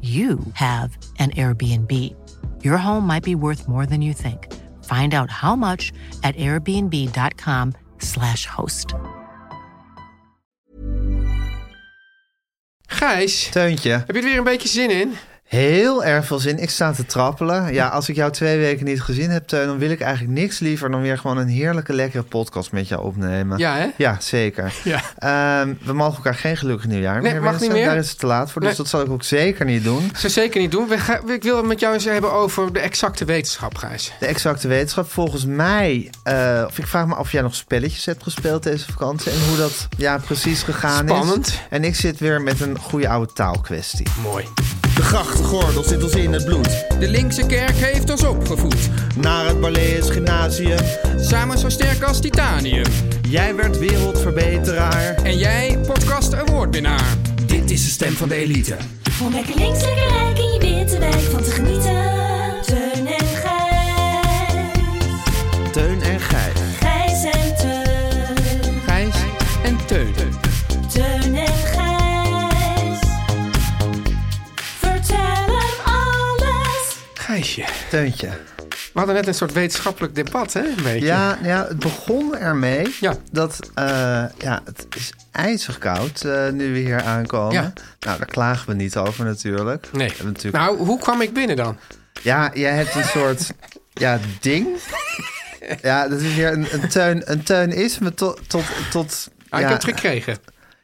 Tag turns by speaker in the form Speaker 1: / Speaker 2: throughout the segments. Speaker 1: you have an Airbnb. Your home might be worth more than you think. Find out how much at airbnb.com/slash host.
Speaker 2: Gijs,
Speaker 3: Teuntje,
Speaker 2: heb je er weer een beetje zin in?
Speaker 3: heel erg veel zin. Ik sta te trappelen. Ja, als ik jou twee weken niet gezien heb, Teun, dan wil ik eigenlijk niks liever dan weer gewoon een heerlijke, lekkere podcast met jou opnemen.
Speaker 2: Ja, hè?
Speaker 3: Ja, zeker.
Speaker 2: Ja.
Speaker 3: Ehm, we mogen elkaar geen gelukkig nieuwjaar
Speaker 2: Nee,
Speaker 3: meer
Speaker 2: mag
Speaker 3: wensen.
Speaker 2: niet meer.
Speaker 3: Daar is het te laat voor, dus
Speaker 2: Nee.
Speaker 3: dat zal ik ook zeker niet doen.
Speaker 2: Zou zeker niet doen. We ga- ik wil het met jou eens hebben over de exacte wetenschap, Gijs.
Speaker 3: De exacte wetenschap. Volgens mij, eh, of ik vraag me af of jij nog spelletjes hebt gespeeld deze vakantie en hoe dat ja, precies gegaan is.
Speaker 2: Spannend.
Speaker 3: En ik zit weer met een goede oude taalkwestie.
Speaker 2: Mooi.
Speaker 4: De grachtengordel zit ons in het bloed.
Speaker 2: De linkse kerk heeft ons opgevoed.
Speaker 4: Naar het Balees Gymnasium.
Speaker 2: Samen zo sterk als titanium.
Speaker 4: Jij werd wereldverbeteraar.
Speaker 2: En jij, podcast awardwinnaar.
Speaker 4: Dit is de stem van de elite.
Speaker 5: Om lekker links, lekker rijk in je witte wijk van te genieten. Teun en Gijs.
Speaker 4: Teun en Gijs.
Speaker 5: Gijs en Teun.
Speaker 2: Gijs en Teun.
Speaker 5: Teun en Gijs. Vertel hem alles.
Speaker 2: Gijsje.
Speaker 3: Teuntje.
Speaker 2: We hadden net een soort wetenschappelijk debat, hè? Een beetje.
Speaker 3: Ja, ja, het begon ermee
Speaker 2: Ja.
Speaker 3: dat eh, ja, het is ijzig koud eh, nu we hier aankomen.
Speaker 2: Ja.
Speaker 3: Nou, daar klagen we niet over natuurlijk.
Speaker 2: Nee.
Speaker 3: We hebben natuurlijk...
Speaker 2: Nou, hoe kwam ik binnen dan?
Speaker 3: Ja, jij hebt een soort ja, ding. Ja, dat is weer een, een teun. Een teun is me tot... tot, tot
Speaker 2: Ah,
Speaker 3: ja,
Speaker 2: Ik heb het gekregen.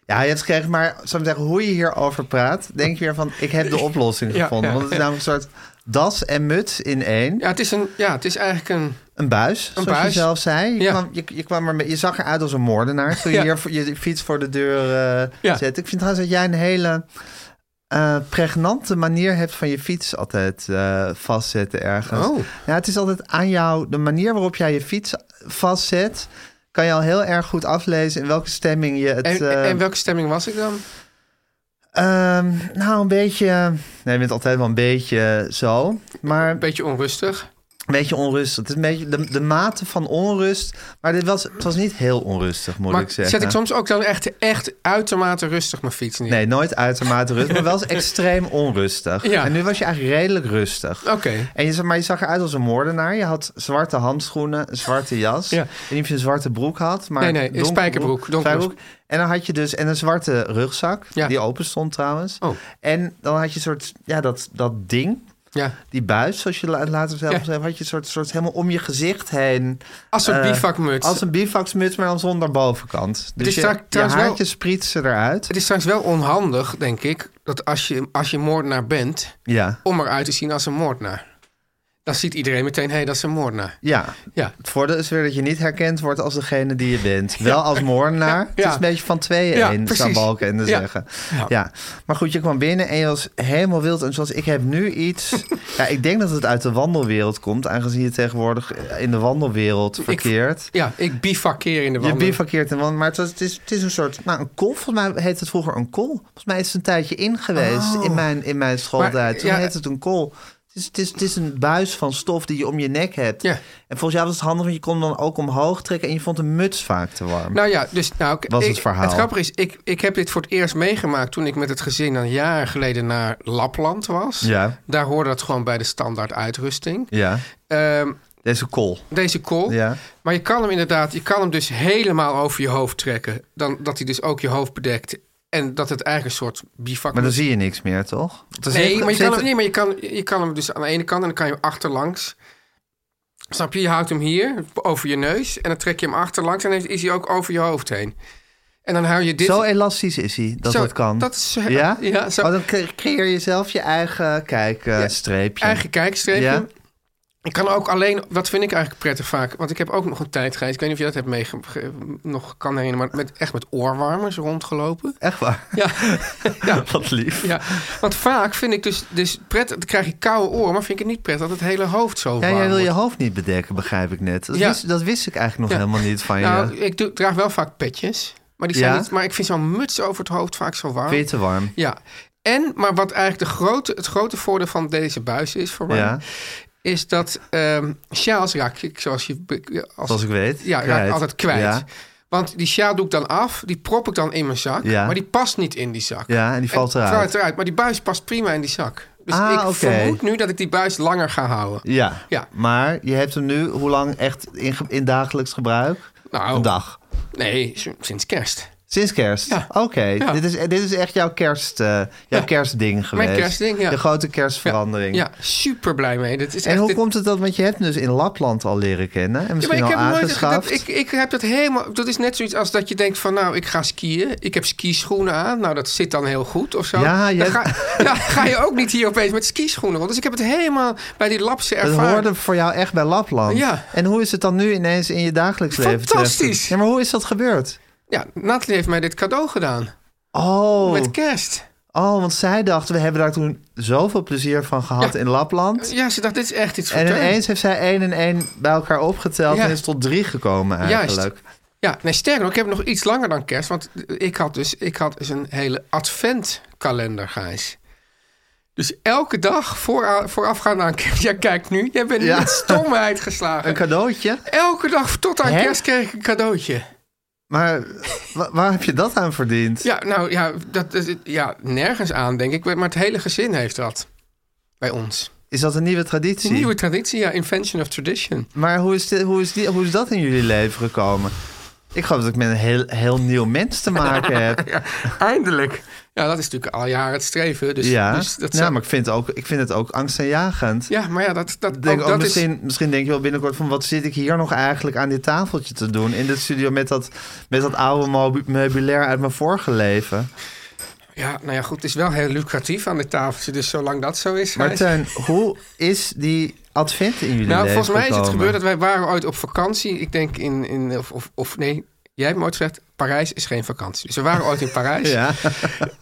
Speaker 3: ja, je hebt het gekregen, maar zou ik zeggen, hoe je hierover praat, denk je weer van, ik heb de oplossing
Speaker 2: Ja,
Speaker 3: gevonden.
Speaker 2: ja,
Speaker 3: Want het is
Speaker 2: ja.
Speaker 3: namelijk een soort das en muts in één.
Speaker 2: Ja, het is, een, ja, het is eigenlijk een...
Speaker 3: Een buis, zoals je
Speaker 2: buis.
Speaker 3: zelf zei. Je,
Speaker 2: Ja.
Speaker 3: kwam, je, je, kwam er mee- je zag eruit als een moordenaar. Toen je
Speaker 2: Ja.
Speaker 3: hier voor- je fiets voor de deur eh
Speaker 2: Ja.
Speaker 3: zet. Ik vind trouwens dat jij een hele eh, pregnante manier hebt van je fiets altijd eh, vastzetten ergens.
Speaker 2: Oh.
Speaker 3: Ja, het is altijd aan jou, de manier waarop jij je fiets vastzet... kan je al heel erg goed aflezen in welke stemming je het...
Speaker 2: En,
Speaker 3: eh,
Speaker 2: en welke stemming was ik dan?
Speaker 3: ehm, nou, een beetje... Nee, je bent altijd wel een beetje eh, zo. Maar
Speaker 2: Een beetje onrustig.
Speaker 3: een beetje onrustig. Het is een beetje de, de mate van onrust. Maar dit was, het was niet heel onrustig, moet
Speaker 2: Maar
Speaker 3: ik zeggen.
Speaker 2: zet ik soms ook dan echt, echt uitermate rustig mijn fiets neer?
Speaker 3: Nee, nooit uitermate rustig, maar wel eens extreem onrustig.
Speaker 2: Ja.
Speaker 3: En nu was je eigenlijk redelijk rustig.
Speaker 2: Oké.
Speaker 3: En je, zag- maar je zag eruit als een moordenaar. Je had zwarte handschoenen, een zwarte jas.
Speaker 2: Ja.
Speaker 3: En niet of je een zwarte broek had. Maar
Speaker 2: Nee, nee, een
Speaker 3: donkere
Speaker 2: spijkerbroek,
Speaker 3: broek,
Speaker 2: donkere
Speaker 3: spijkerbroek. En dan had je dus en een zwarte rugzak,
Speaker 2: Ja.
Speaker 3: die open stond trouwens.
Speaker 2: Oh.
Speaker 3: En dan had je een soort, ja, dat, dat ding,
Speaker 2: Ja.
Speaker 3: die buis, zoals je la- later zelf
Speaker 2: Ja.
Speaker 3: zei, had je een soort, soort helemaal om je gezicht heen.
Speaker 2: Als een
Speaker 3: Eh,
Speaker 2: bivakmuts.
Speaker 3: Als een bivaxmuts, maar dan zonder bovenkant. Dus
Speaker 2: is
Speaker 3: je,
Speaker 2: trouw-
Speaker 3: je
Speaker 2: trouwens wel-
Speaker 3: haartjes sprietsen eruit.
Speaker 2: Het is trouwens wel onhandig, denk ik, dat als je, als je moordenaar bent,
Speaker 3: Ja,
Speaker 2: om eruit te zien als een moordenaar. Dan ziet iedereen meteen, hé, dat is een moordenaar.
Speaker 3: ja.
Speaker 2: Ja.
Speaker 3: Het voordeel is weer dat je niet herkend wordt als degene die je bent. Wel als moordenaar. Het is een beetje van tweeën
Speaker 2: Ja,
Speaker 3: één, zou
Speaker 2: precies.
Speaker 3: Balkenende
Speaker 2: Ja.
Speaker 3: zeggen.
Speaker 2: Ja.
Speaker 3: Ja. Maar goed, je kwam binnen en je was helemaal wild. En zoals ik heb nu iets... ja, ik denk dat het uit de wandelwereld komt. Aangezien je tegenwoordig in de wandelwereld verkeert.
Speaker 2: Ja, ik bivakkeer in de
Speaker 3: Je
Speaker 2: wandel.
Speaker 3: bivakkeert in wandel. Maar het, was- het, is, het is een soort... Nou, een kol. Volgens mij heette het vroeger een kol. Volgens mij is het een tijdje in geweest in, mijn, in mijn schooltijd.
Speaker 2: Oh. Maar,
Speaker 3: Toen
Speaker 2: ja,
Speaker 3: heette het een kol. Het is, het, is, het is een buis van stof die je om je nek hebt.
Speaker 2: Ja.
Speaker 3: En volgens jou was het handig, want je kon hem dan ook omhoog trekken... en je vond een muts vaak te warm.
Speaker 2: Nou ja, dus nou, ik-
Speaker 3: Was
Speaker 2: ik-
Speaker 3: het verhaal.
Speaker 2: grappige is, ik, ik heb dit voor het eerst meegemaakt toen ik met het gezin een jaar geleden naar Lapland was.
Speaker 3: Ja.
Speaker 2: Daar hoorde dat gewoon bij de standaard uitrusting.
Speaker 3: ja,
Speaker 2: Ehm,
Speaker 3: deze kol.
Speaker 2: deze kool.
Speaker 3: Ja.
Speaker 2: Maar je kan hem inderdaad, je kan hem dus helemaal over je hoofd trekken. Dan, dat hij dus ook je hoofd bedekt. En dat het eigenlijk een soort bivak
Speaker 3: Maar dan zie je niks meer, toch? Dan
Speaker 2: Nee,
Speaker 3: zit-
Speaker 2: maar, je
Speaker 3: zit-
Speaker 2: kan hem, nee, maar je, kan, je kan hem dus aan de ene kant en dan kan je hem achterlangs. Snap je? Je houdt hem hier over je neus en dan trek je hem achterlangs en dan is hij ook over je hoofd heen. En dan hou je dit.
Speaker 3: Zo elastisch is hij dat
Speaker 2: Zo,
Speaker 3: dat kan.
Speaker 2: dat is- eh,
Speaker 3: ja?
Speaker 2: ja, zo.
Speaker 3: Oh, dan cre- creëer je zelf je eigen kijkstreepje.
Speaker 2: eigen kijkstreepje.
Speaker 3: Ja.
Speaker 2: Ik kan ook alleen, dat vind ik eigenlijk prettig vaak, want ik heb ook nog een tijdreis. Ik weet niet of je dat hebt meege, ge- nog kan herinneren, maar met, echt met oorwarmers rondgelopen.
Speaker 3: Echt waar?
Speaker 2: Ja, ja,
Speaker 3: Wat lief.
Speaker 2: ja. Want vaak vind ik dus, dus prettig, dan krijg ik koude oren, maar vind ik het niet prettig dat het hele hoofd zo
Speaker 3: Ja,
Speaker 2: warm
Speaker 3: jij wil je
Speaker 2: wordt.
Speaker 3: hoofd niet bedekken, begrijp ik net. Dat,
Speaker 2: Ja.
Speaker 3: wist, dat wist ik eigenlijk nog
Speaker 2: Ja.
Speaker 3: helemaal niet van je.
Speaker 2: Nou, ik doe, draag wel vaak petjes. Maar, die zijn
Speaker 3: Ja?
Speaker 2: niet, maar ik vind zo'n muts over het hoofd vaak zo warm.
Speaker 3: Vind je het te warm?
Speaker 2: Ja. En, maar wat eigenlijk de grote, het grote voordeel van deze buis is voor mij...
Speaker 3: Ja,
Speaker 2: is dat ehm sjaals raak ik, zoals je... be- Als,
Speaker 3: zoals ik weet.
Speaker 2: ja, raak ik
Speaker 3: Kwijt.
Speaker 2: altijd kwijt.
Speaker 3: Ja,
Speaker 2: Want die sjaal doe ik dan af, die prop ik dan in mijn zak.
Speaker 3: Ja.
Speaker 2: Maar die past niet in die zak.
Speaker 3: ja en die valt
Speaker 2: En-
Speaker 3: eruit.
Speaker 2: Maar die buis past prima in die zak. Dus
Speaker 3: Ah,
Speaker 2: ik
Speaker 3: oké.
Speaker 2: vermoed nu dat ik die buis langer ga houden.
Speaker 3: Ja.
Speaker 2: Ja.
Speaker 3: maar je hebt hem nu hoe lang echt in, ge- in dagelijks gebruik?
Speaker 2: Nou.
Speaker 3: Een dag.
Speaker 2: Nee, s- sinds kerst.
Speaker 3: Sinds kerst?
Speaker 2: Ja.
Speaker 3: Oké,
Speaker 2: Ja.
Speaker 3: dit, is, dit is echt jouw, kerst, eh, jouw
Speaker 2: Ja.
Speaker 3: kerstding geweest.
Speaker 2: kerstding, ja.
Speaker 3: De grote kerstverandering.
Speaker 2: Ja, super blij mee. Dat is
Speaker 3: En
Speaker 2: echt
Speaker 3: hoe
Speaker 2: dit-
Speaker 3: komt het dat, want je hebt hem dus in Lapland al leren kennen en misschien
Speaker 2: ja, maar ik
Speaker 3: al
Speaker 2: heb
Speaker 3: aangeschaft.
Speaker 2: Nooit, dat, ik, ik heb dat helemaal. Dat is net zoiets als dat je denkt van, nou, ik ga skiën. Ik heb skischoenen aan. Nou, dat zit dan heel goed of zo.
Speaker 3: Ja, je
Speaker 2: dan
Speaker 3: hebt-
Speaker 2: ga, ja, ga je ook niet hier opeens met skischoenen. Want dus ik heb het helemaal bij die lapse
Speaker 3: Dat
Speaker 2: ervaring.
Speaker 3: hoorde voor jou echt bij Lapland.
Speaker 2: Ja.
Speaker 3: En hoe is het dan nu ineens in je dagelijks leven
Speaker 2: Fantastisch.
Speaker 3: terecht? Ja, maar hoe is dat gebeurd?
Speaker 2: Ja, Nathalie heeft mij dit cadeau gedaan.
Speaker 3: Oh,
Speaker 2: Met kerst.
Speaker 3: oh, want zij dacht, we hebben daar toen zoveel plezier van gehad in Lapland.
Speaker 2: Ja, ze dacht, dit is echt iets voor
Speaker 3: en
Speaker 2: Teun.
Speaker 3: ineens heeft zij één en één bij elkaar opgeteld
Speaker 2: Ja.
Speaker 3: en is tot drie gekomen
Speaker 2: Juist.
Speaker 3: eigenlijk.
Speaker 2: Ja, nee, sterker nog, ik heb nog iets langer dan kerst. Want ik had dus, ik had dus een hele adventkalender, Gijs. Dus elke dag voor, voorafgaand aan kerst... Ja, kijk nu, jij bent
Speaker 3: Ja.
Speaker 2: met stomheid geslagen.
Speaker 3: Een cadeautje?
Speaker 2: Elke dag tot aan
Speaker 3: Hè?
Speaker 2: kerst kreeg ik een cadeautje.
Speaker 3: Maar wa- waar heb je dat aan verdiend?
Speaker 2: Ja, nou ja, dat, dat- ja, nergens aan denk ik. Maar het hele gezin heeft dat. Bij ons.
Speaker 3: Is dat een nieuwe
Speaker 2: Het is
Speaker 3: traditie?
Speaker 2: een nieuwe traditie, ja. Invention of tradition.
Speaker 3: Maar hoe is, dit, hoe, is die, hoe is dat in jullie leven gekomen? Ik geloof dat ik met een heel, heel nieuw mens te maken heb.
Speaker 2: Ja, eindelijk. Ja, dat is natuurlijk al jaren het streven. Dus,
Speaker 3: ja,
Speaker 2: dus dat
Speaker 3: ja
Speaker 2: zou-
Speaker 3: maar ik vind, ook, ik vind het ook angstaanjagend.
Speaker 2: ja, maar ja, dat, dat,
Speaker 3: Ik Denk
Speaker 2: ook
Speaker 3: ook
Speaker 2: dat is...
Speaker 3: misschien, misschien denk je wel binnenkort van... wat zit ik hier nog eigenlijk aan dit tafeltje te doen... in de studio met dat, met dat oude mobi- meubilair uit mijn vorige leven.
Speaker 2: Ja, nou ja, goed. Het is wel heel lucratief aan de tafeltje. Dus zolang dat zo is...
Speaker 3: Maar
Speaker 2: Gijs-
Speaker 3: Teun, hoe is die advent in jullie
Speaker 2: Nou,
Speaker 3: leven
Speaker 2: volgens mij is het
Speaker 3: gekomen?
Speaker 2: gebeurd dat wij waren ooit op vakantie. Ik denk in, in of, of, of nee, jij hebt me ooit gezegd, Parijs is geen vakantie. Dus we waren ooit in Parijs.
Speaker 3: Ja.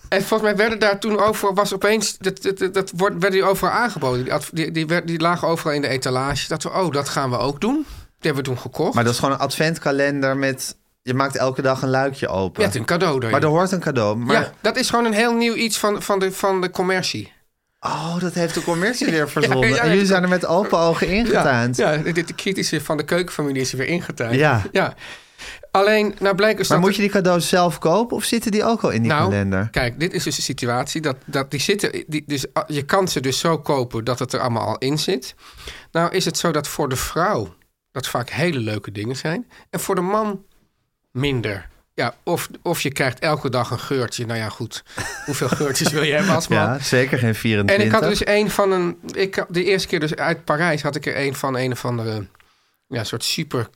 Speaker 2: En volgens mij werden daar toen overal, was opeens, dat, dat, dat, dat wordt, werden die overal aangeboden. Die, adv- die, die, werd- die lagen overal in de etalage. Dat we, oh, dat gaan we ook doen. Die hebben we toen gekocht.
Speaker 3: Maar dat is gewoon een adventkalender met... je maakt elke dag een luikje open.
Speaker 2: Met een cadeau erin.
Speaker 3: maar er hoort een cadeau. Maar
Speaker 2: Ja, dat is gewoon een heel nieuw iets van, van, de, van de commercie.
Speaker 3: Oh, dat heeft de commercie weer verzonnen.
Speaker 2: ja, ja,
Speaker 3: en jullie
Speaker 2: ja.
Speaker 3: zijn er met open ogen ingetuind.
Speaker 2: Ja, ja, dit- de kritische van de keukenfamilie is er weer ingetuind.
Speaker 3: Ja.
Speaker 2: ja. Alleen, nou blijkt dus
Speaker 3: Maar
Speaker 2: dat...
Speaker 3: moet je die cadeaus zelf kopen of zitten die ook al in die
Speaker 2: nou,
Speaker 3: kalender?
Speaker 2: kijk, dit is dus de situatie. Dat, dat die zitten, die, dus, ah, je kan ze dus zo kopen dat het er allemaal al in zit. Nou is het zo dat voor de vrouw dat vaak hele leuke dingen zijn. En voor de man minder. Ja, of, of je krijgt elke dag een geurtje. Nou ja, goed. Hoeveel geurtjes wil je hebben als man?
Speaker 3: Ja, zeker geen 24.
Speaker 2: En ik had er dus een van een. Ik, had- de eerste keer dus uit Parijs had ik er een van een of andere. Ja, soort super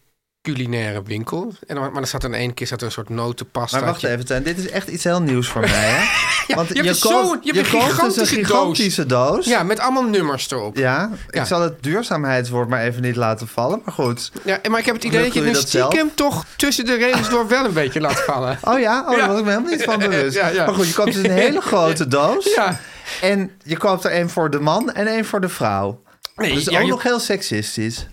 Speaker 2: culinaire winkel. En, dan- maar er zat dan één keer zat er een soort notenpasta.
Speaker 3: Maar wacht even, Teun, dit is echt iets heel nieuws voor mij. Hè? Want
Speaker 2: je hebt dus
Speaker 3: koopt-
Speaker 2: zo'n- je hebt een
Speaker 3: koopt dus
Speaker 2: gigantische
Speaker 3: een
Speaker 2: doos.
Speaker 3: gigantische doos.
Speaker 2: Ja, met allemaal nummers erop. Ja,
Speaker 3: Ja,
Speaker 2: Ja.
Speaker 3: ik zal het duurzaamheidswoord maar even niet laten vallen. Maar goed.
Speaker 2: en- maar ik heb het idee dat je nu
Speaker 3: Lukt jullie dat zelf?
Speaker 2: stiekem toch tussen de regels door wel een beetje laat vallen.
Speaker 3: Oh ja, oh,
Speaker 2: Ja.
Speaker 3: daar was ik me helemaal niet van bewust.
Speaker 2: Ja, ja.
Speaker 3: Maar goed, je koopt dus een hele grote doos.
Speaker 2: Ja.
Speaker 3: En je koopt er één voor de man en één voor de vrouw.
Speaker 2: Nee,
Speaker 3: dus
Speaker 2: ja,
Speaker 3: ook
Speaker 2: je-
Speaker 3: nog heel seksistisch.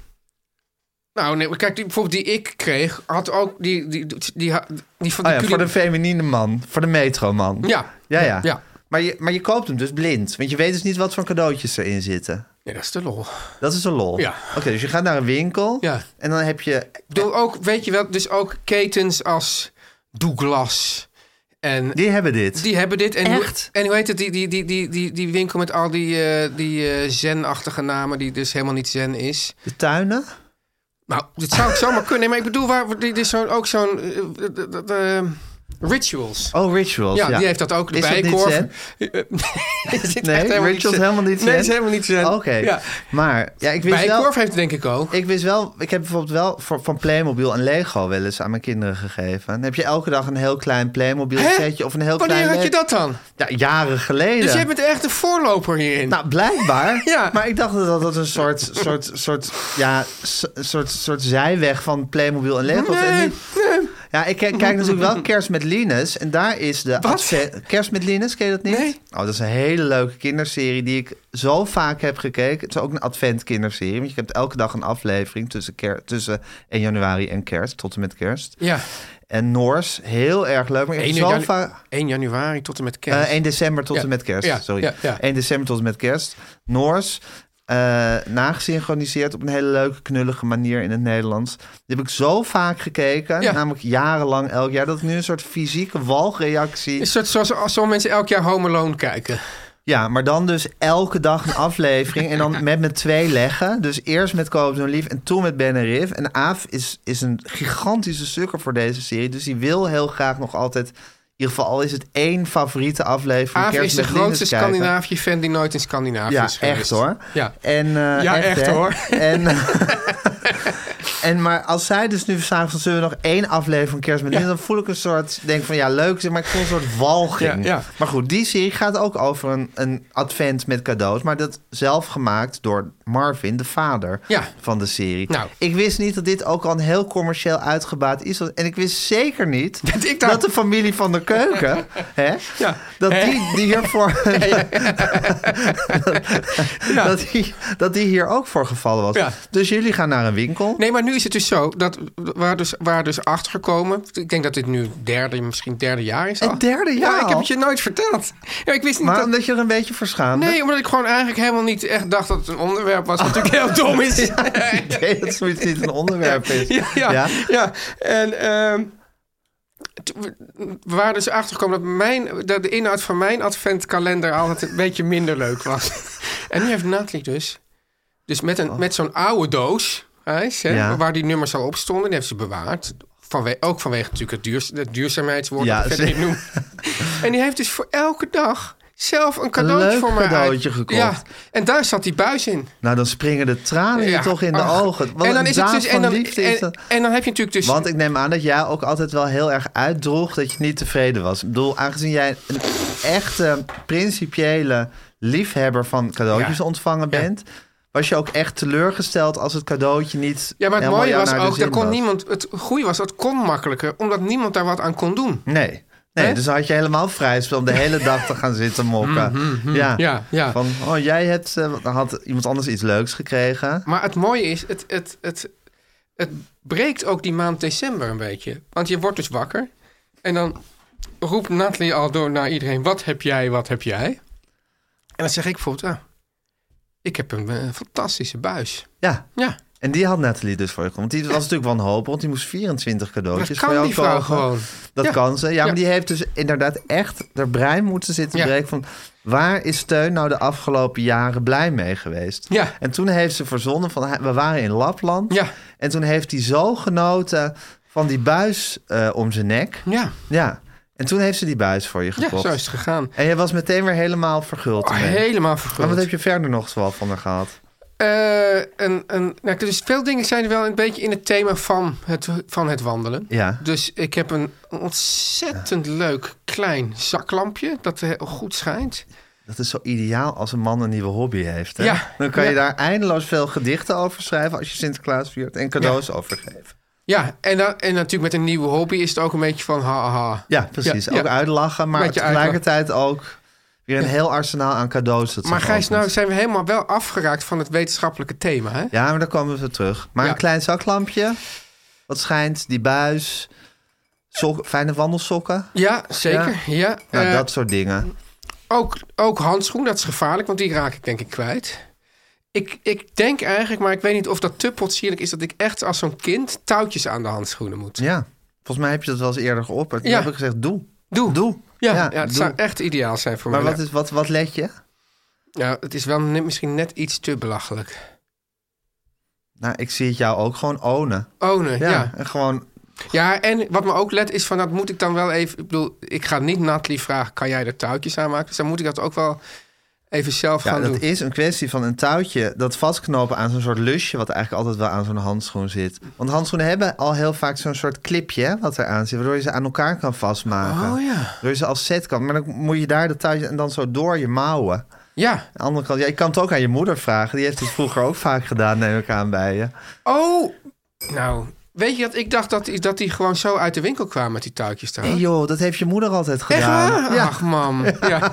Speaker 2: Nou, nee, maar kijk, die, bijvoorbeeld die ik kreeg, had ook die, die, die, die, ha- die van
Speaker 3: Oh
Speaker 2: die
Speaker 3: ja,
Speaker 2: culi-
Speaker 3: voor de feminine man, voor de metroman.
Speaker 2: Ja.
Speaker 3: Ja, ja.
Speaker 2: Ja.
Speaker 3: Maar, je, maar je koopt hem dus blind. Want je weet dus niet wat voor cadeautjes erin zitten.
Speaker 2: Nee, dat is de lol.
Speaker 3: Dat is een lol.
Speaker 2: Ja.
Speaker 3: Oké, dus je gaat naar een winkel.
Speaker 2: Ja.
Speaker 3: En dan heb je...
Speaker 2: Ik bedoel ook, weet je wel, dus ook ketens als Douglas en
Speaker 3: Die hebben dit.
Speaker 2: Die hebben dit. En
Speaker 3: Echt?
Speaker 2: Hoe, en hoe heet het? Die, die, die, die, die, die winkel met al die, eh, die eh zen-achtige namen, die dus helemaal niet zen is.
Speaker 3: De tuinen.
Speaker 2: Nou, dat zou ik zomaar kunnen. Nee, Maar ik bedoel, waar, dit is zo'n- ook zo'n. eh, eh, eh, eh, Rituals.
Speaker 3: Oh, Rituals.
Speaker 2: ja,
Speaker 3: Ja,
Speaker 2: die heeft dat ook. De
Speaker 3: Is dat niet
Speaker 2: bijkorf.
Speaker 3: zen?
Speaker 2: Is dit
Speaker 3: Nee,
Speaker 2: echt helemaal
Speaker 3: Rituals
Speaker 2: zen?
Speaker 3: helemaal niet
Speaker 2: Nee,
Speaker 3: zen?
Speaker 2: is helemaal niet zen.
Speaker 3: Oké.
Speaker 2: Ja.
Speaker 3: Maar ja, ik wist wel...
Speaker 2: Bijkorf heeft het denk ik ook.
Speaker 3: Ik wist wel, ik heb bijvoorbeeld wel voor- van Playmobil en Lego wel eens aan mijn kinderen gegeven. Dan heb je elke dag een heel klein Playmobil
Speaker 2: Hè?
Speaker 3: setje of een heel
Speaker 2: Wanneer
Speaker 3: klein...
Speaker 2: had je
Speaker 3: Le-
Speaker 2: dat dan?
Speaker 3: Ja, jaren geleden.
Speaker 2: Dus jij bent echt een voorloper hierin.
Speaker 3: Nou, blijkbaar.
Speaker 2: Ja.
Speaker 3: Maar ik dacht dat dat een soort, soort, soort, ja, s- soort, soort zijweg van Playmobil en Lego was. En
Speaker 2: Nee,
Speaker 3: niet- Ja, ik kijk, kijk natuurlijk wel Kerst met Linus. En daar is de...
Speaker 2: Wat?
Speaker 3: advent- Kerst met Linus, ken je dat niet?
Speaker 2: Nee.
Speaker 3: Oh, dat is een hele leuke kinderserie die ik zo vaak heb gekeken. Het is ook een advent kinderserie. Want je hebt elke dag een aflevering tussen, ker- tussen 1 januari en kerst. Tot en met kerst.
Speaker 2: ja.
Speaker 3: En Noors, heel erg leuk. Maar ik heb
Speaker 2: 1,
Speaker 3: zo
Speaker 2: janu-
Speaker 3: vaak...
Speaker 2: 1 januari tot en met kerst.
Speaker 3: Eh, 1 december tot
Speaker 2: Ja,
Speaker 3: en met kerst.
Speaker 2: ja,
Speaker 3: Sorry.
Speaker 2: ja, ja.
Speaker 3: 1 december tot en met kerst. Noors. eh nagesynchroniseerd op een hele leuke, knullige manier in het Nederlands. Die heb ik zo vaak gekeken,
Speaker 2: Ja.
Speaker 3: namelijk jarenlang elk jaar, dat ik nu een soort fysieke walgreactie.
Speaker 2: Is het soort zoals, als zo'n mensen elk jaar Home Alone kijken?
Speaker 3: Ja, maar dan dus elke dag een aflevering en dan met mijn twee leggen. Dus eerst met Koop en Lief en toen met Ben en Riff. En Aaf is, is een gigantische sukker voor deze serie, dus die wil heel graag nog altijd, in ieder geval al is het één favoriete aflevering.
Speaker 2: Aaf
Speaker 3: Kerst
Speaker 2: is de
Speaker 3: met Linus
Speaker 2: grootste
Speaker 3: kijken.
Speaker 2: Scandinavië-fan die nooit in Scandinavië
Speaker 3: Ja,
Speaker 2: is geweest.
Speaker 3: echt hoor.
Speaker 2: Ja.
Speaker 3: En, eh,
Speaker 2: Ja, echt,
Speaker 3: hè.
Speaker 2: hoor.
Speaker 3: En, en maar als zij dus nu zagen van zullen we nog één aflevering van Kerst met Linus, dan voel ik een soort, denk van ja leuk, maar ik voel een soort walging.
Speaker 2: Ja, ja.
Speaker 3: Maar goed, die serie gaat ook over een, een advent met cadeaus, maar dat zelf gemaakt door Marvin, de vader
Speaker 2: Ja.
Speaker 3: van de serie.
Speaker 2: Nou.
Speaker 3: Ik wist niet dat dit ook al een heel commercieel uitgebaat is. En ik wist zeker niet
Speaker 2: Dat ik daar-
Speaker 3: dat de familie van de keuken, hè,
Speaker 2: Ja.
Speaker 3: dat
Speaker 2: Hè?
Speaker 3: die, die hiervoor dat, die, dat die hier ook voor gevallen was.
Speaker 2: Ja.
Speaker 3: Dus jullie gaan naar een winkel.
Speaker 2: Nee, maar nu is het dus zo. Dat, waar dus, waar dus achter gekomen. Ik denk dat dit nu derde, misschien derde jaar is. al.
Speaker 3: Het derde jaar
Speaker 2: Ja, ik heb
Speaker 3: al?
Speaker 2: het je nooit verteld. Ja, ik wist niet
Speaker 3: maar
Speaker 2: dat...
Speaker 3: omdat je er een beetje voor schaamde.
Speaker 2: Nee, omdat ik gewoon eigenlijk helemaal niet echt dacht dat het een onderwerp was. Wat natuurlijk heel dom is.
Speaker 3: Ik weet dat zoiets niet een onderwerp is.
Speaker 2: Ja, ja, ja. En ehm, t- we- we waren dus achtergekomen dat, mijn, dat de inhoud van mijn adventkalender altijd een beetje minder leuk was. en nu heeft Natalie dus, dus met, een, met zo'n oude doos, Gijs, hè,
Speaker 3: Oh. Ja.
Speaker 2: waar die nummers al op stonden, die heeft ze bewaard. Vanwe- ook vanwege natuurlijk het, duurz- het duurzaamheidswoord
Speaker 3: Ja,
Speaker 2: dat ik verder
Speaker 3: zeker.
Speaker 2: niet noem. en die heeft dus voor elke dag zelf een cadeautje
Speaker 3: leuk
Speaker 2: voor mij uit-
Speaker 3: cadeautje gekocht.
Speaker 2: Ja, en daar zat die buis in.
Speaker 3: Nou, dan springen de tranen je
Speaker 2: Ja,
Speaker 3: toch in de
Speaker 2: ach.
Speaker 3: ogen. Wat
Speaker 2: en dan
Speaker 3: een
Speaker 2: is het
Speaker 3: daad
Speaker 2: dus, en
Speaker 3: van
Speaker 2: dan,
Speaker 3: liefde is
Speaker 2: en,
Speaker 3: dat.
Speaker 2: en dan heb je natuurlijk dus
Speaker 3: Want ik neem aan dat jij ook altijd wel heel erg uitdroeg dat je niet tevreden was. Ik bedoel, aangezien jij een echte principiële liefhebber van cadeautjes
Speaker 2: Ja.
Speaker 3: ontvangen bent, was je ook echt teleurgesteld als het cadeautje niet.
Speaker 2: Ja, maar het
Speaker 3: helemaal
Speaker 2: mooie
Speaker 3: jou
Speaker 2: was
Speaker 3: naar de
Speaker 2: ook,
Speaker 3: zin
Speaker 2: daar kon
Speaker 3: was.
Speaker 2: niemand, het goede was, dat kon makkelijker, omdat niemand daar wat aan kon doen.
Speaker 3: Nee. Nee,
Speaker 2: Hè?
Speaker 3: dus dan had je helemaal vrij spel om de hele dag te gaan zitten mokken. ja.
Speaker 2: Mhm, Ja, ja.
Speaker 3: Van, oh, jij hebt, eh, dan had iemand anders iets leuks gekregen.
Speaker 2: Maar het mooie is, het, het, het, het breekt ook die maand december een beetje. Want je wordt dus wakker en dan roept Natalie al door naar iedereen, wat heb jij, wat heb jij? En dan zeg ik bijvoorbeeld, ah, ik heb een eh, fantastische buis.
Speaker 3: Ja.
Speaker 2: Ja,
Speaker 3: En die had Nathalie dus voor je gekomen. Want die was natuurlijk wanhopig, want die moest 24 cadeautjes
Speaker 2: Dat
Speaker 3: voor
Speaker 2: kan
Speaker 3: jou
Speaker 2: die vrouw
Speaker 3: kopen.
Speaker 2: gewoon.
Speaker 3: Dat
Speaker 2: Ja.
Speaker 3: kan ze. Ja,
Speaker 2: Ja.
Speaker 3: maar die heeft dus inderdaad echt haar brein moeten zitten
Speaker 2: Ja.
Speaker 3: breken van... waar is Steun nou de afgelopen jaren blij mee geweest?
Speaker 2: Ja.
Speaker 3: En toen heeft ze verzonnen van, hij- we waren in Lapland.
Speaker 2: Ja.
Speaker 3: En toen heeft hij zo genoten van die buis eh, om zijn nek.
Speaker 2: ja,
Speaker 3: Ja. En toen heeft ze die buis voor je
Speaker 2: ja
Speaker 3: gekocht.
Speaker 2: zo is het gegaan.
Speaker 3: En je was meteen weer helemaal verguld.
Speaker 2: Oh,
Speaker 3: ermee.
Speaker 2: helemaal
Speaker 3: Maar
Speaker 2: verguld.
Speaker 3: wat heb je verder nog zoal van haar gehad?
Speaker 2: Eh, een, een, nou, dus veel dingen zijn wel een beetje in het thema van het, van het wandelen.
Speaker 3: Ja.
Speaker 2: Dus ik heb een ontzettend leuk klein zaklampje dat heel goed schijnt.
Speaker 3: Dat is zo ideaal als een man een nieuwe hobby heeft. Hè?
Speaker 2: Ja.
Speaker 3: Dan kan
Speaker 2: Ja.
Speaker 3: je daar eindeloos veel gedichten over schrijven als je Sinterklaas viert en cadeaus overgeven.
Speaker 2: Ja, en, dan, en natuurlijk met een nieuwe hobby is het ook een beetje van ha ha, ha.
Speaker 3: Ja, precies.
Speaker 2: Ja,
Speaker 3: ook
Speaker 2: ja.
Speaker 3: uitlachen, maar
Speaker 2: Beetje
Speaker 3: tegelijkertijd ook weer een heel arsenaal aan cadeaus. dat ze
Speaker 2: Maar Gijs,
Speaker 3: opent.
Speaker 2: nou zijn we helemaal wel afgeraakt van het wetenschappelijke thema, hè?
Speaker 3: Ja, maar daar komen we terug. Maar
Speaker 2: Ja.
Speaker 3: een klein zaklampje, wat schijnt, die buis, sok- fijne wandelsokken.
Speaker 2: Ja, zeker. Ja.
Speaker 3: Nou,
Speaker 2: Eh,
Speaker 3: dat soort dingen.
Speaker 2: ook, ook handschoen, dat is gevaarlijk, want die raak ik denk ik kwijt. Ik, ik denk eigenlijk, maar ik weet niet of dat te potsierlijk is... dat ik echt als zo'n kind touwtjes aan de handschoenen moet.
Speaker 3: Ja. Volgens mij heb je dat wel eens eerder geopperd. Toen
Speaker 2: Ja.
Speaker 3: heb ik gezegd, doe.
Speaker 2: Doe.
Speaker 3: Doe.
Speaker 2: Ja, ja,
Speaker 3: Ja,
Speaker 2: het
Speaker 3: doe.
Speaker 2: zou echt ideaal zijn voor
Speaker 3: Maar
Speaker 2: mij.
Speaker 3: wat, is, wat, wat let je?
Speaker 2: ja, het is wel net, misschien net iets te belachelijk.
Speaker 3: Nou, ik zie het jou ook gewoon ownen.
Speaker 2: Ownen, ja.
Speaker 3: Ja,
Speaker 2: Oh, ja.
Speaker 3: en gewoon
Speaker 2: Ja, en wat me ook let is van dat moet ik dan wel even... Ik bedoel, ik ga niet Natalie vragen, kan jij er touwtjes aan maken? Dus dan moet ik dat ook wel even zelf
Speaker 3: Ja,
Speaker 2: gaan
Speaker 3: dat
Speaker 2: doen.
Speaker 3: is een kwestie van een touwtje dat vastknopen aan zo'n soort lusje, wat eigenlijk altijd wel aan zo'n handschoen zit. Want handschoenen hebben al heel vaak zo'n soort clipje hè, wat eraan zit, waardoor je ze aan elkaar kan vastmaken.
Speaker 2: Oh, ja.
Speaker 3: Waardoor je ze als set kan. Maar dan moet je daar dat touwtje en dan zo door je mouwen. Aan
Speaker 2: Ja.
Speaker 3: de andere kant, ja, je kan het ook aan je moeder vragen. Die heeft het vroeger ook vaak gedaan, neem ik aan bij je.
Speaker 2: Oh, nou... Weet je dat? Ik dacht dat, dat die gewoon zo uit de winkel kwamen met die touwtjes daar.
Speaker 3: Nee, joh, dat heeft je moeder altijd
Speaker 2: Echt
Speaker 3: gedaan.
Speaker 2: waar?
Speaker 3: Ja.
Speaker 2: Ach, mam. Ja. ja.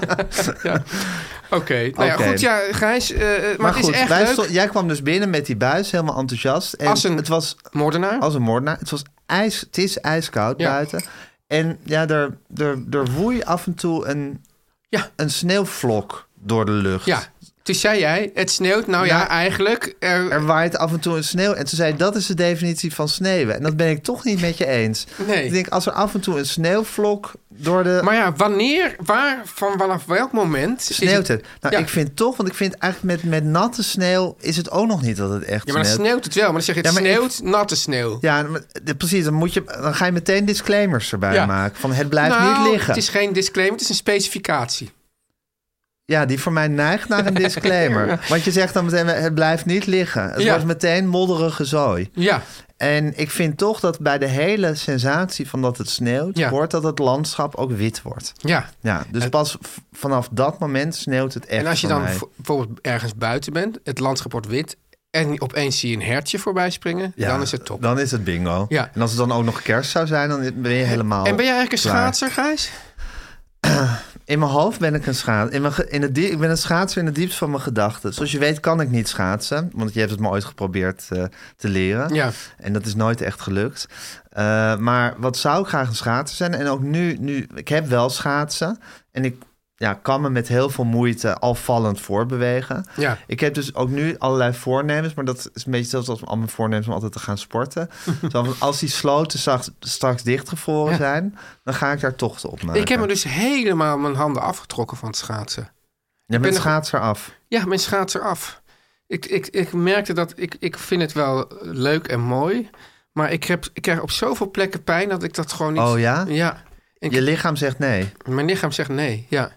Speaker 2: Oké. Nou ja,
Speaker 3: Oké.
Speaker 2: goed. Ja, Gijs. eh, maar,
Speaker 3: Maar
Speaker 2: het
Speaker 3: goed,
Speaker 2: is echt
Speaker 3: wij
Speaker 2: leuk.
Speaker 3: stond- jij kwam dus binnen met die buis, helemaal enthousiast. En
Speaker 2: Als een-
Speaker 3: het was
Speaker 2: Moordenaar.
Speaker 3: als een moordenaar. Het, was ijs, het is ijskoud
Speaker 2: Ja.
Speaker 3: buiten. En ja, er, er, er woei af en toe een,
Speaker 2: Ja.
Speaker 3: een sneeuwvlok door de lucht.
Speaker 2: Ja. Toen zei jij, het sneeuwt. Nou ja,
Speaker 3: Ja.
Speaker 2: eigenlijk. er-
Speaker 3: Er waait af en toe een sneeuw. En toen zei ik, dat is de definitie van sneeuwen. En dat ben ik toch niet met je eens.
Speaker 2: Nee.
Speaker 3: Ik denk, als er af en toe een sneeuwvlok door de...
Speaker 2: maar ja, wanneer, waar, van vanaf welk moment... is
Speaker 3: sneeuwt het. Nou,
Speaker 2: Ja.
Speaker 3: ik vind toch, want ik vind eigenlijk met, met natte sneeuw... is het ook nog niet dat het echt
Speaker 2: Ja, maar dan
Speaker 3: sneeuwt.
Speaker 2: sneeuwt het wel. Maar dan zeg je, het
Speaker 3: Ja, maar
Speaker 2: sneeuwt, natte sneeuw.
Speaker 3: Ja, maar de- precies. Dan, moet je, dan ga je meteen disclaimers erbij
Speaker 2: Ja.
Speaker 3: maken. Van het blijft
Speaker 2: Nou,
Speaker 3: niet liggen.
Speaker 2: het is geen disclaimer, het is een specificatie.
Speaker 3: Ja, die voor mij neigt naar een disclaimer. Want je zegt dan meteen, het blijft niet liggen. Het
Speaker 2: Ja.
Speaker 3: wordt meteen modderige zooi.
Speaker 2: Ja,
Speaker 3: En ik vind toch dat bij de hele sensatie van dat het sneeuwt...
Speaker 2: Ja.
Speaker 3: hoort dat het landschap ook wit wordt.
Speaker 2: ja.
Speaker 3: Ja, dus pas v- vanaf dat moment sneeuwt het echt
Speaker 2: En als je
Speaker 3: voor
Speaker 2: dan
Speaker 3: mij.
Speaker 2: vo- bijvoorbeeld ergens buiten bent, het landschap wordt wit... en opeens zie je een hertje voorbij springen,
Speaker 3: Ja,
Speaker 2: dan is het top.
Speaker 3: Dan is het bingo.
Speaker 2: Ja.
Speaker 3: En als het dan ook nog kerst zou zijn, dan ben je helemaal
Speaker 2: En ben jij eigenlijk een
Speaker 3: klaar.
Speaker 2: schaatser, Gijs?
Speaker 3: In mijn hoofd ben ik een schaats. In mijn ge- in het die- ik ben een schaatser in het diepst van mijn gedachten. Zoals je weet kan ik niet schaatsen. Want je hebt het me ooit geprobeerd eh, te leren.
Speaker 2: Ja.
Speaker 3: En dat is nooit echt gelukt. Eh, maar wat zou ik graag een schaatser zijn? En ook nu, nu ik heb wel schaatsen. En ik ja, kan me met heel veel moeite alvallend voortbewegen.
Speaker 2: Ja.
Speaker 3: Ik heb dus ook nu allerlei voornemens. Maar dat is een beetje zelfs als al mijn voornemens om altijd te gaan sporten. Zo van, als die sloten straks, straks dichtgevroren
Speaker 2: Ja.
Speaker 3: zijn... dan ga ik daar tochten op maken.
Speaker 2: Ik heb me dus helemaal mijn handen afgetrokken van het schaatsen.
Speaker 3: Je bent
Speaker 2: ben nog-
Speaker 3: schaatser af.
Speaker 2: Ja, mijn schaatser af. Ik, ik, ik merkte dat ik, ik vind het wel leuk en mooi. Maar ik, heb, ik krijg op zoveel plekken pijn dat ik dat gewoon niet...
Speaker 3: Oh ja?
Speaker 2: Ja. Ik-
Speaker 3: Je lichaam zegt nee.
Speaker 2: Mijn lichaam zegt nee, ja.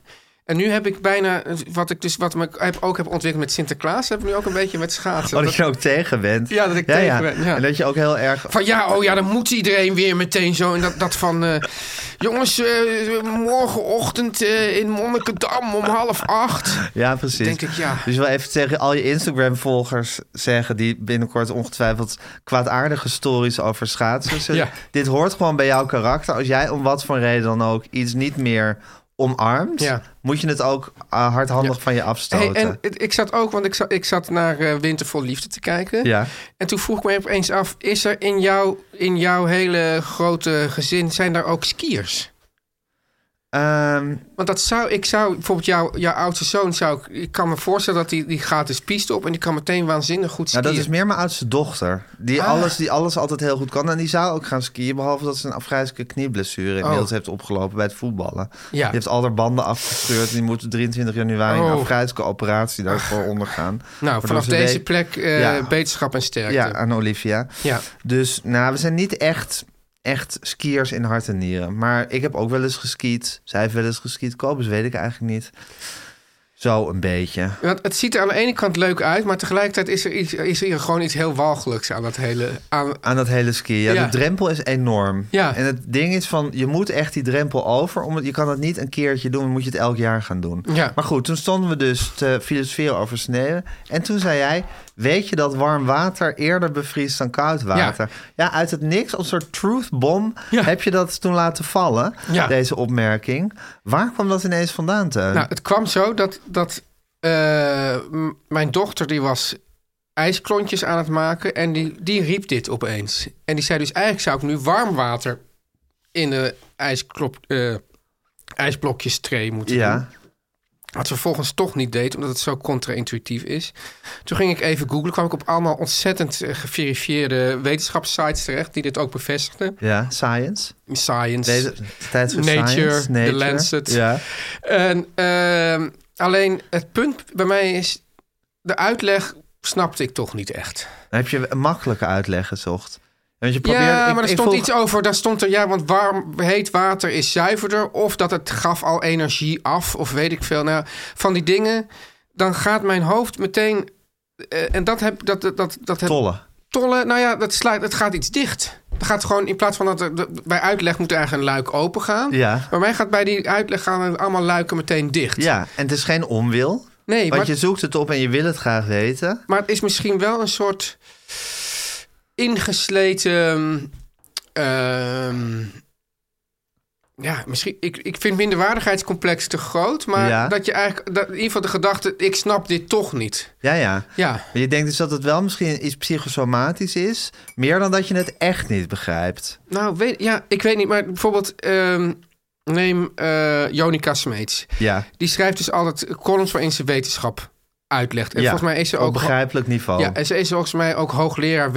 Speaker 2: En nu heb ik bijna, wat ik dus wat ik heb, ook heb ontwikkeld met Sinterklaas, heb ik nu ook een beetje met schaatsen.
Speaker 3: Oh, dat
Speaker 2: Dat-
Speaker 3: je ook tegen bent.
Speaker 2: Ja, dat ik tegen ben, ja.
Speaker 3: En dat je ook heel erg...
Speaker 2: Van ja, oh ja, dan moet iedereen weer meteen zo. En dat, dat van, eh, jongens, eh, morgenochtend eh, in Monnikendam om half acht.
Speaker 3: Ja, precies.
Speaker 2: Denk ik, ja.
Speaker 3: Dus wel even tegen al je Instagram-volgers zeggen... die binnenkort ongetwijfeld kwaadaardige stories over schaatsen. zullen-
Speaker 2: Ja.
Speaker 3: Dit hoort gewoon bij jouw karakter. Als jij om wat voor reden dan ook iets niet meer omarmt...
Speaker 2: Ja.
Speaker 3: moet je het ook eh, hardhandig
Speaker 2: Ja.
Speaker 3: van je afstoten.
Speaker 2: Hey, en het- ik zat ook, want ik zat, ik zat naar eh, Winter vol Liefde te kijken.
Speaker 3: Ja.
Speaker 2: En toen vroeg ik me opeens af, is er in, jou, in jouw hele grote gezin, zijn daar ook skiers?
Speaker 3: Ehm,
Speaker 2: Want dat zou, ik zou, bijvoorbeeld jouw, jouw oudste zoon zou, ik- ik kan me voorstellen dat die, die gaat dus piste op en die kan meteen waanzinnig goed
Speaker 3: Nou,
Speaker 2: skiën.
Speaker 3: dat is meer mijn oudste dochter. Die,
Speaker 2: Ah.
Speaker 3: alles, die alles altijd heel goed kan. En die zou ook gaan skiën. Behalve dat ze een afgrijzelijke knieblessure inmiddels heeft opgelopen bij het voetballen.
Speaker 2: Oh. Ja.
Speaker 3: Die heeft al haar banden afgescheurd. Die moet 23 januari
Speaker 2: Oh.
Speaker 3: een afgrijzelijke operatie daarvoor ondergaan.
Speaker 2: nou,
Speaker 3: Waardoor
Speaker 2: vanaf
Speaker 3: ze
Speaker 2: deze
Speaker 3: weet-
Speaker 2: plek eh,
Speaker 3: Ja.
Speaker 2: beterschap en sterkte.
Speaker 3: Ja, aan Olivia.
Speaker 2: Ja.
Speaker 3: Dus nou, we zijn niet echt, echt skiers in hart en nieren. Maar ik heb ook wel eens geskiet. Zij heeft wel eens geskiet. Kobus weet ik eigenlijk niet. Zo een beetje.
Speaker 2: Want het ziet er aan de ene kant leuk uit, maar tegelijkertijd is er, iets, is er gewoon iets heel walgelijks aan dat hele... Aan,
Speaker 3: Aan dat hele skiën. Ja,
Speaker 2: Ja.
Speaker 3: de drempel is enorm.
Speaker 2: Ja.
Speaker 3: En het ding is van, je moet echt die drempel over. Omdat je kan dat niet een keertje doen, dan moet je het elk jaar gaan doen.
Speaker 2: Ja.
Speaker 3: Maar goed, toen stonden we dus te filosoferen over sneeuw. En toen zei jij, weet je dat warm water eerder bevriest dan koud water? Ja, uit het niks, als een soort truth bomb,
Speaker 2: Ja.
Speaker 3: heb je dat toen laten vallen.
Speaker 2: Ja.
Speaker 3: Deze opmerking. Waar kwam dat ineens vandaan, Teun?
Speaker 2: Nou, het kwam zo dat, dat eh, m- mijn dochter die was ijsklontjes aan het maken en die, die riep dit opeens. En die zei dus eigenlijk zou ik nu warm water in de ijsklop, eh ijsblokjes tray moeten doen.
Speaker 3: ja.
Speaker 2: Wat ze vervolgens toch niet deed, omdat het zo contra-intuïtief is. Toen ging ik even googlen, kwam ik op allemaal ontzettend eh, geverifieerde wetenschapssites terecht... die dit ook bevestigden.
Speaker 3: ja, science.
Speaker 2: Science.
Speaker 3: Deze, tijdschrift
Speaker 2: Nature,
Speaker 3: Science,
Speaker 2: The
Speaker 3: Nature.
Speaker 2: Lancet.
Speaker 3: Ja.
Speaker 2: En, ehm, alleen het punt bij mij is, de uitleg snapte ik toch niet echt.
Speaker 3: Dan heb je een makkelijke uitleg gezocht. Want je probeert,
Speaker 2: Ja,
Speaker 3: ik-
Speaker 2: maar er
Speaker 3: ik
Speaker 2: stond
Speaker 3: volg-
Speaker 2: iets over. Daar stond er, ja, want warm, heet water is zuiverder. Of dat het gaf al energie af, of weet ik veel. Nou, van die dingen, dan gaat mijn hoofd meteen... eh, en dat heb, dat, dat, dat, dat heb
Speaker 3: Tollen.
Speaker 2: tollen, nou ja, dat, sluit, dat gaat iets dicht. Dat gaat gewoon, in plaats van dat er, dat- bij uitleg moet er eigenlijk een luik open gaan.
Speaker 3: Ja.
Speaker 2: Maar mij gaat bij die uitleg gaan allemaal luiken meteen dicht.
Speaker 3: Ja, en het is geen onwil.
Speaker 2: Nee,
Speaker 3: want
Speaker 2: maar,
Speaker 3: je zoekt het op en je wil het graag weten.
Speaker 2: maar het is misschien wel een soort ingesleten. ehm, ja, misschien. Ik, ik vind minderwaardigheidscomplex te groot. Maar
Speaker 3: Ja.
Speaker 2: dat je eigenlijk. Dat, in ieder geval de gedachte: ik snap dit toch niet.
Speaker 3: Ja, ja.
Speaker 2: Ja.
Speaker 3: Maar je denkt dus dat het wel misschien iets psychosomatisch is. Meer dan dat je het echt niet begrijpt.
Speaker 2: Nou, weet, ja, ik weet niet. Maar bijvoorbeeld. ehm, neem eh Jonica Smeets.
Speaker 3: Ja.
Speaker 2: Die schrijft dus altijd columns waarin ze wetenschap uitlegt. En
Speaker 3: ja. Oh,
Speaker 2: volgens mij is ze
Speaker 3: Op
Speaker 2: ook.
Speaker 3: begrijpelijk niveau.
Speaker 2: Ja, en ze is volgens mij ook hoogleraar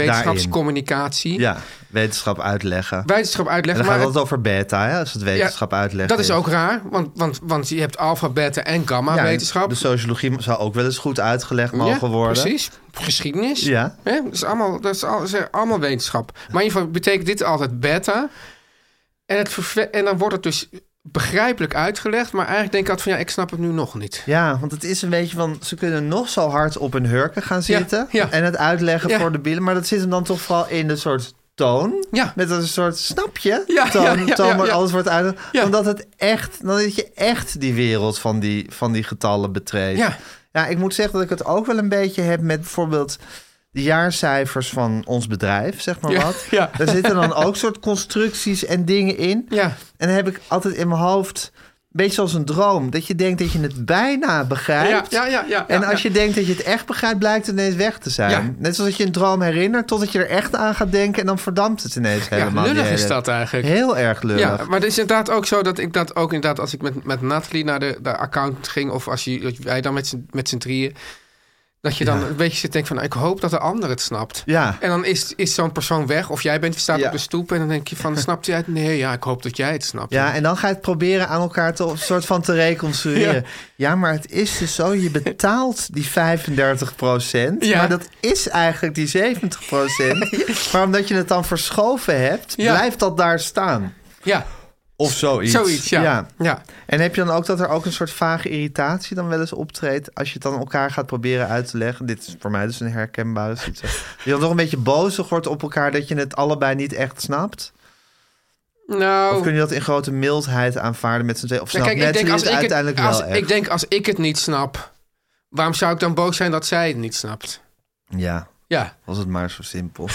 Speaker 2: wetenschapscommunicatie.
Speaker 3: Ja, wetenschap uitleggen.
Speaker 2: Wetenschap
Speaker 3: En
Speaker 2: uitleggen.
Speaker 3: dan gaat
Speaker 2: Maar
Speaker 3: het over beta, hè, als het wetenschap uitleggen
Speaker 2: dat is ook raar, want, want, want je hebt alfa, beta en gamma
Speaker 3: Ja, dus en
Speaker 2: wetenschap.
Speaker 3: De sociologie zou ook wel eens goed uitgelegd
Speaker 2: Ja,
Speaker 3: mogen worden.
Speaker 2: Precies. Geschiedenis.
Speaker 3: Ja.
Speaker 2: Hè, dat, is allemaal, dat, is al- dat is allemaal wetenschap. Maar in ieder geval betekent dit altijd beta. En, het verve- en dan wordt het dus begrijpelijk uitgelegd. Maar eigenlijk denk ik altijd van ja, ik snap het nu nog niet.
Speaker 3: Ja, want het is een beetje van... ze kunnen nog zo hard op hun hurken gaan
Speaker 2: Ja,
Speaker 3: zitten...
Speaker 2: ja.
Speaker 3: en het uitleggen
Speaker 2: Ja.
Speaker 3: voor de bielen... maar dat zit hem dan toch vooral in de soort toon...
Speaker 2: Ja.
Speaker 3: met een soort snapje
Speaker 2: Ja,
Speaker 3: toon,
Speaker 2: ja, ja,
Speaker 3: toon
Speaker 2: ja,
Speaker 3: waar
Speaker 2: ja.
Speaker 3: alles wordt uit.
Speaker 2: Ja.
Speaker 3: Omdat het echt... dan dat je echt die wereld van die, van die getallen betreedt.
Speaker 2: Ja.
Speaker 3: ja, ik moet zeggen dat ik het ook wel een beetje heb met bijvoorbeeld... de jaarcijfers van ons bedrijf, zeg maar
Speaker 2: Ja,
Speaker 3: wat.
Speaker 2: ja.
Speaker 3: Daar zitten dan ook soort constructies en dingen in...
Speaker 2: Ja.
Speaker 3: En dan heb ik altijd in mijn hoofd, een beetje zoals een droom, dat je denkt dat je het bijna begrijpt.
Speaker 2: Ja, ja, ja, ja,
Speaker 3: en
Speaker 2: ja,
Speaker 3: als
Speaker 2: ja.
Speaker 3: je denkt dat je het echt begrijpt, blijkt het ineens weg te zijn.
Speaker 2: Ja.
Speaker 3: Net zoals dat je een droom herinnert, totdat je er echt aan gaat denken en dan verdampt het ineens helemaal. die
Speaker 2: lullig is
Speaker 3: hele-
Speaker 2: dat eigenlijk.
Speaker 3: Heel erg lullig.
Speaker 2: Ja, maar het is inderdaad ook zo dat ik dat ook inderdaad... als ik met, met Nathalie naar de, de account ging... of als je, dat wij dan met z'n- met z'n drieën... dat je dan een beetje zit te denken van... nou, ik hoop dat de ander het snapt.
Speaker 3: Ja.
Speaker 2: En dan is, is zo'n persoon weg of jij bent, staat
Speaker 3: Ja.
Speaker 2: op de stoep... en dan denk je van, snapt jij het? Nee, ja, ik hoop dat jij het snapt.
Speaker 3: Ja, en dan ga je het proberen aan elkaar te, een soort van te reconstrueren. Ja.
Speaker 2: Ja.
Speaker 3: maar het is dus zo, je betaalt die 35
Speaker 2: Ja.
Speaker 3: maar dat is eigenlijk die 70 Maar omdat je het dan verschoven hebt,
Speaker 2: Ja.
Speaker 3: blijft dat daar staan.
Speaker 2: ja
Speaker 3: Of zoiets.
Speaker 2: zoiets, ja. ja.
Speaker 3: En heb je dan ook dat er ook een soort vage irritatie dan wel eens optreedt... als je het dan elkaar gaat proberen uit te leggen? Dit is voor mij dus een herkenbare situatie. Je dan toch een beetje bozig wordt op elkaar... dat je het allebei niet echt snapt?
Speaker 2: Nou...
Speaker 3: Of kun je dat in grote mildheid aanvaarden met z'n tweeën? Of
Speaker 2: Ja,
Speaker 3: snapt
Speaker 2: kijk, ik denk, als
Speaker 3: Natalie
Speaker 2: ik,
Speaker 3: het
Speaker 2: het,
Speaker 3: uiteindelijk
Speaker 2: als,
Speaker 3: wel echt?
Speaker 2: ik denk, als ik het niet snap... waarom zou ik dan boos zijn dat zij het niet snapt?
Speaker 3: Ja,
Speaker 2: Ja,
Speaker 3: was het maar zo simpel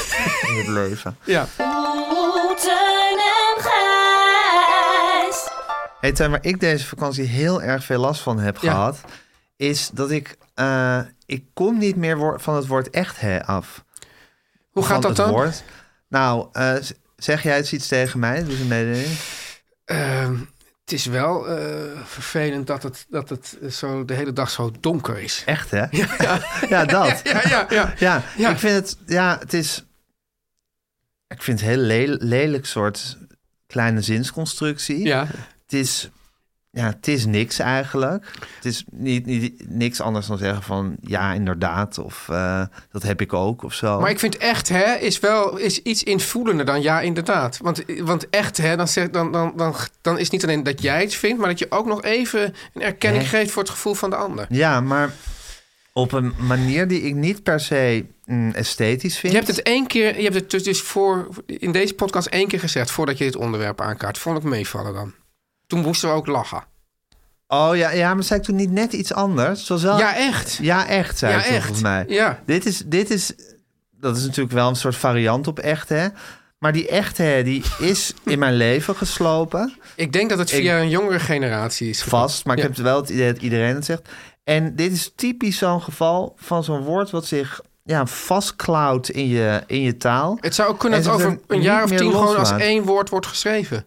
Speaker 3: in het leven.
Speaker 2: ja.
Speaker 5: Oeh, Oh, Teun en Gijs.
Speaker 3: Hey, Tuin, waar ik deze vakantie heel erg veel last van heb
Speaker 2: Ja.
Speaker 3: gehad... is dat ik... eh, ik kom niet meer woor- van het woord echt hè af.
Speaker 2: Hoe gaat
Speaker 3: Van
Speaker 2: dat
Speaker 3: het
Speaker 2: dan?
Speaker 3: woord. Nou, eh, z- zeg jij eens iets tegen mij? Doe eens een mededeling.
Speaker 2: Ehm, het is wel eh, vervelend dat het, dat het eh, zo de hele dag zo donker is.
Speaker 3: Echt, hè? Ja, dat.
Speaker 2: Ja, ja, ja.
Speaker 3: Ja,
Speaker 2: Ja.
Speaker 3: ik vind het... Ja, het is... Ik vind het een heel lel- lelijk soort kleine zinsconstructie.
Speaker 2: ja.
Speaker 3: Het is... Ja, het is niks eigenlijk. Het is niet, niet, niks anders dan zeggen van... Ja, inderdaad. Of eh, dat heb ik ook, of zo.
Speaker 2: Maar ik vind echt hè is wel is iets invoelender dan ja inderdaad. Want, want echt hè, dan, zeg, dan, dan, dan, dan is niet alleen dat jij het vindt... maar dat je ook nog even een erkenning
Speaker 3: Hè?
Speaker 2: geeft voor het gevoel van de ander.
Speaker 3: Ja, maar op een manier die ik niet per se mm, esthetisch vind.
Speaker 2: Je hebt het één keer, je hebt het dus- dus voor, in deze podcast één keer gezegd... voordat je dit onderwerp aankaart. Vond ik meevallen dan. Toen moesten we ook lachen.
Speaker 3: Oh ja, ja, maar zei ik toen niet net iets anders? Het was wel...
Speaker 2: e- Ja, echt.
Speaker 3: Ja, echt, zei
Speaker 2: Ja,
Speaker 3: ik toen
Speaker 2: echt.
Speaker 3: volgens mij.
Speaker 2: Ja.
Speaker 3: Dit is, dit is, dat is natuurlijk wel een soort variant op echt, hè. Maar die echt, hè, die is in mijn leven geslopen.
Speaker 2: Ik denk dat het via een jongere generatie is.
Speaker 3: Vast, maar ik
Speaker 2: Ja.
Speaker 3: heb wel het idee dat iedereen het zegt. En dit is typisch zo'n geval van zo'n woord wat zich ja, vastklauwt in je, in je taal.
Speaker 2: Het zou ook kunnen
Speaker 3: En
Speaker 2: dat
Speaker 3: ze
Speaker 2: over
Speaker 3: zijn
Speaker 2: een
Speaker 3: niet
Speaker 2: jaar of
Speaker 3: meer
Speaker 2: tien gewoon als
Speaker 3: loslaten.
Speaker 2: één woord wordt geschreven.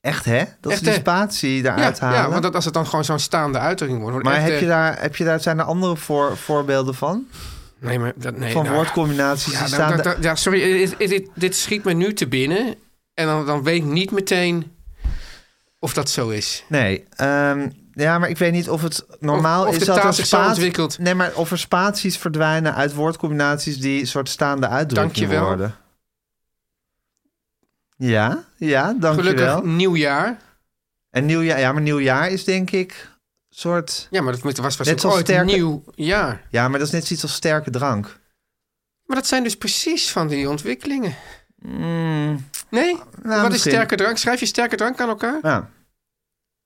Speaker 3: Echt, hè? Dat
Speaker 2: Echt,
Speaker 3: is die
Speaker 2: hè?
Speaker 3: spatie
Speaker 2: Ja,
Speaker 3: eruit halen.
Speaker 2: ja, want dat, als het dan gewoon zo'n staande uitdrukking wordt. wordt
Speaker 3: maar
Speaker 2: echt,
Speaker 3: heb
Speaker 2: eh,
Speaker 3: je, daar, heb je daar, zijn er andere voor, voorbeelden van?
Speaker 2: Nee, maar dat, nee,
Speaker 3: van
Speaker 2: nou,
Speaker 3: woordcombinaties
Speaker 2: ja,
Speaker 3: die
Speaker 2: nou,
Speaker 3: staan...
Speaker 2: dat- dat- ja, sorry, eh, dit, dit, dit schiet me nu te binnen. En dan, dan weet ik niet meteen of dat zo is.
Speaker 3: Nee, ehm, ja, maar ik weet niet of het normaal
Speaker 2: Of- of
Speaker 3: is
Speaker 2: de
Speaker 3: dat
Speaker 2: taal
Speaker 3: er
Speaker 2: zich zo
Speaker 3: spaat-
Speaker 2: ontwikkelt.
Speaker 3: Nee, maar of er spaties verdwijnen uit woordcombinaties die soort staande uitdrukkingen
Speaker 2: Dankjewel.
Speaker 3: worden. Ja, ja, dankjewel.
Speaker 2: Gelukkig nieuwjaar.
Speaker 3: En nieuwjaar, ja, maar nieuwjaar is denk ik soort...
Speaker 2: Ja, maar dat moet- was, was
Speaker 3: Net
Speaker 2: ook
Speaker 3: zoals
Speaker 2: ooit
Speaker 3: sterke-
Speaker 2: nieuw jaar.
Speaker 3: Ja, maar dat is net zoiets als sterke drank.
Speaker 2: Maar dat zijn dus precies van die ontwikkelingen. Nee? Wat
Speaker 3: Hmm. Nou, misschien.
Speaker 2: is sterke drank? Schrijf je sterke drank aan elkaar?
Speaker 3: Ja.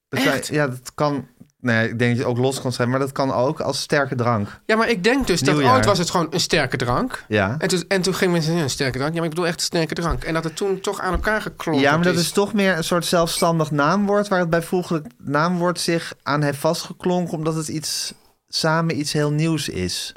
Speaker 3: Dat kan- ja, dat kan... Nee, ik denk dat je het ook los kan schrijven, maar dat kan ook als sterke drank.
Speaker 2: Ja, maar ik denk dus dat
Speaker 3: Nieuwjaar.
Speaker 2: ooit was het gewoon een sterke drank.
Speaker 3: Ja.
Speaker 2: En toen, en toen gingen mensen ja, een sterke drank. Ja, maar ik bedoel echt sterke drank. En dat het toen toch aan elkaar geklopt
Speaker 3: Ja, maar dat is toch meer een soort zelfstandig naamwoord... waar het bijvoeglijk naamwoord zich aan heeft vastgeklonken... omdat het iets, samen iets heel nieuws is.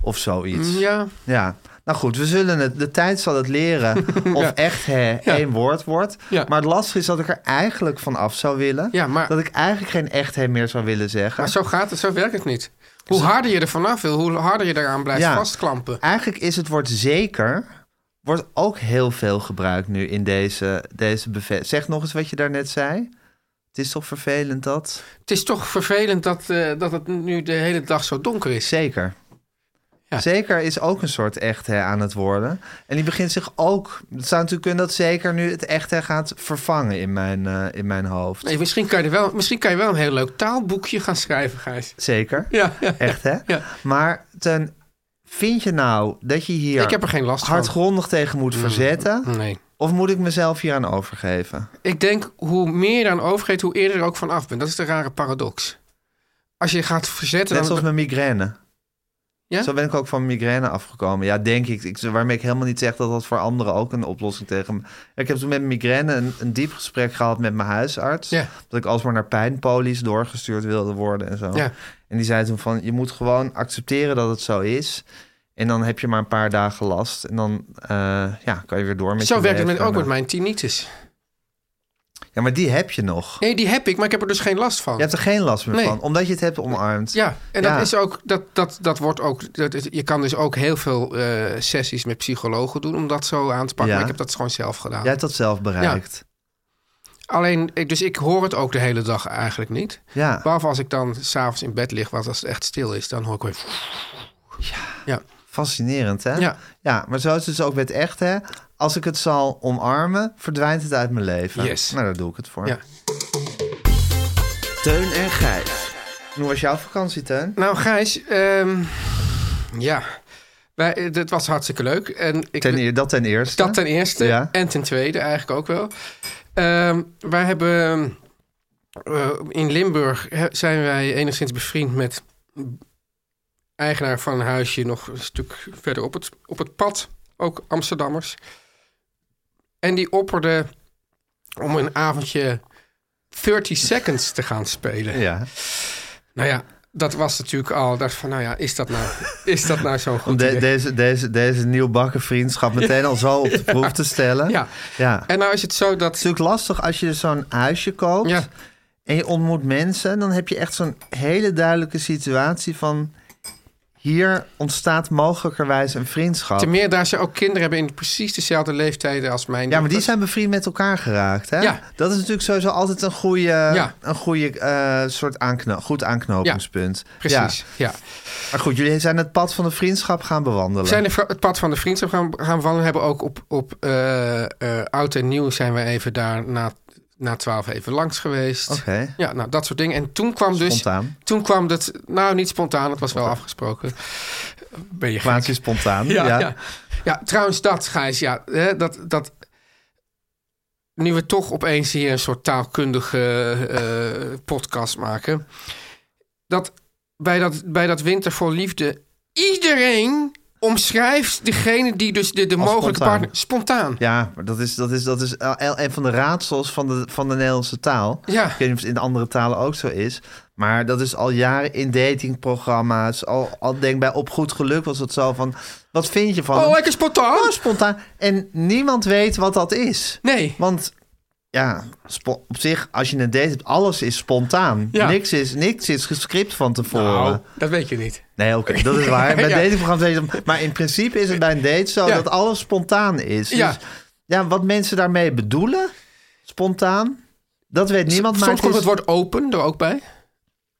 Speaker 3: Of zoiets.
Speaker 2: Ja,
Speaker 3: Ja. Nou goed, we zullen het, de tijd zal het leren of echt hè, één woord wordt.
Speaker 2: Ja.
Speaker 3: Maar het lastige is dat ik er eigenlijk van af zou willen.
Speaker 2: Ja, maar-
Speaker 3: Dat ik eigenlijk geen echt hè meer zou willen zeggen.
Speaker 2: maar zo gaat het, zo werkt het niet. Hoe harder je er vanaf wil, hoe harder je daaraan blijft
Speaker 3: Dus- Ja.
Speaker 2: vastklampen.
Speaker 3: Eigenlijk is het woord zeker, wordt ook heel veel gebruikt nu in deze, deze bevel. Zeg nog eens wat je daarnet zei. Het is toch vervelend dat?
Speaker 2: Het is toch vervelend dat, eh, dat het nu de hele dag zo donker is.
Speaker 3: Zeker.
Speaker 2: Ja.
Speaker 3: Zeker is ook een soort echt hè aan het worden. En die begint zich ook... Het zou natuurlijk kunnen dat zeker nu het echt hè gaat vervangen in mijn, eh, in mijn hoofd.
Speaker 2: Nee, misschien, kan je er wel, misschien kan je wel een heel leuk taalboekje gaan schrijven, Gijs.
Speaker 3: Zeker.
Speaker 2: Ja, ja.
Speaker 3: Echt, hè?
Speaker 2: Ja.
Speaker 3: Maar ten, vind je nou dat je hier
Speaker 2: Ik heb er geen last van. Mm.
Speaker 3: hardgrondig tegen moet verzetten?
Speaker 2: Nee.
Speaker 3: Of moet ik mezelf hier aan overgeven?
Speaker 2: Ik denk, hoe meer je eraan overgeeft, hoe eerder je er ook van af bent. Dat is de rare paradox. Als je gaat verzetten...
Speaker 3: Net
Speaker 2: dan-
Speaker 3: zoals mijn migraine.
Speaker 2: Ja?
Speaker 3: Zo ben ik ook van migraine afgekomen. Ja, denk ik. ik. Waarmee ik helemaal niet zeg dat dat voor anderen ook een oplossing tegen me... Ik heb toen met migraine een, een diep gesprek gehad met mijn huisarts.
Speaker 2: Ja.
Speaker 3: Dat ik alsmaar naar pijnpolies doorgestuurd wilde worden en zo.
Speaker 2: Ja.
Speaker 3: En die zei toen van, je moet gewoon accepteren dat het zo is. En dan heb je maar een paar dagen last. En dan eh, ja, kan je weer door met
Speaker 2: Zo
Speaker 3: je
Speaker 2: werkt het
Speaker 3: leven.
Speaker 2: met, ook met
Speaker 3: En, eh,
Speaker 2: mijn tinnitus.
Speaker 3: Ja, maar die heb je nog.
Speaker 2: Nee, die heb ik, maar ik heb er dus geen last van.
Speaker 3: Je hebt er geen last meer
Speaker 2: Nee.
Speaker 3: van, omdat je het hebt omarmd.
Speaker 2: Ja, en
Speaker 3: Ja.
Speaker 2: dat is ook, dat, dat, dat wordt ook, dat is- je kan dus ook heel veel eh, sessies met psychologen doen om dat zo aan te pakken.
Speaker 3: Ja.
Speaker 2: Maar ik heb dat gewoon zelf gedaan.
Speaker 3: Jij hebt dat zelf bereikt.
Speaker 2: Alleen, ik- dus ik hoor het ook de hele dag eigenlijk niet.
Speaker 3: Ja.
Speaker 2: Behalve als ik dan s'avonds in bed lig, want als het echt stil is, dan hoor ik weer... Ja.
Speaker 3: Fascinerend, hè?
Speaker 2: Ja.
Speaker 3: ja, maar zo is het dus ook met echt, hè? Als ik het zal omarmen, verdwijnt het uit mijn leven.
Speaker 2: Yes.
Speaker 3: Nou, daar doe ik het voor.
Speaker 2: Ja.
Speaker 4: Teun en Gijs.
Speaker 3: Hoe was jouw vakantie, Teun?
Speaker 2: Nou, Gijs, ehm, ja, Wij, eh, dat was hartstikke leuk. En ik,
Speaker 3: Ten, eer- dat ten eerste.
Speaker 2: Dat ten eerste.
Speaker 3: Ja.
Speaker 2: En ten tweede eigenlijk ook wel. Ehm, wij hebben eh, in Limburg he- zijn wij enigszins bevriend met eigenaar van een huisje nog een stuk verder op het, op het pad. Ook Amsterdammers. En die opperde om een avondje 30 seconds te gaan spelen.
Speaker 3: Ja,
Speaker 2: Nou ja, dat was natuurlijk al. Dacht van, nou ja, is dat nou, is dat nou zo'n
Speaker 3: om
Speaker 2: goed
Speaker 3: de-
Speaker 2: idee?
Speaker 3: deze, deze, deze nieuwbakken vriendschap meteen al zo op de proef te stellen.
Speaker 2: Ja.
Speaker 3: ja.
Speaker 2: En nou is het zo
Speaker 3: Het
Speaker 2: dat...
Speaker 3: is natuurlijk lastig als je dus zo'n huisje koopt
Speaker 2: Ja.
Speaker 3: en je ontmoet mensen. Dan heb je echt zo'n hele duidelijke situatie van... hier ontstaat mogelijkerwijs een vriendschap.
Speaker 2: Ten meer daar ze ook kinderen hebben in precies dezelfde leeftijden als mijn.
Speaker 3: Ja, maar die
Speaker 2: dochters.
Speaker 3: zijn bevriend met elkaar geraakt. Hè?
Speaker 2: Ja.
Speaker 3: Dat is natuurlijk sowieso altijd een goede,
Speaker 2: Ja.
Speaker 3: een goede eh, soort aankno goed aanknopingspunt.
Speaker 2: Precies,
Speaker 3: Ja.
Speaker 2: ja.
Speaker 3: Maar goed, jullie zijn het pad van de vriendschap gaan bewandelen.
Speaker 2: We zijn de vra- het pad van de vriendschap gaan, gaan wandelen. Hebben ook op, op eh, eh, oud en nieuw zijn we even daar na, na 12 even langs geweest.
Speaker 3: Oké.
Speaker 2: Ja, nou dat soort dingen. En toen kwam dus.
Speaker 3: Spontaan.
Speaker 2: Toen kwam dat. Nou, niet spontaan, het was wel afgesproken. Ben je gek?
Speaker 3: Quasi spontaan.
Speaker 2: Ja,
Speaker 3: ja.
Speaker 2: ja. ja. trouwens, dat, Gijs, ja, hè, dat, dat. Nu we toch opeens hier een soort taalkundige eh, podcast maken. Dat bij, dat bij dat Winter voor Liefde. iedereen omschrijft degene die dus de, de
Speaker 3: Als
Speaker 2: mogelijke
Speaker 3: spontaan.
Speaker 2: partner. spontaan.
Speaker 3: Ja, maar dat is, dat is, dat is eh, een van de raadsels van de, van de Nederlandse taal.
Speaker 2: Ja.
Speaker 3: Ik weet niet of het in andere talen ook zo is. Maar dat is al jaren in datingprogramma's. Al, al denk bij Op Goed Geluk was het zo van... Wat vind je van
Speaker 2: Oh,
Speaker 3: hem?
Speaker 2: lekker spontaan?
Speaker 3: Oh, spontaan. En niemand weet wat dat is.
Speaker 2: Nee.
Speaker 3: Want ja, spo- op zich, als je een date hebt, alles is spontaan.
Speaker 2: Ja.
Speaker 3: Niks, is, niks is gescript van tevoren.
Speaker 2: Nou, dat weet je niet.
Speaker 3: Nee, oké, dat is waar. Bij
Speaker 2: Ja.
Speaker 3: datingprogramma's is het- Maar in principe is het bij een date zo
Speaker 2: Ja.
Speaker 3: dat alles spontaan is.
Speaker 2: Ja.
Speaker 3: Dus, ja, wat mensen daarmee bedoelen, spontaan, dat weet niemand. maar
Speaker 2: Soms komt
Speaker 3: is-
Speaker 2: het woord open er ook bij.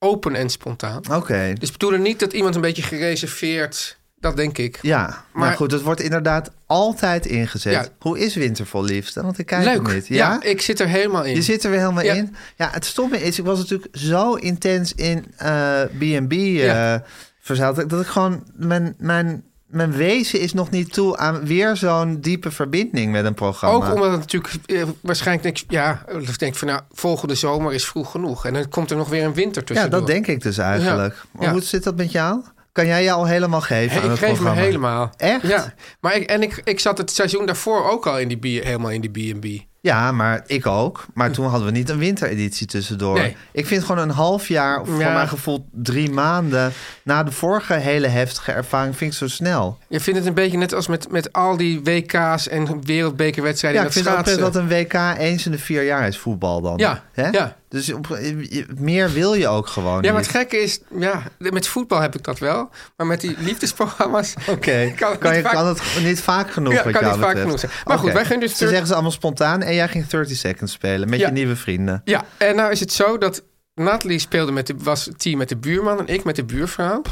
Speaker 2: Open en spontaan.
Speaker 3: Oké,
Speaker 2: Dus bedoel er niet dat iemand een beetje gereserveerd Dat denk ik.
Speaker 3: Ja, maar,
Speaker 2: Maar-
Speaker 3: goed, dat wordt inderdaad altijd ingezet.
Speaker 2: Ja.
Speaker 3: Hoe is Wintervol liefde? Want ik kijk
Speaker 2: Leuk.
Speaker 3: het niet.
Speaker 2: ja? ik zit er helemaal in.
Speaker 3: Je zit er weer helemaal
Speaker 2: Ja.
Speaker 3: in. Ja, het stomme is, ik was natuurlijk zo intens in eh, B&B eh
Speaker 2: Ja.
Speaker 3: verzeild... dat- dat ik gewoon... Mijn, mijn, mijn wezen is nog niet toe aan weer zo'n diepe verbinding met een programma.
Speaker 2: Ook omdat het natuurlijk eh, waarschijnlijk niks... Ja, ik denk van nou, volgende zomer is vroeg genoeg. En dan komt er nog weer een winter tussen.
Speaker 3: ja, dat denk ik dus eigenlijk.
Speaker 2: Ja.
Speaker 3: Maar
Speaker 2: Ja.
Speaker 3: hoe zit dat met jou? Kan jij je al helemaal geven aan
Speaker 2: ik
Speaker 3: het
Speaker 2: geef
Speaker 3: programma?
Speaker 2: me helemaal.
Speaker 3: Echt?
Speaker 2: Ja. Maar ik, en ik, ik zat het seizoen daarvoor ook al in die B, helemaal in die B&B.
Speaker 3: Ja, maar ik ook. Maar toen hadden we niet een wintereditie tussendoor.
Speaker 2: Nee.
Speaker 3: Ik vind gewoon een half jaar, of voor
Speaker 2: Ja.
Speaker 3: mijn gevoel drie maanden... na de vorige hele heftige ervaring, vind ik zo snel.
Speaker 2: Je vindt het een beetje net als met, met al die WK's en wereldbekerwedstrijden.
Speaker 3: Ja,
Speaker 2: en dat
Speaker 3: ik vind ook
Speaker 2: schaatsen.
Speaker 3: dat een WK eens in de vier jaar is voetbal dan.
Speaker 2: Ja,
Speaker 3: Hè?
Speaker 2: ja.
Speaker 3: Dus op- je- je- meer wil je ook gewoon
Speaker 2: Ja, maar
Speaker 3: niet.
Speaker 2: het gekke is, ja, met voetbal heb ik dat wel. Maar met die liefdesprogramma's.
Speaker 3: Oké,
Speaker 2: kan het
Speaker 3: kan, je
Speaker 2: niet vaak-
Speaker 3: kan het niet vaak genoeg
Speaker 2: Ja,
Speaker 3: wat
Speaker 2: kan
Speaker 3: jou
Speaker 2: niet vaak
Speaker 3: betreft.
Speaker 2: genoeg zijn. Maar goed,
Speaker 3: Oké.
Speaker 2: wij gaan dus
Speaker 3: Ze
Speaker 2: terug-
Speaker 3: zeggen ze allemaal spontaan en jij ging 30 Seconds spelen met
Speaker 2: Ja.
Speaker 3: je nieuwe vrienden.
Speaker 2: Ja, en nou is het zo dat Nathalie speelde met de, was het team met de buurman en ik met de buurvrouw.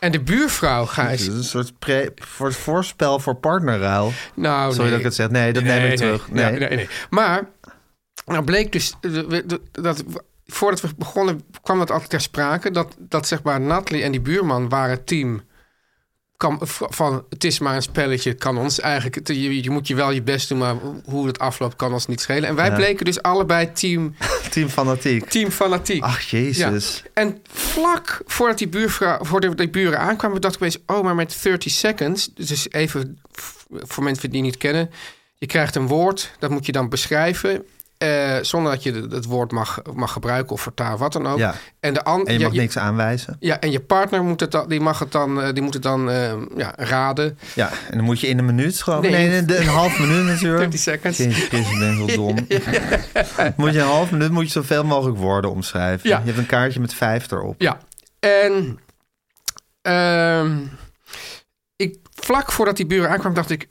Speaker 2: En de buurvrouw,
Speaker 3: Het is
Speaker 2: Gijs.
Speaker 3: Dus een soort pre, voor, voorspel voor partnerruil.
Speaker 2: Nou,
Speaker 3: Sorry
Speaker 2: nee.
Speaker 3: dat ik het zeg. Nee, dat neem ik terug. Nee.
Speaker 2: Ja, nee, nee. Maar, nou bleek dus eh, we- dat- dat voordat we begonnen kwam dat altijd ter sprake. Dat, dat zeg maar Nathalie en die buurman waren team kan, v- van het is maar een spelletje, kan ons eigenlijk, het- je, je moet je wel je best doen, maar hoe het afloopt kan ons niet schelen. En wij bleken dus allebei team,
Speaker 3: Team fanatiek.
Speaker 2: team fanatiek.
Speaker 3: Ach, jezus.
Speaker 2: Ja. En vlak voordat die, buurvrouw, voordat die buren aankwamen, dacht ik opeens... oh, maar met 30 seconds, dus even f- voor mensen die het niet kennen... je krijgt een woord, dat moet je dan beschrijven... eh, zonder dat je de- het woord mag, mag gebruiken of vertalen, wat dan ook.
Speaker 3: Ja.
Speaker 2: En, de an-
Speaker 3: En je
Speaker 2: ja,
Speaker 3: mag niks aanwijzen.
Speaker 2: ja, en je partner moet het dan, die mag het dan, eh, die moet het dan eh, ja, raden.
Speaker 3: Ja, en dan moet je in een minuut gewoon... Nee,
Speaker 2: Nee,
Speaker 3: nee, de- een half minuut natuurlijk.
Speaker 2: 30 seconds.
Speaker 3: Jezus, Christus, ik ben heel dom. moet je een half minuut moet je zoveel mogelijk woorden omschrijven.
Speaker 2: Ja.
Speaker 3: Je hebt een kaartje met vijf erop.
Speaker 2: Ja, en ehm, ik, vlak voordat die buren aankwam, dacht ik: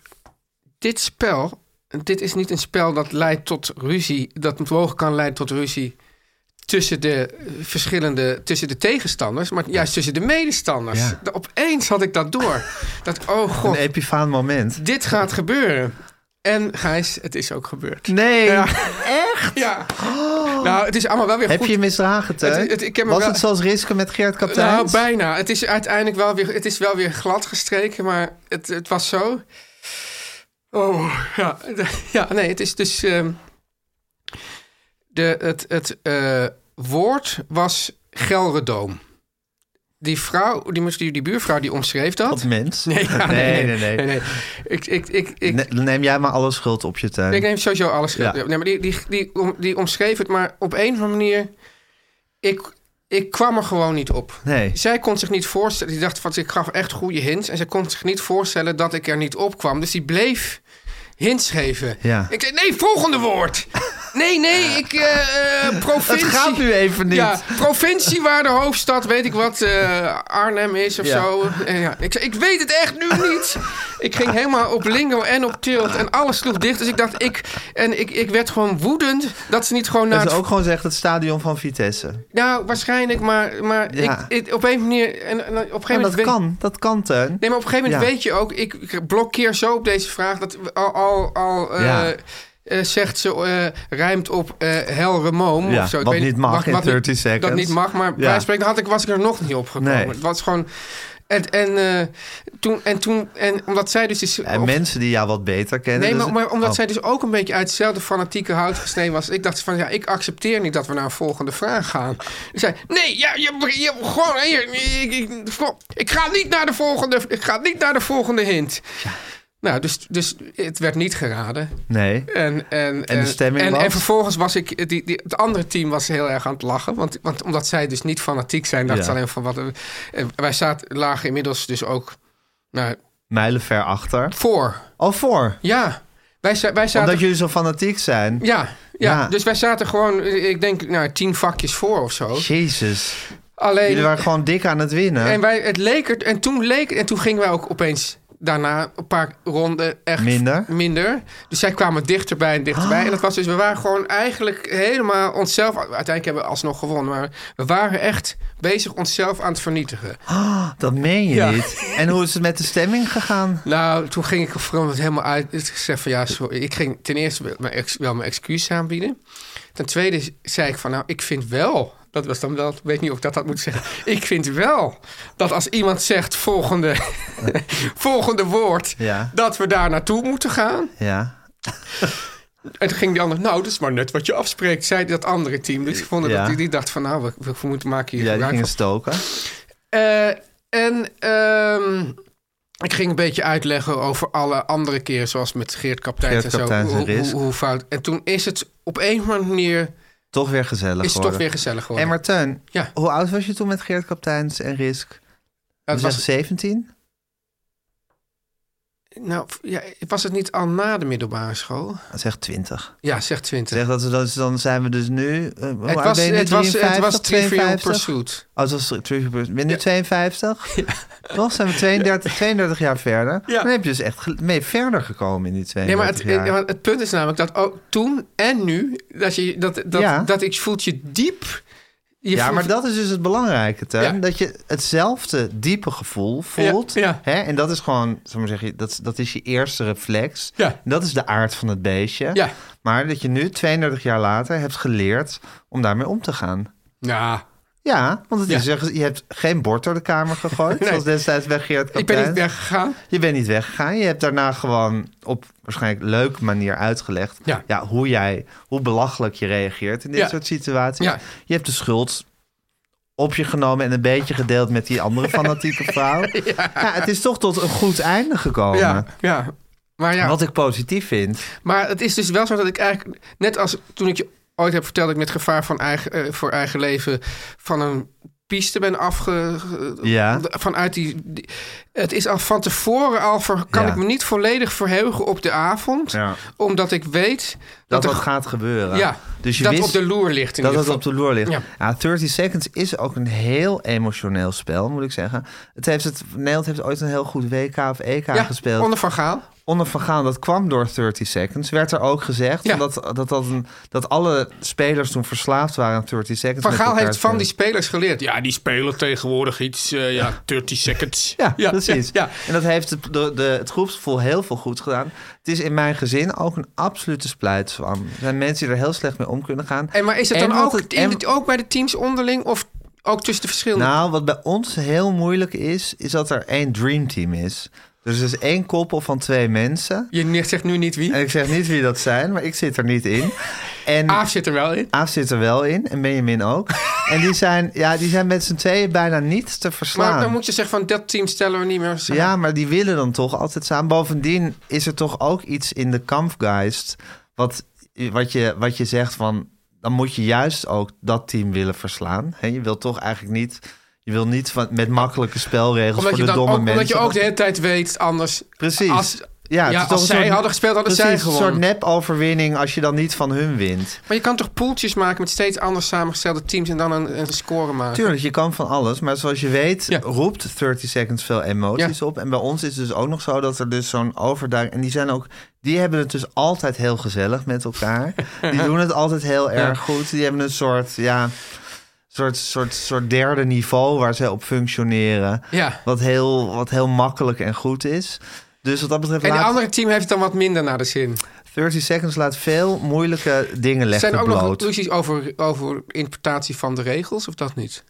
Speaker 2: dit spel, dit is niet een spel dat leidt tot ruzie, dat mogelijk kan leiden tot ruzie tussen de verschillende, tussen de tegenstanders, maar juist tussen de medestanders.
Speaker 3: Ja.
Speaker 2: De- Opeens had ik dat door. dat oh god,
Speaker 3: Een epifaan moment.
Speaker 2: dit gaat gebeuren. En Gijs, het is ook gebeurd.
Speaker 3: Nee,
Speaker 2: Ja.
Speaker 3: echt?
Speaker 2: Ja. Nou, het is allemaal wel weer
Speaker 3: Heb
Speaker 2: goed.
Speaker 3: je je misdragen, Teun?
Speaker 2: Het- het- ik heb me
Speaker 3: Was
Speaker 2: wel-
Speaker 3: het zoals Risken met Geert Kapteins?
Speaker 2: Nou, bijna. Het is uiteindelijk wel weer, het is wel weer glad gestreken, maar het, het was zo. Oh, ja. Ja, nee, het is dus. ehm, de, het het eh, woord was Gelredoom. Die vrouw, die, moest- die, die buurvrouw die omschreef
Speaker 3: Wat
Speaker 2: dat.
Speaker 3: mens.
Speaker 2: Nee, ja,
Speaker 3: nee, nee. nee.
Speaker 2: Ik, ik, ik, ik,
Speaker 3: Ne- Neem jij maar alle schuld op je, Teun.
Speaker 2: ik neem sowieso alles.
Speaker 3: Ja.
Speaker 2: Nee, maar die, die, die, om- die omschreef het, maar op een of andere manier. Ik, ik kwam er gewoon niet op.
Speaker 3: Nee.
Speaker 2: Zij kon zich niet voorstellen. Die dacht van, ik gaf echt goede hints. En zij kon zich niet voorstellen dat ik er niet op kwam. Dus die bleef hints geven.
Speaker 3: Ja.
Speaker 2: Ik zei, nee, volgende woord. Nee, nee, ik... eh, eh, provincie.
Speaker 3: Het gaat nu even niet.
Speaker 2: Ja, provincie waar de hoofdstad, weet ik wat, eh, Arnhem is of
Speaker 3: Ja.
Speaker 2: zo. Eh, ja. ik, zei, ik weet het echt nu niet. Ik ging helemaal op lingo en op tilt en alles sloeg dicht. Dus ik dacht, ik, en ik, ik werd gewoon woedend dat ze niet gewoon naar
Speaker 3: Dat
Speaker 2: het
Speaker 3: ze ook gewoon zegt het stadion van Vitesse.
Speaker 2: nou, waarschijnlijk, maar, maar
Speaker 3: Ja.
Speaker 2: ik, ik- op een manier. En, en op een gegeven
Speaker 3: Ja,
Speaker 2: moment
Speaker 3: dat
Speaker 2: weet-
Speaker 3: kan, dat kan, Teun.
Speaker 2: Nee, maar op een gegeven moment
Speaker 3: Ja.
Speaker 2: weet je ook, ik ik blokkeer zo op deze vraag dat we al, al, al eh,
Speaker 3: Ja.
Speaker 2: eh, zegt ze, eh, rijmt op eh Helremoom.
Speaker 3: Ja,
Speaker 2: of zo. Ik
Speaker 3: wat
Speaker 2: weet
Speaker 3: niet mag in
Speaker 2: wat niet-
Speaker 3: 30 seconds.
Speaker 2: Dat niet mag, maar
Speaker 3: Ja.
Speaker 2: bij spreken had ik, was ik er nog niet op gekomen.
Speaker 3: Nee.
Speaker 2: Het was gewoon... En, en, eh, toen, en toen, en omdat zij dus... Is,
Speaker 3: En
Speaker 2: of-
Speaker 3: mensen die jou wat beter kennen.
Speaker 2: Nee,
Speaker 3: dus-
Speaker 2: maar, maar omdat
Speaker 3: Oh.
Speaker 2: zij dus ook een beetje uit hetzelfde fanatieke hout gesneden was. Ik dacht van, ja, ik accepteer niet dat we naar een volgende vraag gaan. Ze zei, nee, ja, je, je, gewoon, hier, ik, ik, ik ga niet naar de volgende, ik ga niet naar de volgende hint. Nou, dus, dus het werd niet geraden.
Speaker 3: Nee.
Speaker 2: En, en,
Speaker 3: En de stemming
Speaker 2: en,
Speaker 3: was?
Speaker 2: en vervolgens was ik... Die, die, het andere team was heel erg aan het lachen. Want, want omdat zij dus niet fanatiek zijn... dacht
Speaker 3: Ja.
Speaker 2: ze alleen van... Wat, en wij zaten, lagen inmiddels dus ook nou,
Speaker 3: Mijlenver achter.
Speaker 2: voor.
Speaker 3: Al voor.
Speaker 2: Ja, wij, za- wij zaten...
Speaker 3: Omdat jullie zo fanatiek zijn.
Speaker 2: Ja, ja,
Speaker 3: Ja.
Speaker 2: dus wij zaten gewoon, eh, ik denk, nou, tien vakjes voor of zo.
Speaker 3: Jezus.
Speaker 2: Alleen,
Speaker 3: Jullie waren gewoon dik aan het winnen.
Speaker 2: en, wij, het leek er, en toen leek en toen gingen wij ook opeens daarna een paar ronden echt
Speaker 3: Minder? Ah.
Speaker 2: minder. Dus zij kwamen dichterbij en dichterbij. En dat was dus, we waren gewoon eigenlijk helemaal onszelf. Uiteindelijk hebben we alsnog gewonnen, maar we waren echt bezig onszelf aan het vernietigen.
Speaker 3: Dat meen je
Speaker 2: Ja.
Speaker 3: niet. En hoe is het met de stemming gegaan?
Speaker 2: Nou, toen ging ik er vooral het helemaal uit. Ik zei van ja, sorry. Ik ging ten eerste wel mijn, ex- wel mijn excuses aanbieden. Ten tweede zei ik van nou, ik vind wel. Dat was dan wel, ik weet niet of ik dat had moeten zeggen. Ik vind wel dat als iemand zegt volgende, volgende woord,
Speaker 3: Ja.
Speaker 2: dat we daar naartoe moeten gaan.
Speaker 3: Ja.
Speaker 2: En toen ging die ander, nou, dat is maar net wat je afspreekt, zei dat andere team. Dus ik vond
Speaker 3: Ja.
Speaker 2: dat die, die dacht van nou, we, we moeten maken hier
Speaker 3: Ja, die
Speaker 2: gebruik
Speaker 3: gingen
Speaker 2: van.
Speaker 3: stoken.
Speaker 2: Eh, en ehm, ik ging een beetje uitleggen over alle andere keren, zoals met Geert Kapteins
Speaker 3: Geert
Speaker 2: en zo.
Speaker 3: Kapteins en
Speaker 2: hoe,
Speaker 3: Risk.
Speaker 2: hoe, hoe fout. En toen is het op een of andere manier
Speaker 3: Toch weer gezellig
Speaker 2: is het toch
Speaker 3: geworden.
Speaker 2: weer gezellig geworden.
Speaker 3: En Martijn,
Speaker 2: Ja.
Speaker 3: hoe oud was je toen met Geert Kapteins en Risk?
Speaker 2: Nou,
Speaker 3: We
Speaker 2: het
Speaker 3: zeggen
Speaker 2: was,
Speaker 3: 17?
Speaker 2: nou, ja, was het niet al na de middelbare school?
Speaker 3: Zeg 20.
Speaker 2: Ja, zeg 20.
Speaker 3: Zeg dat we dat, dan zijn we dus nu. eh, hoe
Speaker 2: het
Speaker 3: oud
Speaker 2: was,
Speaker 3: ben je nu?
Speaker 2: het, was, het
Speaker 3: 53,
Speaker 2: was Trivial
Speaker 3: 52?
Speaker 2: Pursuit.
Speaker 3: Oh, het was Trivial Pursuit. Ben je nu 52? Toch zijn we 32, 32 jaar verder.
Speaker 2: Ja.
Speaker 3: Dan heb je dus echt ge- mee verder gekomen in die 32
Speaker 2: Nee, maar het,
Speaker 3: jaar.
Speaker 2: eh, maar het punt is namelijk dat ook toen en nu, dat, je, dat, dat,
Speaker 3: Ja.
Speaker 2: dat ik voelt je diep. Je
Speaker 3: ja,
Speaker 2: voelt-
Speaker 3: maar dat is dus het belangrijke, Teun.
Speaker 2: Ja.
Speaker 3: Dat je hetzelfde diepe gevoel voelt.
Speaker 2: Ja, ja.
Speaker 3: Hè? En dat is gewoon, zal ik maar zeggen, dat, dat is je eerste reflex.
Speaker 2: Ja.
Speaker 3: Dat is de aard van het beestje.
Speaker 2: Ja.
Speaker 3: Maar dat je nu, 32 jaar later, hebt geleerd om daarmee om te gaan.
Speaker 2: Ja,
Speaker 3: Ja, want het
Speaker 2: Ja.
Speaker 3: is, echt- je hebt geen bord door de kamer gegooid,
Speaker 2: Nee.
Speaker 3: zoals destijds bij Geert
Speaker 2: ik ben
Speaker 3: Kapteijn.
Speaker 2: niet weggegaan.
Speaker 3: Je bent niet weggegaan. Je hebt daarna gewoon op waarschijnlijk leuke manier uitgelegd...
Speaker 2: Ja.
Speaker 3: hoe, jij, hoe belachelijk je reageert in dit
Speaker 2: Ja.
Speaker 3: soort situaties.
Speaker 2: Ja.
Speaker 3: Je hebt de schuld op je genomen en een beetje gedeeld met die andere fanatieke vrouw. Ja. het is toch tot een goed einde gekomen.
Speaker 2: Ja, ja. Maar ja.
Speaker 3: Wat ik positief vind.
Speaker 2: Maar het is dus wel zo dat ik eigenlijk, net als toen ik je ooit heb verteld dat ik met gevaar van eigen, eh, voor eigen leven van een piste ben afge... ge-
Speaker 3: Ja.
Speaker 2: Vanuit die, die- Het is al van tevoren al, ver, kan
Speaker 3: Ja.
Speaker 2: ik me niet volledig verheugen op de avond.
Speaker 3: Ja.
Speaker 2: Omdat ik weet
Speaker 3: Dat
Speaker 2: dat,
Speaker 3: dat
Speaker 2: er-
Speaker 3: gaat gebeuren.
Speaker 2: ja,
Speaker 3: dus je
Speaker 2: dat
Speaker 3: wist
Speaker 2: op de loer ligt in ieder
Speaker 3: dat het
Speaker 2: geval.
Speaker 3: op de loer ligt. Ja.
Speaker 2: Ja.
Speaker 3: 30 Seconds is ook een heel emotioneel spel, moet ik zeggen. Het heeft het, Nederland heeft ooit een heel goed WK of EK
Speaker 2: ja,
Speaker 3: gespeeld.
Speaker 2: onder Van Gaal.
Speaker 3: Onder Van Gaal, dat kwam door 30 Seconds. Werd er ook gezegd
Speaker 2: Ja.
Speaker 3: dat, dat, dat, een- dat alle spelers toen verslaafd waren aan 30 Seconds.
Speaker 2: Van
Speaker 3: met
Speaker 2: Gaal
Speaker 3: elkaar
Speaker 2: heeft van
Speaker 3: spelen.
Speaker 2: die spelers geleerd. Ja, die spelen tegenwoordig iets, eh, ja, 30 seconds.
Speaker 3: Ja, precies.
Speaker 2: Ja, ja.
Speaker 3: En dat heeft het, de, de, het groepsgevoel heel veel goed gedaan. Het is in mijn gezin ook een absolute splijtswam. Er zijn mensen die er heel slecht mee om kunnen gaan.
Speaker 2: En maar is het
Speaker 3: En
Speaker 2: dan
Speaker 3: wat
Speaker 2: ook,
Speaker 3: het-
Speaker 2: in
Speaker 3: en-
Speaker 2: het- ook bij de teams onderling of ook tussen de verschillende?
Speaker 3: Nou, wat bij ons heel moeilijk is, is dat er één dreamteam is. Dus er is één koppel van twee mensen.
Speaker 2: Je ne- zegt nu niet wie.
Speaker 3: En ik zeg niet wie dat zijn, maar ik zit er niet in. En
Speaker 2: Aaf zit er wel in.
Speaker 3: Aaf zit er wel in en Benjamin ook. En die zijn, ja, die zijn met z'n tweeën bijna niet te verslaan.
Speaker 2: Maar dan moet je zeggen van dat team stellen we niet meer samen.
Speaker 3: Ja, maar die willen dan toch altijd samen. Bovendien is er toch ook iets in de kampgeist. Wat, wat, je, wat je zegt van. Dan moet je juist ook dat team willen verslaan. Hè, je wilt toch eigenlijk niet. Je wil niet van, met makkelijke spelregels
Speaker 2: omdat, je
Speaker 3: voor de
Speaker 2: dan
Speaker 3: domme
Speaker 2: ook,
Speaker 3: mensen.
Speaker 2: omdat je ook de hele tijd weet anders.
Speaker 3: Precies.
Speaker 2: Als,
Speaker 3: ja,
Speaker 2: ja,
Speaker 3: het is toch
Speaker 2: als
Speaker 3: een
Speaker 2: zij
Speaker 3: soort-
Speaker 2: hadden gespeeld hadden
Speaker 3: precies,
Speaker 2: zij gewonnen.
Speaker 3: Een soort nep-overwinning als je dan niet van hun wint.
Speaker 2: Maar je kan toch poeltjes maken met steeds anders samengestelde teams en dan een, een score maken.
Speaker 3: Tuurlijk, je kan van alles. Maar zoals je weet
Speaker 2: Ja.
Speaker 3: roept 30 Seconds veel emoties op. En bij ons is het dus ook nog zo dat er dus zo'n overduik... En die zijn ook... Die hebben het dus altijd heel gezellig met elkaar. Die doen het altijd heel erg goed. Die hebben een soort, ja... Soort, soort, soort derde niveau waar zij op functioneren.
Speaker 2: Ja.
Speaker 3: Wat heel, wat heel makkelijk en goed is. Dus wat dat betreft...
Speaker 2: En die
Speaker 3: laat-
Speaker 2: andere team heeft het dan wat minder naar de zin.
Speaker 3: 30 Seconds laat veel moeilijke dingen
Speaker 2: Er
Speaker 3: leggen
Speaker 2: zijn ook
Speaker 3: bloot.
Speaker 2: nog ruzies over, over interpretatie van de regels, of dat niet?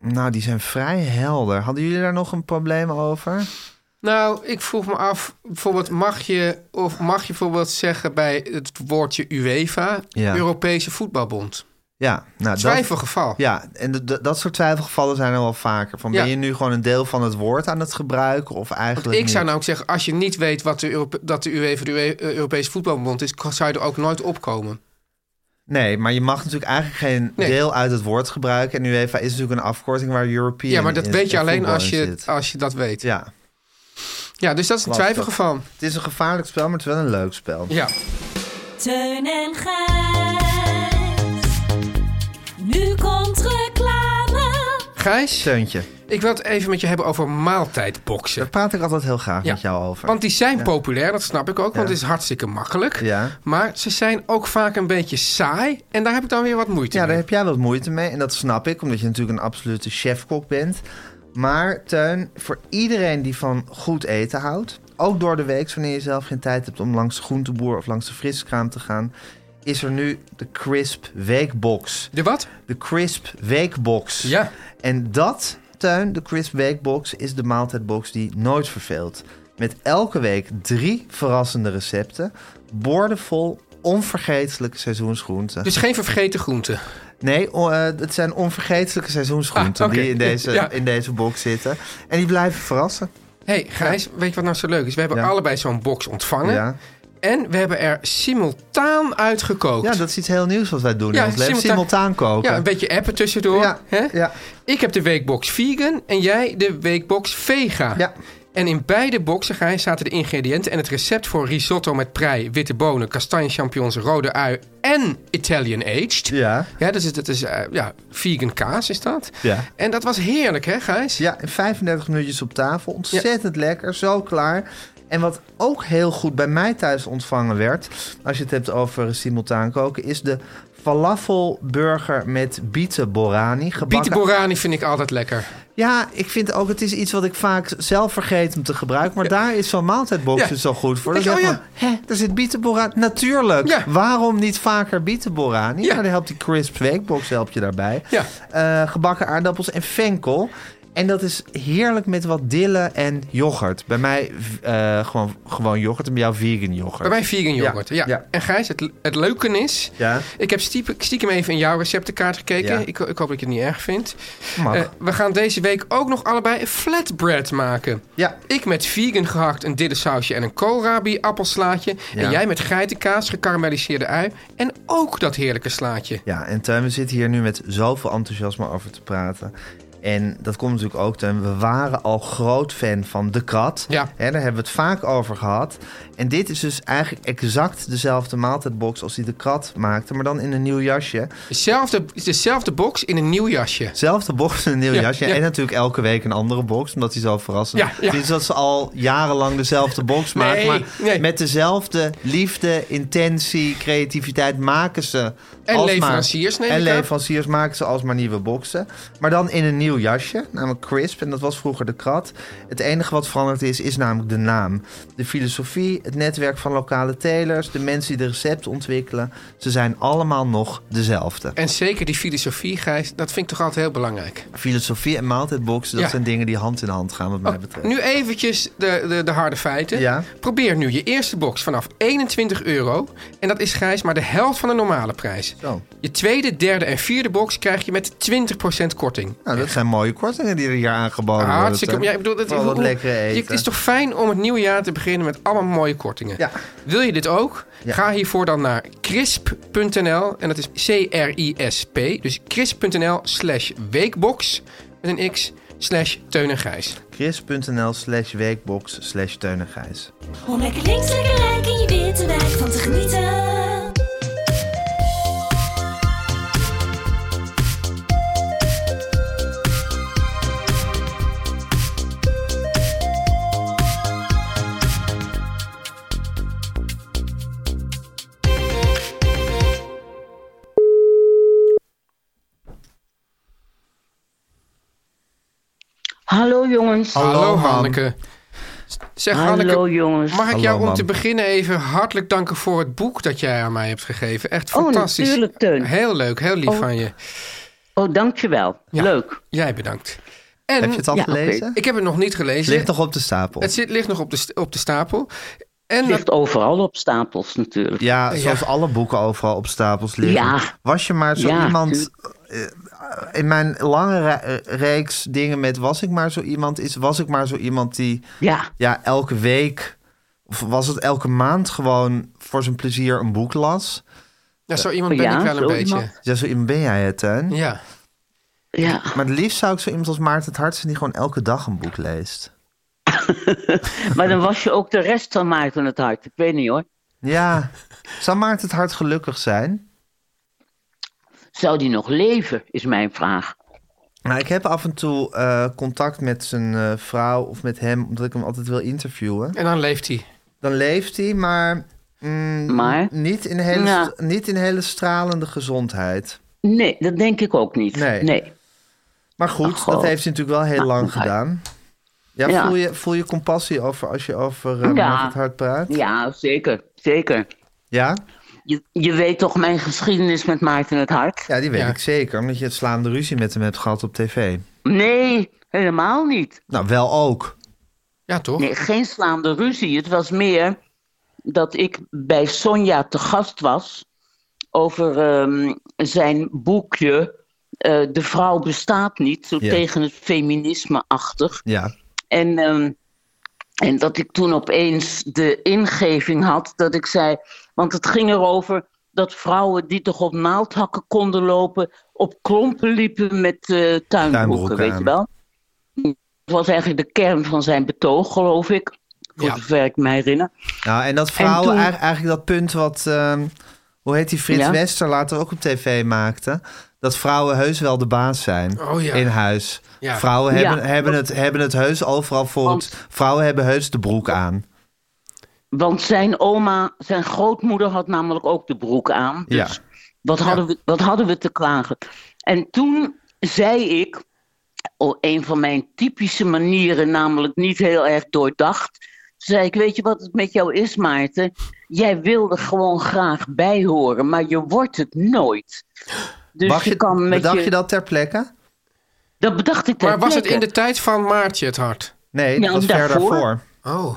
Speaker 3: Nou, die zijn vrij helder. Hadden jullie daar nog een probleem over?
Speaker 2: Nou, ik vroeg me af, bijvoorbeeld mag je, of mag je bijvoorbeeld zeggen bij het woordje UEFA,
Speaker 3: Ja.
Speaker 2: Europese Voetbalbond?
Speaker 3: Ja, nou, dat,
Speaker 2: Twijfelgeval.
Speaker 3: ja en d- d- dat soort twijfelgevallen zijn er wel vaker. Van,
Speaker 2: Ja.
Speaker 3: Ben je nu gewoon een deel van het woord aan het gebruiken? Of eigenlijk
Speaker 2: Ik zou
Speaker 3: niet?
Speaker 2: nou ook zeggen, als je niet weet wat de Europe- dat de UEFA de Euro- eh, Europese Voetbalbond is, kan- zou je er ook nooit opkomen.
Speaker 3: Nee, maar je mag natuurlijk eigenlijk geen
Speaker 2: nou- Nee.
Speaker 3: deel uit het woord gebruiken. En UEFA is natuurlijk een afkorting waar European
Speaker 2: Ja, maar dat
Speaker 3: in-
Speaker 2: weet je
Speaker 3: in
Speaker 2: alleen
Speaker 3: voetbal
Speaker 2: als
Speaker 3: in
Speaker 2: je,
Speaker 3: zit.
Speaker 2: als je dat weet. Ja,
Speaker 3: Ja,
Speaker 2: dus dat is een
Speaker 3: Lastig.
Speaker 2: twijfelgeval.
Speaker 3: het is een gevaarlijk spel, maar het is wel een leuk spel.
Speaker 2: Ja.
Speaker 5: Teun en Gijs. Nu komt reclame.
Speaker 2: Gijs,
Speaker 3: Steuntje.
Speaker 2: ik wil het even met je hebben over maaltijdboxen.
Speaker 3: Daar praat ik altijd heel graag
Speaker 2: Ja,
Speaker 3: met jou over.
Speaker 2: Want die zijn populair, dat snap ik ook, want
Speaker 3: Ja.
Speaker 2: het is hartstikke makkelijk.
Speaker 3: Ja.
Speaker 2: Maar ze zijn ook vaak een beetje saai en daar heb ik dan weer wat moeite
Speaker 3: ja, daar
Speaker 2: mee.
Speaker 3: heb jij wat moeite mee. En dat snap ik, omdat je natuurlijk een absolute chefkok bent. Maar Teun, voor iedereen die van goed eten houdt... ook door de week, wanneer je zelf geen tijd hebt... om langs de groenteboer of langs de friskraam te gaan... is er nu de Crisp Weekbox.
Speaker 2: De wat?
Speaker 3: De Crisp Weekbox.
Speaker 2: Ja.
Speaker 3: En dat, Tuin, de Crisp Weekbox, is de maaltijdbox die nooit verveelt. Met elke week drie verrassende recepten. Boordevol onvergetelijke seizoensgroenten.
Speaker 2: Dus geen vergeten groenten.
Speaker 3: Nee, o- eh, het zijn onvergetelijke seizoensgroenten
Speaker 2: Ah, oké.
Speaker 3: die in deze,
Speaker 2: Ja.
Speaker 3: in deze box zitten. En die blijven verrassen.
Speaker 2: hey, Gijs, weet je wat nou zo leuk is? We hebben
Speaker 3: Ja.
Speaker 2: allebei zo'n box ontvangen
Speaker 3: Ja.
Speaker 2: en we hebben er simultaan uitgekookt.
Speaker 3: ja, dat is iets heel nieuws wat wij doen in ons leven. Simultaan, koken.
Speaker 2: Ja, een beetje appen tussendoor.
Speaker 3: Ja,
Speaker 2: hè?
Speaker 3: ja.
Speaker 2: Ik heb de weekbox vegan en jij de weekbox vega.
Speaker 3: Ja.
Speaker 2: En in beide boxen, Gijs, zaten de ingrediënten en het recept voor risotto met prei, witte bonen, kastanje champignons, rode ui en Italian aged.
Speaker 3: Ja.
Speaker 2: Ja, dus het- het is eh, ja, vegan kaas is dat.
Speaker 3: Ja.
Speaker 2: En dat was heerlijk, hè Gijs?
Speaker 3: Ja, in 35 minuutjes op tafel. Ontzettend lekker, zo klaar. En wat ook heel goed bij mij thuis ontvangen werd, als je het hebt over simultaan koken, is de falafelburger met bieten borani.
Speaker 2: Bieten
Speaker 3: Gebakken.
Speaker 2: Borani vind ik altijd lekker.
Speaker 3: ja, ik vind ook, het is iets wat ik vaak zelf vergeet om te gebruiken. Maar daar is zo'n maaltijdbox
Speaker 2: Ja.
Speaker 3: dus zo goed voor.
Speaker 2: Ik
Speaker 3: Dan
Speaker 2: denk,
Speaker 3: zeg
Speaker 2: oh
Speaker 3: maar, hè, daar zit bieten borani. Natuurlijk,
Speaker 2: Ja.
Speaker 3: waarom niet vaker bieten borani?
Speaker 2: Ja.
Speaker 3: Nou, dan helpt die crisp weekbox help je daarbij.
Speaker 2: Ja.
Speaker 3: Eh, gebakken aardappels en fenkel. En dat is heerlijk met wat dille en yoghurt. Bij mij eh, gewoon, gewoon yoghurt en bij jou vegan yoghurt.
Speaker 2: Bij mij vegan yoghurt. Ja.
Speaker 3: Ja, ja.
Speaker 2: En Gijs, het, het leuke is...
Speaker 3: Ja.
Speaker 2: Ik heb stiekem, stiekem even in jouw receptenkaart gekeken.
Speaker 3: Ja.
Speaker 2: Ik, ik hoop dat je het niet erg vindt.
Speaker 3: Mag.
Speaker 2: Eh, we gaan deze week ook nog allebei een flatbread maken.
Speaker 3: Ja.
Speaker 2: Ik met vegan gehakt, een dillesausje en een koolrabi appelslaatje. En
Speaker 3: Ja.
Speaker 2: jij met geitenkaas, gekarameliseerde ui en ook dat heerlijke slaatje.
Speaker 3: Ja, en Tuin, we zitten hier nu met zoveel enthousiasme over te praten. En dat komt natuurlijk ook, Tuin. We waren al groot fan van De Krat.
Speaker 2: Ja.
Speaker 3: Hè, daar hebben we het vaak over gehad. En dit is dus eigenlijk exact dezelfde maaltijdbox als die De Krat maakte, maar dan in een nieuw jasje.
Speaker 2: Dezelfde, dezelfde box in een nieuw jasje.
Speaker 3: Zelfde box en een nieuw
Speaker 2: Ja,
Speaker 3: jasje.
Speaker 2: ja.
Speaker 3: En natuurlijk elke week een andere box, omdat die zo verrassend
Speaker 2: Ja, ja.
Speaker 3: Het is dat ze al jarenlang dezelfde box
Speaker 2: Nee,
Speaker 3: maken. Maar
Speaker 2: nee.
Speaker 3: met dezelfde liefde, intentie, creativiteit maken ze...
Speaker 2: En
Speaker 3: alsmaar-
Speaker 2: leveranciers neem
Speaker 3: En
Speaker 2: ik aan.
Speaker 3: leveranciers maken ze alsmaar nieuwe boxen. Maar dan in een nieuw jasje, namelijk Crisp. En dat was vroeger de krat. Het enige wat veranderd is, is namelijk de naam. De filosofie, het netwerk van lokale telers... de mensen die de recepten ontwikkelen... ze zijn allemaal nog dezelfde.
Speaker 2: En zeker die filosofie, Gijs, dat vind ik toch altijd heel belangrijk.
Speaker 3: Filosofie en maaltijdboxen, dat
Speaker 2: Ja. Oh,
Speaker 3: zijn dingen die hand in hand gaan, wat mij betreft.
Speaker 2: Nu eventjes de, de, de harde feiten.
Speaker 3: Ja.
Speaker 2: Probeer nu je eerste box vanaf 21 euro. En dat is grijs maar de helft van de normale prijs.
Speaker 3: Zo.
Speaker 2: Je tweede, derde en vierde box krijg je met 20% korting.
Speaker 3: Nou, dat zijn mooie kortingen die er hier aangeboden worden.
Speaker 2: Ah, Hartstikke.
Speaker 3: Teun.
Speaker 2: Ja, ik bedoel, dat,
Speaker 3: Vooral Oh, wat
Speaker 2: hoe-
Speaker 3: lekkere
Speaker 2: je-
Speaker 3: eten.
Speaker 2: Het is toch fijn om het nieuwe jaar te beginnen met allemaal mooie kortingen.
Speaker 3: Ja.
Speaker 2: Wil je dit ook?
Speaker 3: Ja.
Speaker 2: Ga hiervoor dan naar crisp.nl. En dat is C-R-I-S-P. Dus crisp.nl slash weekbox met een x slash teun en grijs.
Speaker 3: Chris.nl slash weekbox slash Teun en Gijs.
Speaker 5: Om lekker links, lekker rechts in je witte wijk van te genieten.
Speaker 6: Hallo jongens.
Speaker 3: Hallo,
Speaker 2: Hallo
Speaker 3: Han.
Speaker 2: Hanneke. Zeg
Speaker 6: Hallo
Speaker 2: Hanneke,
Speaker 6: jongens.
Speaker 2: mag ik
Speaker 3: Hallo,
Speaker 2: jou om
Speaker 3: mam.
Speaker 2: te beginnen even hartelijk danken voor het boek dat jij aan mij hebt gegeven. Echt
Speaker 6: Oh,
Speaker 2: fantastisch.
Speaker 6: natuurlijk, Teun.
Speaker 2: Heel leuk, heel lief
Speaker 6: Oh.
Speaker 2: van je.
Speaker 6: Oh, dankjewel.
Speaker 2: Ja.
Speaker 6: Leuk.
Speaker 2: Jij bedankt. En
Speaker 3: Heb je het al
Speaker 6: Ja, oké.
Speaker 3: gelezen?
Speaker 2: ik heb het nog niet
Speaker 3: Het
Speaker 2: gelezen.
Speaker 3: ligt nog op de stapel.
Speaker 2: Het zit, ligt nog op de, st- op de stapel. En
Speaker 6: Het ligt overal op stapels natuurlijk.
Speaker 3: Ja, zoals alle boeken overal op stapels liggen.
Speaker 6: Ja.
Speaker 3: Was je maar zo
Speaker 6: Ja,
Speaker 3: iemand...
Speaker 6: tuurlijk.
Speaker 3: eh, In mijn lange re- eh, reeks dingen met was ik maar zo iemand is... was ik maar zo iemand die
Speaker 6: Ja.
Speaker 3: ja, elke week... of was het elke maand gewoon voor zijn plezier een boek las?
Speaker 2: ja, zo iemand ben
Speaker 6: oh Ja,
Speaker 2: ik wel een
Speaker 6: zo
Speaker 2: beetje.
Speaker 6: iemand.
Speaker 3: Ja, zo iemand ben jij het, Tuin?
Speaker 2: Ja.
Speaker 6: ja.
Speaker 3: Maar het liefst zou ik zo iemand als Maarten het Hart zijn... die gewoon elke dag een boek leest.
Speaker 6: Maar dan was je ook de rest van Maarten het hart. Ik weet niet hoor.
Speaker 3: Ja, zou Maarten het Hart gelukkig zijn?
Speaker 6: Zou die nog leven, is mijn vraag.
Speaker 3: Nou, ik heb af en toe eh, contact met zijn eh, vrouw of met hem, omdat ik hem altijd wil interviewen.
Speaker 2: En dan leeft hij.
Speaker 3: Dan leeft hij, maar, mm,
Speaker 6: Maar?
Speaker 3: Niet, in hele,
Speaker 6: Ja.
Speaker 3: niet in hele stralende gezondheid.
Speaker 6: Nee, dat denk ik ook niet.
Speaker 3: Nee.
Speaker 6: Nee.
Speaker 3: Maar goed,
Speaker 6: Ach,
Speaker 3: dat
Speaker 6: Oh, God.
Speaker 3: heeft hij natuurlijk wel heel
Speaker 6: Nou,
Speaker 3: lang
Speaker 6: hij-
Speaker 3: gedaan. Ja,
Speaker 6: Ja.
Speaker 3: Voel, je, voel je compassie over als je over eh
Speaker 6: Ja.
Speaker 3: het hart praat?
Speaker 6: Ja, zeker. Zeker.
Speaker 3: Ja?
Speaker 6: Je, je weet toch mijn geschiedenis met Maarten het Hart?
Speaker 3: Ja, die weet
Speaker 2: Ja.
Speaker 3: ik zeker, omdat je het slaande ruzie met hem hebt gehad op tv.
Speaker 6: Nee, helemaal niet.
Speaker 3: Nou, wel ook.
Speaker 2: Ja, toch?
Speaker 6: Nee, geen slaande ruzie. Het was meer dat ik bij Sonja te gast was over ehm, zijn boekje eh, De vrouw bestaat niet, zo
Speaker 3: Ja.
Speaker 6: tegen het feminisme-achtig.
Speaker 3: Ja.
Speaker 6: En, ehm, en dat ik toen opeens de ingeving had dat ik zei. Want het ging erover dat vrouwen die toch op naaldhakken konden lopen. op klompen liepen met eh, tuinbroeken,
Speaker 3: Tuinbroeken
Speaker 6: weet
Speaker 3: aan.
Speaker 6: je wel. Dat was eigenlijk de kern van zijn betoog, geloof ik. Voor
Speaker 2: Ja.
Speaker 6: zover ik me herinner.
Speaker 3: Nou, en dat vrouwen,
Speaker 6: toen-
Speaker 3: eigenlijk- eigenlijk dat punt wat, ehm, hoe heet die Frits
Speaker 6: Ja.
Speaker 3: Wester later ook op tv maakte. Dat vrouwen heus wel de baas zijn
Speaker 2: Oh ja.
Speaker 3: in huis.
Speaker 2: Ja.
Speaker 3: Vrouwen
Speaker 6: Ja.
Speaker 3: hebben, hebben, het, hebben het heus overal voor.
Speaker 6: Want-
Speaker 3: het- Vrouwen hebben heus de broek aan.
Speaker 6: Want zijn oma, zijn grootmoeder had namelijk ook de broek aan. Dus
Speaker 3: Ja.
Speaker 6: Wat hadden, we, wat hadden we te klagen? En toen zei ik, op een van mijn typische manieren, namelijk niet heel erg doordacht, zei ik, weet je wat het met jou is, Maarten? Jij wilde gewoon graag bijhoren, maar je wordt het nooit. Dus
Speaker 3: Mag je,
Speaker 6: kan met
Speaker 3: bedacht je... dat ter plekke?
Speaker 6: Dat bedacht ik ter
Speaker 2: Maar was het in
Speaker 6: plekke.
Speaker 2: de tijd van Maartje het hart?
Speaker 3: Nee,
Speaker 6: Nou,
Speaker 3: dat was ver
Speaker 6: daarvoor.
Speaker 3: daarvoor.
Speaker 2: Oh.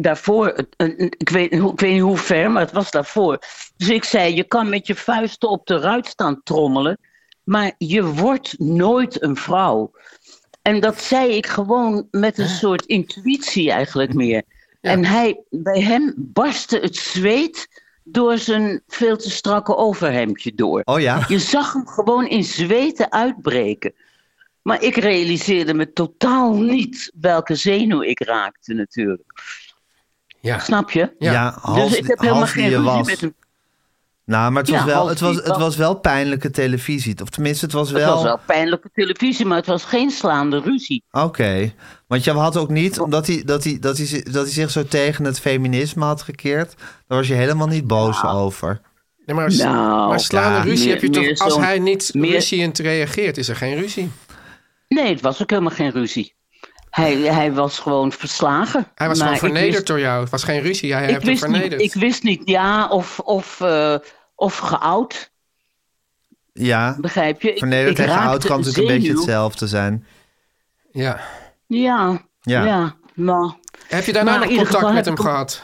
Speaker 6: daarvoor, eh, eh, ik weet, hoe- ik weet niet hoe ver, maar het was daarvoor. Dus ik zei, je kan met je vuisten op de ruit staan trommelen, maar je wordt nooit een vrouw. En dat zei ik gewoon met een soort intuïtie eigenlijk meer. En hij, bij hem barstte het zweet door zijn veel te strakke overhemdje door.
Speaker 3: Oh ja.
Speaker 6: Je zag hem gewoon in zweten uitbreken. Maar ik realiseerde me totaal niet welke zenuw ik raakte natuurlijk.
Speaker 2: Ja.
Speaker 6: Snap je?
Speaker 3: Ja,
Speaker 2: Ja.
Speaker 3: hals,
Speaker 6: dus ik heb helemaal
Speaker 3: hals die
Speaker 6: geen
Speaker 3: je
Speaker 6: ruzie
Speaker 3: was.
Speaker 6: met hem.
Speaker 3: Nou, maar het
Speaker 6: Ja,
Speaker 3: was, wel,
Speaker 6: hals
Speaker 3: het, was,
Speaker 6: die
Speaker 3: het
Speaker 6: was.
Speaker 3: was wel pijnlijke televisie. Of tenminste, het was
Speaker 6: Het
Speaker 3: wel...
Speaker 6: was wel pijnlijke televisie, maar het was geen slaande ruzie.
Speaker 3: Oké. Want je had ook niet, omdat hij, dat hij, dat, hij, zi- dat hij zich zo tegen het feminisme had gekeerd, daar was je helemaal niet boos over.
Speaker 2: Nee, maar, s-
Speaker 6: Nou,
Speaker 2: maar slaande
Speaker 3: ja.
Speaker 2: ruzie
Speaker 6: Meer-
Speaker 2: heb je
Speaker 6: meer
Speaker 2: toch... Als
Speaker 6: zo'n-
Speaker 2: hij niet
Speaker 6: meer-
Speaker 2: ruziend reageert, is er geen ruzie.
Speaker 6: Nee, het was ook helemaal geen ruzie. Hij, hij was gewoon verslagen.
Speaker 2: Hij was
Speaker 6: Maar
Speaker 2: gewoon
Speaker 6: ik
Speaker 2: vernederd
Speaker 6: wist-
Speaker 2: door jou. Het was geen ruzie. Jij
Speaker 6: Ik
Speaker 2: hebt hem
Speaker 6: wist, niet,
Speaker 2: vernederd.
Speaker 6: ik wist niet, ja, of, of, eh, of geout,
Speaker 3: Ja.
Speaker 6: begrijp je? Ik-
Speaker 3: Vernederd
Speaker 6: ik
Speaker 3: tegen
Speaker 6: raakte
Speaker 3: oud kan natuurlijk een beetje
Speaker 6: zenuw.
Speaker 3: hetzelfde zijn.
Speaker 2: Ja.
Speaker 6: Ja,
Speaker 3: Ja.
Speaker 6: ja. maar,
Speaker 2: Heb je daarna
Speaker 6: Maar in
Speaker 2: nog
Speaker 6: ieder
Speaker 2: contact
Speaker 6: geval
Speaker 2: met
Speaker 6: heb
Speaker 2: hem
Speaker 6: ik-
Speaker 2: gehad?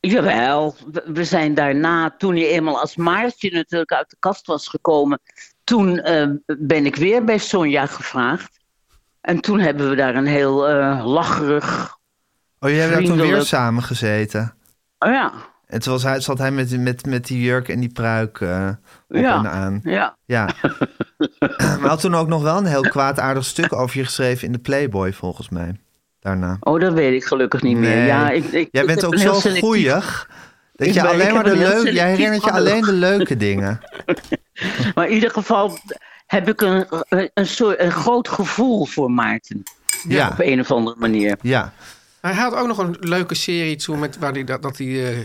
Speaker 6: jawel, we, we zijn daarna, toen hij eenmaal als Maartje natuurlijk uit de kast was gekomen, toen eh, ben ik weer bij Sonja gevraagd. En toen hebben we daar een heel eh, lacherig
Speaker 3: Oh, jullie hebben daar toen weer
Speaker 6: Vriendelijk.
Speaker 3: samen gezeten.
Speaker 6: Oh ja,
Speaker 3: En toen was hij, zat hij met, met, met die jurk en die pruik eh, op
Speaker 6: Ja.
Speaker 3: en aan.
Speaker 6: ja.
Speaker 3: Ja. maar hij had toen ook nog wel een heel kwaadaardig stuk over je geschreven in de Playboy, volgens mij. Daarna.
Speaker 6: Oh, dat weet ik gelukkig niet meer.
Speaker 3: Nee.
Speaker 6: Ja, ik, ik,
Speaker 3: Jij
Speaker 6: ik
Speaker 3: bent
Speaker 6: heb
Speaker 3: ook
Speaker 6: een heel
Speaker 3: zo
Speaker 6: selectief-
Speaker 3: goeig. Dat
Speaker 6: Ik
Speaker 3: je
Speaker 6: ben- ik
Speaker 3: alleen maar
Speaker 6: heb
Speaker 3: de
Speaker 6: een heel
Speaker 3: leuke... Jij
Speaker 6: selectief
Speaker 3: herinnert je
Speaker 6: handelen.
Speaker 3: alleen de leuke dingen.
Speaker 6: Maar in ieder geval heb ik een, een, een soort, een groot gevoel voor Maarten.
Speaker 3: Ja.
Speaker 6: Op een of andere manier.
Speaker 3: Ja.
Speaker 2: Hij had ook nog een leuke serie toen met, waar hij, dat, dat hij eh,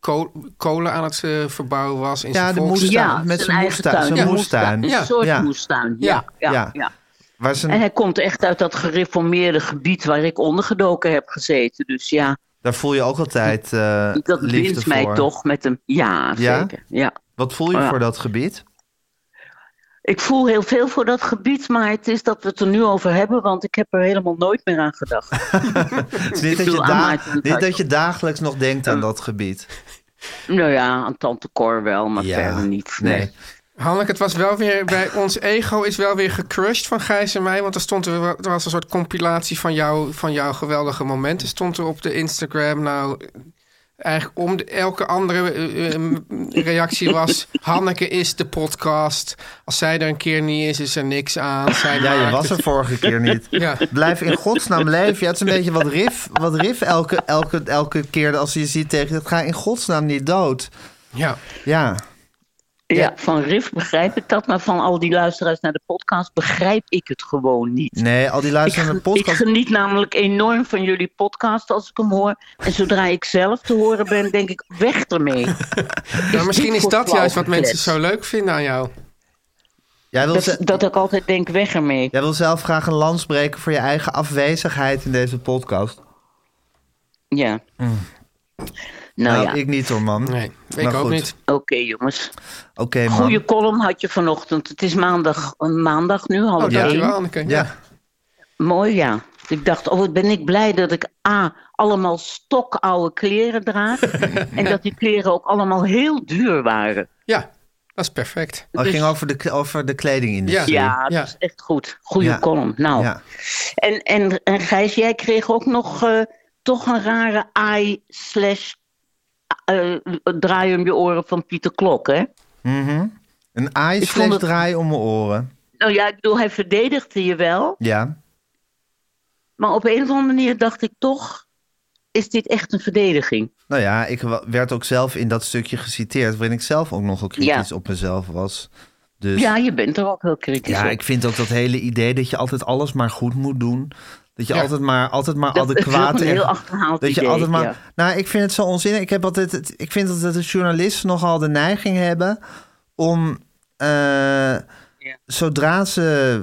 Speaker 2: ko- kolen aan het eh, verbouwen was. In
Speaker 3: Ja,
Speaker 2: zijn
Speaker 3: de
Speaker 2: volks-
Speaker 3: moestuin.
Speaker 6: Ja,
Speaker 3: met zijn
Speaker 6: zijn eigen
Speaker 3: moestuin.
Speaker 6: tuin.
Speaker 3: Zijn
Speaker 6: Ja,
Speaker 3: moestuin.
Speaker 6: Een
Speaker 2: Ja.
Speaker 6: soort
Speaker 3: Ja.
Speaker 6: moestuin, ja. Ja,
Speaker 3: Ja.
Speaker 6: ja.
Speaker 3: Waar zijn,
Speaker 6: En hij komt echt uit dat gereformeerde gebied waar ik ondergedoken heb gezeten. Dus ja,
Speaker 3: Daar voel je ook altijd eh
Speaker 6: dat
Speaker 3: liefde
Speaker 6: bindt mij
Speaker 3: voor.
Speaker 6: toch met hem. Ja,
Speaker 3: Ja?
Speaker 6: zeker. Ja.
Speaker 3: Wat voel je
Speaker 6: Ja.
Speaker 3: voor dat gebied?
Speaker 6: Ik voel heel veel voor dat gebied, maar het is dat we het er nu over hebben, want ik heb er helemaal nooit meer aan gedacht.
Speaker 3: Het is niet, dat je,
Speaker 6: bedoel,
Speaker 3: da-
Speaker 6: aanmaak en
Speaker 3: niet
Speaker 6: thuis.
Speaker 3: dat je dagelijks nog denkt aan dat gebied.
Speaker 6: Nou ja, aan Tante Cor wel, maar verder niet. Nee.
Speaker 3: Nee.
Speaker 2: Hanneke, het was wel weer bij ons ego is wel weer gecrushed van Gijs en mij. Want er, stond er, wel- er was een soort compilatie van, jou, van jouw geweldige momenten. Stond er op de Instagram. Nou, eigenlijk om de, elke andere eh, eh, reactie was... Hanneke is de podcast. Als zij er een keer niet is, is er niks aan. Zij
Speaker 3: Ja, je
Speaker 2: maakt
Speaker 3: was
Speaker 2: het.
Speaker 3: er vorige keer niet.
Speaker 2: Ja.
Speaker 3: Blijf in godsnaam leven. Ja, het is een beetje wat Riff, wat Riff elke, elke, elke keer als hij je ziet tegen... dat Ga in godsnaam niet dood.
Speaker 2: Ja.
Speaker 3: Ja.
Speaker 6: Ja, van Riff begrijp ik dat, maar van al die luisteraars naar de podcast begrijp ik het gewoon niet.
Speaker 3: Nee, al die luisteren naar de
Speaker 6: Ik, ik
Speaker 3: podcast.
Speaker 6: geniet namelijk enorm van jullie podcast als ik hem hoor. En zodra ik zelf te horen ben, denk ik, weg ermee.
Speaker 2: Nou, misschien
Speaker 6: dit
Speaker 2: is
Speaker 6: voor
Speaker 2: dat juist wat
Speaker 6: flauwgeklets?
Speaker 2: mensen zo leuk vinden aan jou.
Speaker 3: Jij wil,
Speaker 6: Dat,
Speaker 3: ze-
Speaker 6: dat ik altijd denk, weg ermee.
Speaker 3: jij wil zelf graag een lans breken voor je eigen afwezigheid in deze podcast.
Speaker 6: Ja. Nou,
Speaker 3: Nou,
Speaker 6: ja,
Speaker 3: ik niet hoor, man.
Speaker 2: Nee, ik
Speaker 3: Maar
Speaker 2: ook
Speaker 3: Nou, goed.
Speaker 2: niet.
Speaker 6: oké jongens.
Speaker 3: Oké, man.
Speaker 6: Goede column had je vanochtend. Het is maandag, eh, maandag nu,
Speaker 2: Oh,
Speaker 6: half één.
Speaker 2: dankjewel Anneke.
Speaker 3: Ja.
Speaker 6: Mooi, ja. Ik dacht, oh, wat ben ik blij dat ik A, allemaal stokoude kleren draag. en dat die kleren ook allemaal heel duur waren.
Speaker 2: Ja, dat is perfect.
Speaker 3: Oh, het ging over de, over de kledingindustrie.
Speaker 6: Dus- Ja, dat
Speaker 2: Ja.
Speaker 6: is echt goed. Goede
Speaker 3: Ja.
Speaker 6: column. Nou,
Speaker 3: Ja.
Speaker 6: en, en, en Gijs, jij kreeg ook nog eh, toch een rare ai slash eh, draai om je oren van Pieter Klok, hè?
Speaker 3: Een eye
Speaker 6: Ik vond
Speaker 3: slash
Speaker 6: het-
Speaker 3: draai om mijn oren.
Speaker 6: Nou ja, ik bedoel, hij verdedigde je wel.
Speaker 3: Ja.
Speaker 6: Maar op een of andere manier dacht ik toch, is dit echt een verdediging?
Speaker 3: Nou ja, ik wa- werd ook zelf in dat stukje geciteerd... waarin ik zelf ook nogal kritisch
Speaker 6: Ja.
Speaker 3: op mezelf was. Dus
Speaker 6: Ja, je bent er ook heel kritisch
Speaker 3: Ja,
Speaker 6: op.
Speaker 3: ik vind ook dat hele idee dat je altijd alles maar goed moet doen. Dat je
Speaker 2: Ja.
Speaker 3: altijd maar, altijd maar
Speaker 6: Dat is
Speaker 3: adequaat...
Speaker 6: een heel
Speaker 3: en-
Speaker 6: achterhaald
Speaker 3: dat je
Speaker 6: idee,
Speaker 3: altijd maar,
Speaker 6: ja.
Speaker 3: Nou, ik vind het zo onzinnig. Ik, heb altijd, het- ik vind dat de journalisten nogal de neiging hebben... om eh, zodra ze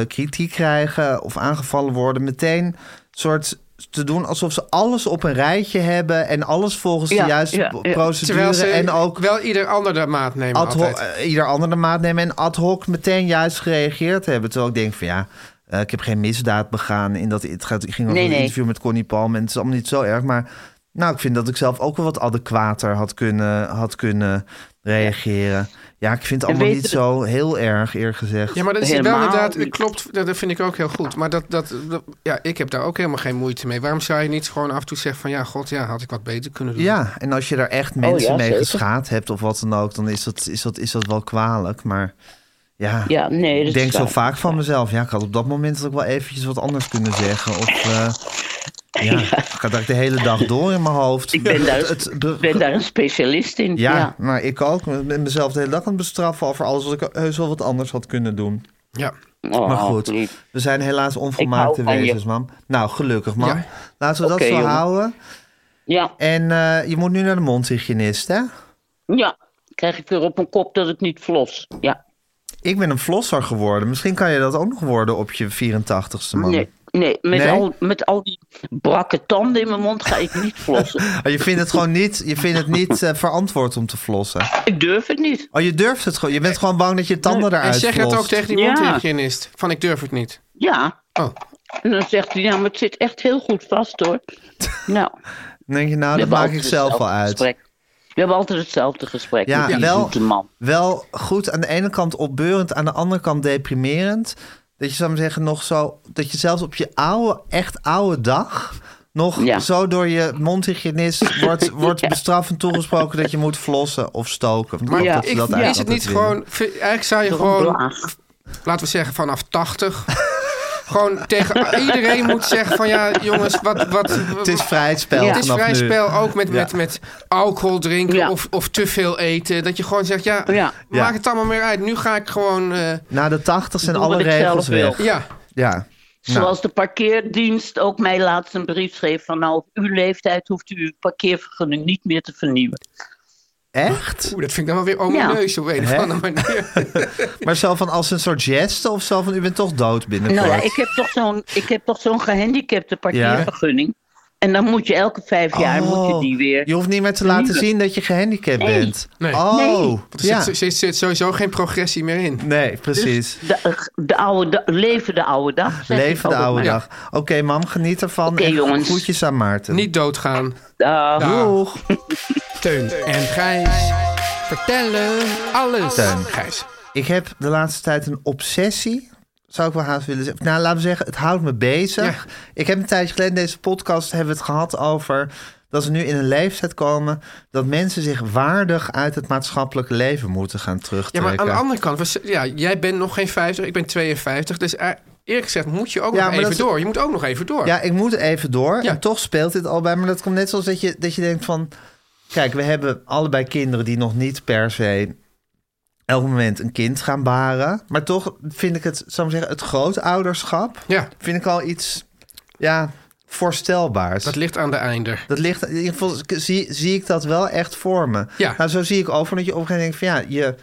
Speaker 3: eh, kritiek krijgen of aangevallen worden... meteen soort te doen alsof ze alles op een rijtje hebben... en alles volgens
Speaker 6: Ja,
Speaker 3: de juiste
Speaker 6: ja, ja.
Speaker 3: procedure
Speaker 2: Terwijl ze
Speaker 3: en ook
Speaker 2: wel ieder ander de maat nemen
Speaker 3: ad hoc,
Speaker 2: altijd.
Speaker 3: eh, ieder andere maat nemen en ad hoc meteen juist gereageerd hebben. Terwijl ik denk van ja, eh, ik heb geen misdaad begaan. In dat, het gaat, ik ging ook
Speaker 6: Nee,
Speaker 3: een
Speaker 6: nee.
Speaker 3: interview met Connie Palm en het is allemaal niet zo erg. Maar nou, ik vind dat ik zelf ook wel wat adequater had kunnen, had kunnen reageren. Ja, ik vind het
Speaker 6: En
Speaker 3: allemaal
Speaker 6: weten
Speaker 3: niet zo heel erg, eerlijk gezegd.
Speaker 2: Ja, maar dat is wel
Speaker 6: Helemaal
Speaker 2: inderdaad, dat
Speaker 6: niet.
Speaker 2: klopt, dat dat vind ik ook heel goed. Maar dat, dat, dat- ja, ik heb daar ook helemaal geen moeite mee. Waarom zou je niet gewoon af en toe zeggen van, ja, god, ja, had ik wat beter kunnen doen?
Speaker 3: Ja, en als je daar echt mensen
Speaker 6: Oh ja,
Speaker 3: mee
Speaker 6: zeker.
Speaker 3: geschaad hebt of wat dan ook, dan is dat, is dat, is dat wel kwalijk. Maar ja,
Speaker 6: Ja, nee, dat
Speaker 3: ik
Speaker 6: is
Speaker 3: denk zo
Speaker 6: waar.
Speaker 3: vaak van mezelf. Ja, ik had op dat moment ook wel eventjes wat anders kunnen zeggen. Of eh, ja, ik had daar de hele dag door in mijn hoofd.
Speaker 6: Ik ben daar- Ik ben daar een specialist in.
Speaker 3: ja,
Speaker 6: Ja,
Speaker 3: maar ik ook. Ik ben mezelf de hele dag aan het bestraffen over alles wat ik heus wel wat anders had kunnen doen.
Speaker 2: Ja.
Speaker 6: Oh,
Speaker 3: Maar goed,
Speaker 6: lief.
Speaker 3: we zijn helaas onvolmaakte
Speaker 6: Ik hou van je.
Speaker 3: wezens, mam. Nou, gelukkig, man.
Speaker 2: Ja.
Speaker 3: Laten we
Speaker 6: Oké,
Speaker 3: dat zo
Speaker 6: jongen.
Speaker 3: houden.
Speaker 6: Ja,
Speaker 3: En eh, je moet nu naar de mondhygiënist, hè?
Speaker 6: ja. Krijg ik weer op mijn kop dat het niet vlos. Ja.
Speaker 3: Ik ben een flosser geworden. Misschien kan je dat ook nog worden op je 84ste, man.
Speaker 6: Nee, nee, met,
Speaker 3: Nee?
Speaker 6: Al, met al die brakke tanden in mijn mond ga ik niet flossen.
Speaker 3: Maar Oh, je vindt het gewoon niet, je vindt het niet eh, verantwoord om te flossen.
Speaker 6: ik durf het niet.
Speaker 3: Oh, je durft het gewoon. Je bent gewoon bang dat je tanden eruit
Speaker 2: En zeg dat ook
Speaker 3: vlost.
Speaker 2: tegen die
Speaker 6: Ja.
Speaker 2: mondhygiënist. Van, ik durf het niet.
Speaker 6: Ja.
Speaker 2: Oh.
Speaker 6: En dan zegt hij, ja, maar het zit echt heel goed vast hoor. Nou,
Speaker 3: Dan denk je, nou, Ah, dat
Speaker 6: hebben
Speaker 3: maak
Speaker 6: altijd
Speaker 3: ik zelf
Speaker 6: hetzelfde
Speaker 3: wel uit.
Speaker 6: gesprek. We hebben altijd hetzelfde gesprek
Speaker 3: Ja,
Speaker 6: met die
Speaker 3: wel-
Speaker 6: zoete man.
Speaker 3: Wel goed, aan de ene kant opbeurend, aan de andere kant deprimerend. Dat je, zou maar zeggen, nog zo... Dat je zelfs op je oude, echt oude dag... nog
Speaker 6: Ja.
Speaker 3: zo door je mondhygiënist wordt, wordt bestraffend toegesproken... dat je moet flossen of stoken. Want ik
Speaker 2: Maar
Speaker 3: geloof
Speaker 6: Ja.
Speaker 3: dat ze dat
Speaker 2: is,
Speaker 3: eigenlijk
Speaker 2: is het niet
Speaker 3: altijd willen.
Speaker 2: gewoon... vind- Eigenlijk zou je
Speaker 6: Door een
Speaker 2: gewoon,
Speaker 6: blaas.
Speaker 2: laten we zeggen, vanaf 80... gewoon tegen iedereen moet zeggen van, ja, jongens, wat... wat
Speaker 3: Het is vrij spel
Speaker 6: Ja.
Speaker 2: Het is
Speaker 3: vanaf
Speaker 2: vrij
Speaker 3: nu.
Speaker 2: spel, ook met, met,
Speaker 3: Ja.
Speaker 2: met alcohol drinken
Speaker 6: Ja.
Speaker 2: of, of te veel eten. Dat je gewoon zegt, ja,
Speaker 6: Ja.
Speaker 3: Ja.
Speaker 2: maak het allemaal meer uit. Nu ga ik gewoon... eh,
Speaker 3: Na de tachtig zijn
Speaker 6: Doe wat
Speaker 3: alle
Speaker 6: ik zelf
Speaker 3: regels
Speaker 6: wil.
Speaker 3: weg.
Speaker 2: ja,
Speaker 3: Ja. Nou.
Speaker 6: Zoals de parkeerdienst ook mij laatst een brief schreef van nou op uw leeftijd hoeft u uw parkeervergunning niet meer te vernieuwen.
Speaker 3: Echt?
Speaker 2: Oeh, dat vind ik dan wel weer omineus op een of
Speaker 3: Hè?
Speaker 2: andere manier.
Speaker 3: Maar zo van als een soort geste of zo van u bent toch dood binnenkort?
Speaker 6: Nou ja, ik heb toch zo'n, ik heb toch zo'n gehandicapte parkeervergunning. En dan moet je elke vijf jaar moet je
Speaker 3: Oh,
Speaker 6: die weer.
Speaker 3: Je hoeft niet meer te laten zien dat je gehandicapt bent.
Speaker 2: Nee.
Speaker 3: Oh,
Speaker 6: Nee.
Speaker 2: Want er
Speaker 3: ja.
Speaker 2: zit, zit, zit sowieso geen progressie meer in.
Speaker 3: Nee, precies.
Speaker 6: De, de oude, da- leven de oude dag. zeg ik
Speaker 3: Leven de
Speaker 6: altijd
Speaker 3: oude
Speaker 6: maar.
Speaker 3: dag. Oké, mam, geniet ervan.
Speaker 6: Oké,
Speaker 3: en
Speaker 6: jongens.
Speaker 3: groetjes aan Maarten.
Speaker 2: Niet doodgaan.
Speaker 6: Dag.
Speaker 3: Doeg.
Speaker 2: Teun en Gijs vertellen alles.
Speaker 3: Teun.
Speaker 2: Gijs.
Speaker 3: Ik heb de laatste tijd een obsessie. Zou ik wel haast willen zeggen. Nou, laten we zeggen, het houdt me bezig. Ik heb een tijdje geleden in deze podcast hebben we het gehad over dat we nu in een leeftijd komen dat mensen zich waardig uit het maatschappelijke leven moeten gaan
Speaker 2: Ja,
Speaker 3: terugtrekken.
Speaker 2: maar aan de andere kant, was, ja, jij bent nog geen 50, ik ben 52. Dus eh, eerlijk gezegd moet je ook
Speaker 3: Ja, maar
Speaker 2: nog even
Speaker 3: dat is-
Speaker 2: door. Je moet ook nog even door.
Speaker 3: Ja, ik moet even door.
Speaker 2: Ja.
Speaker 3: En toch speelt dit al bij me. Dat komt net zoals dat je, dat je denkt van... Kijk, we hebben allebei kinderen die nog niet per se elk moment een kind gaan baren. Maar toch vind ik het, zou ik zeggen, het grootouderschap...
Speaker 2: Ja.
Speaker 3: vind ik al iets, ja, voorstelbaars.
Speaker 2: Dat ligt aan de einder.
Speaker 3: Dat ligt, in ieder geval zie, zie ik dat wel echt voor me.
Speaker 2: Ja.
Speaker 3: Nou, zo zie ik over dat je op een gegeven moment denkt van ja, je,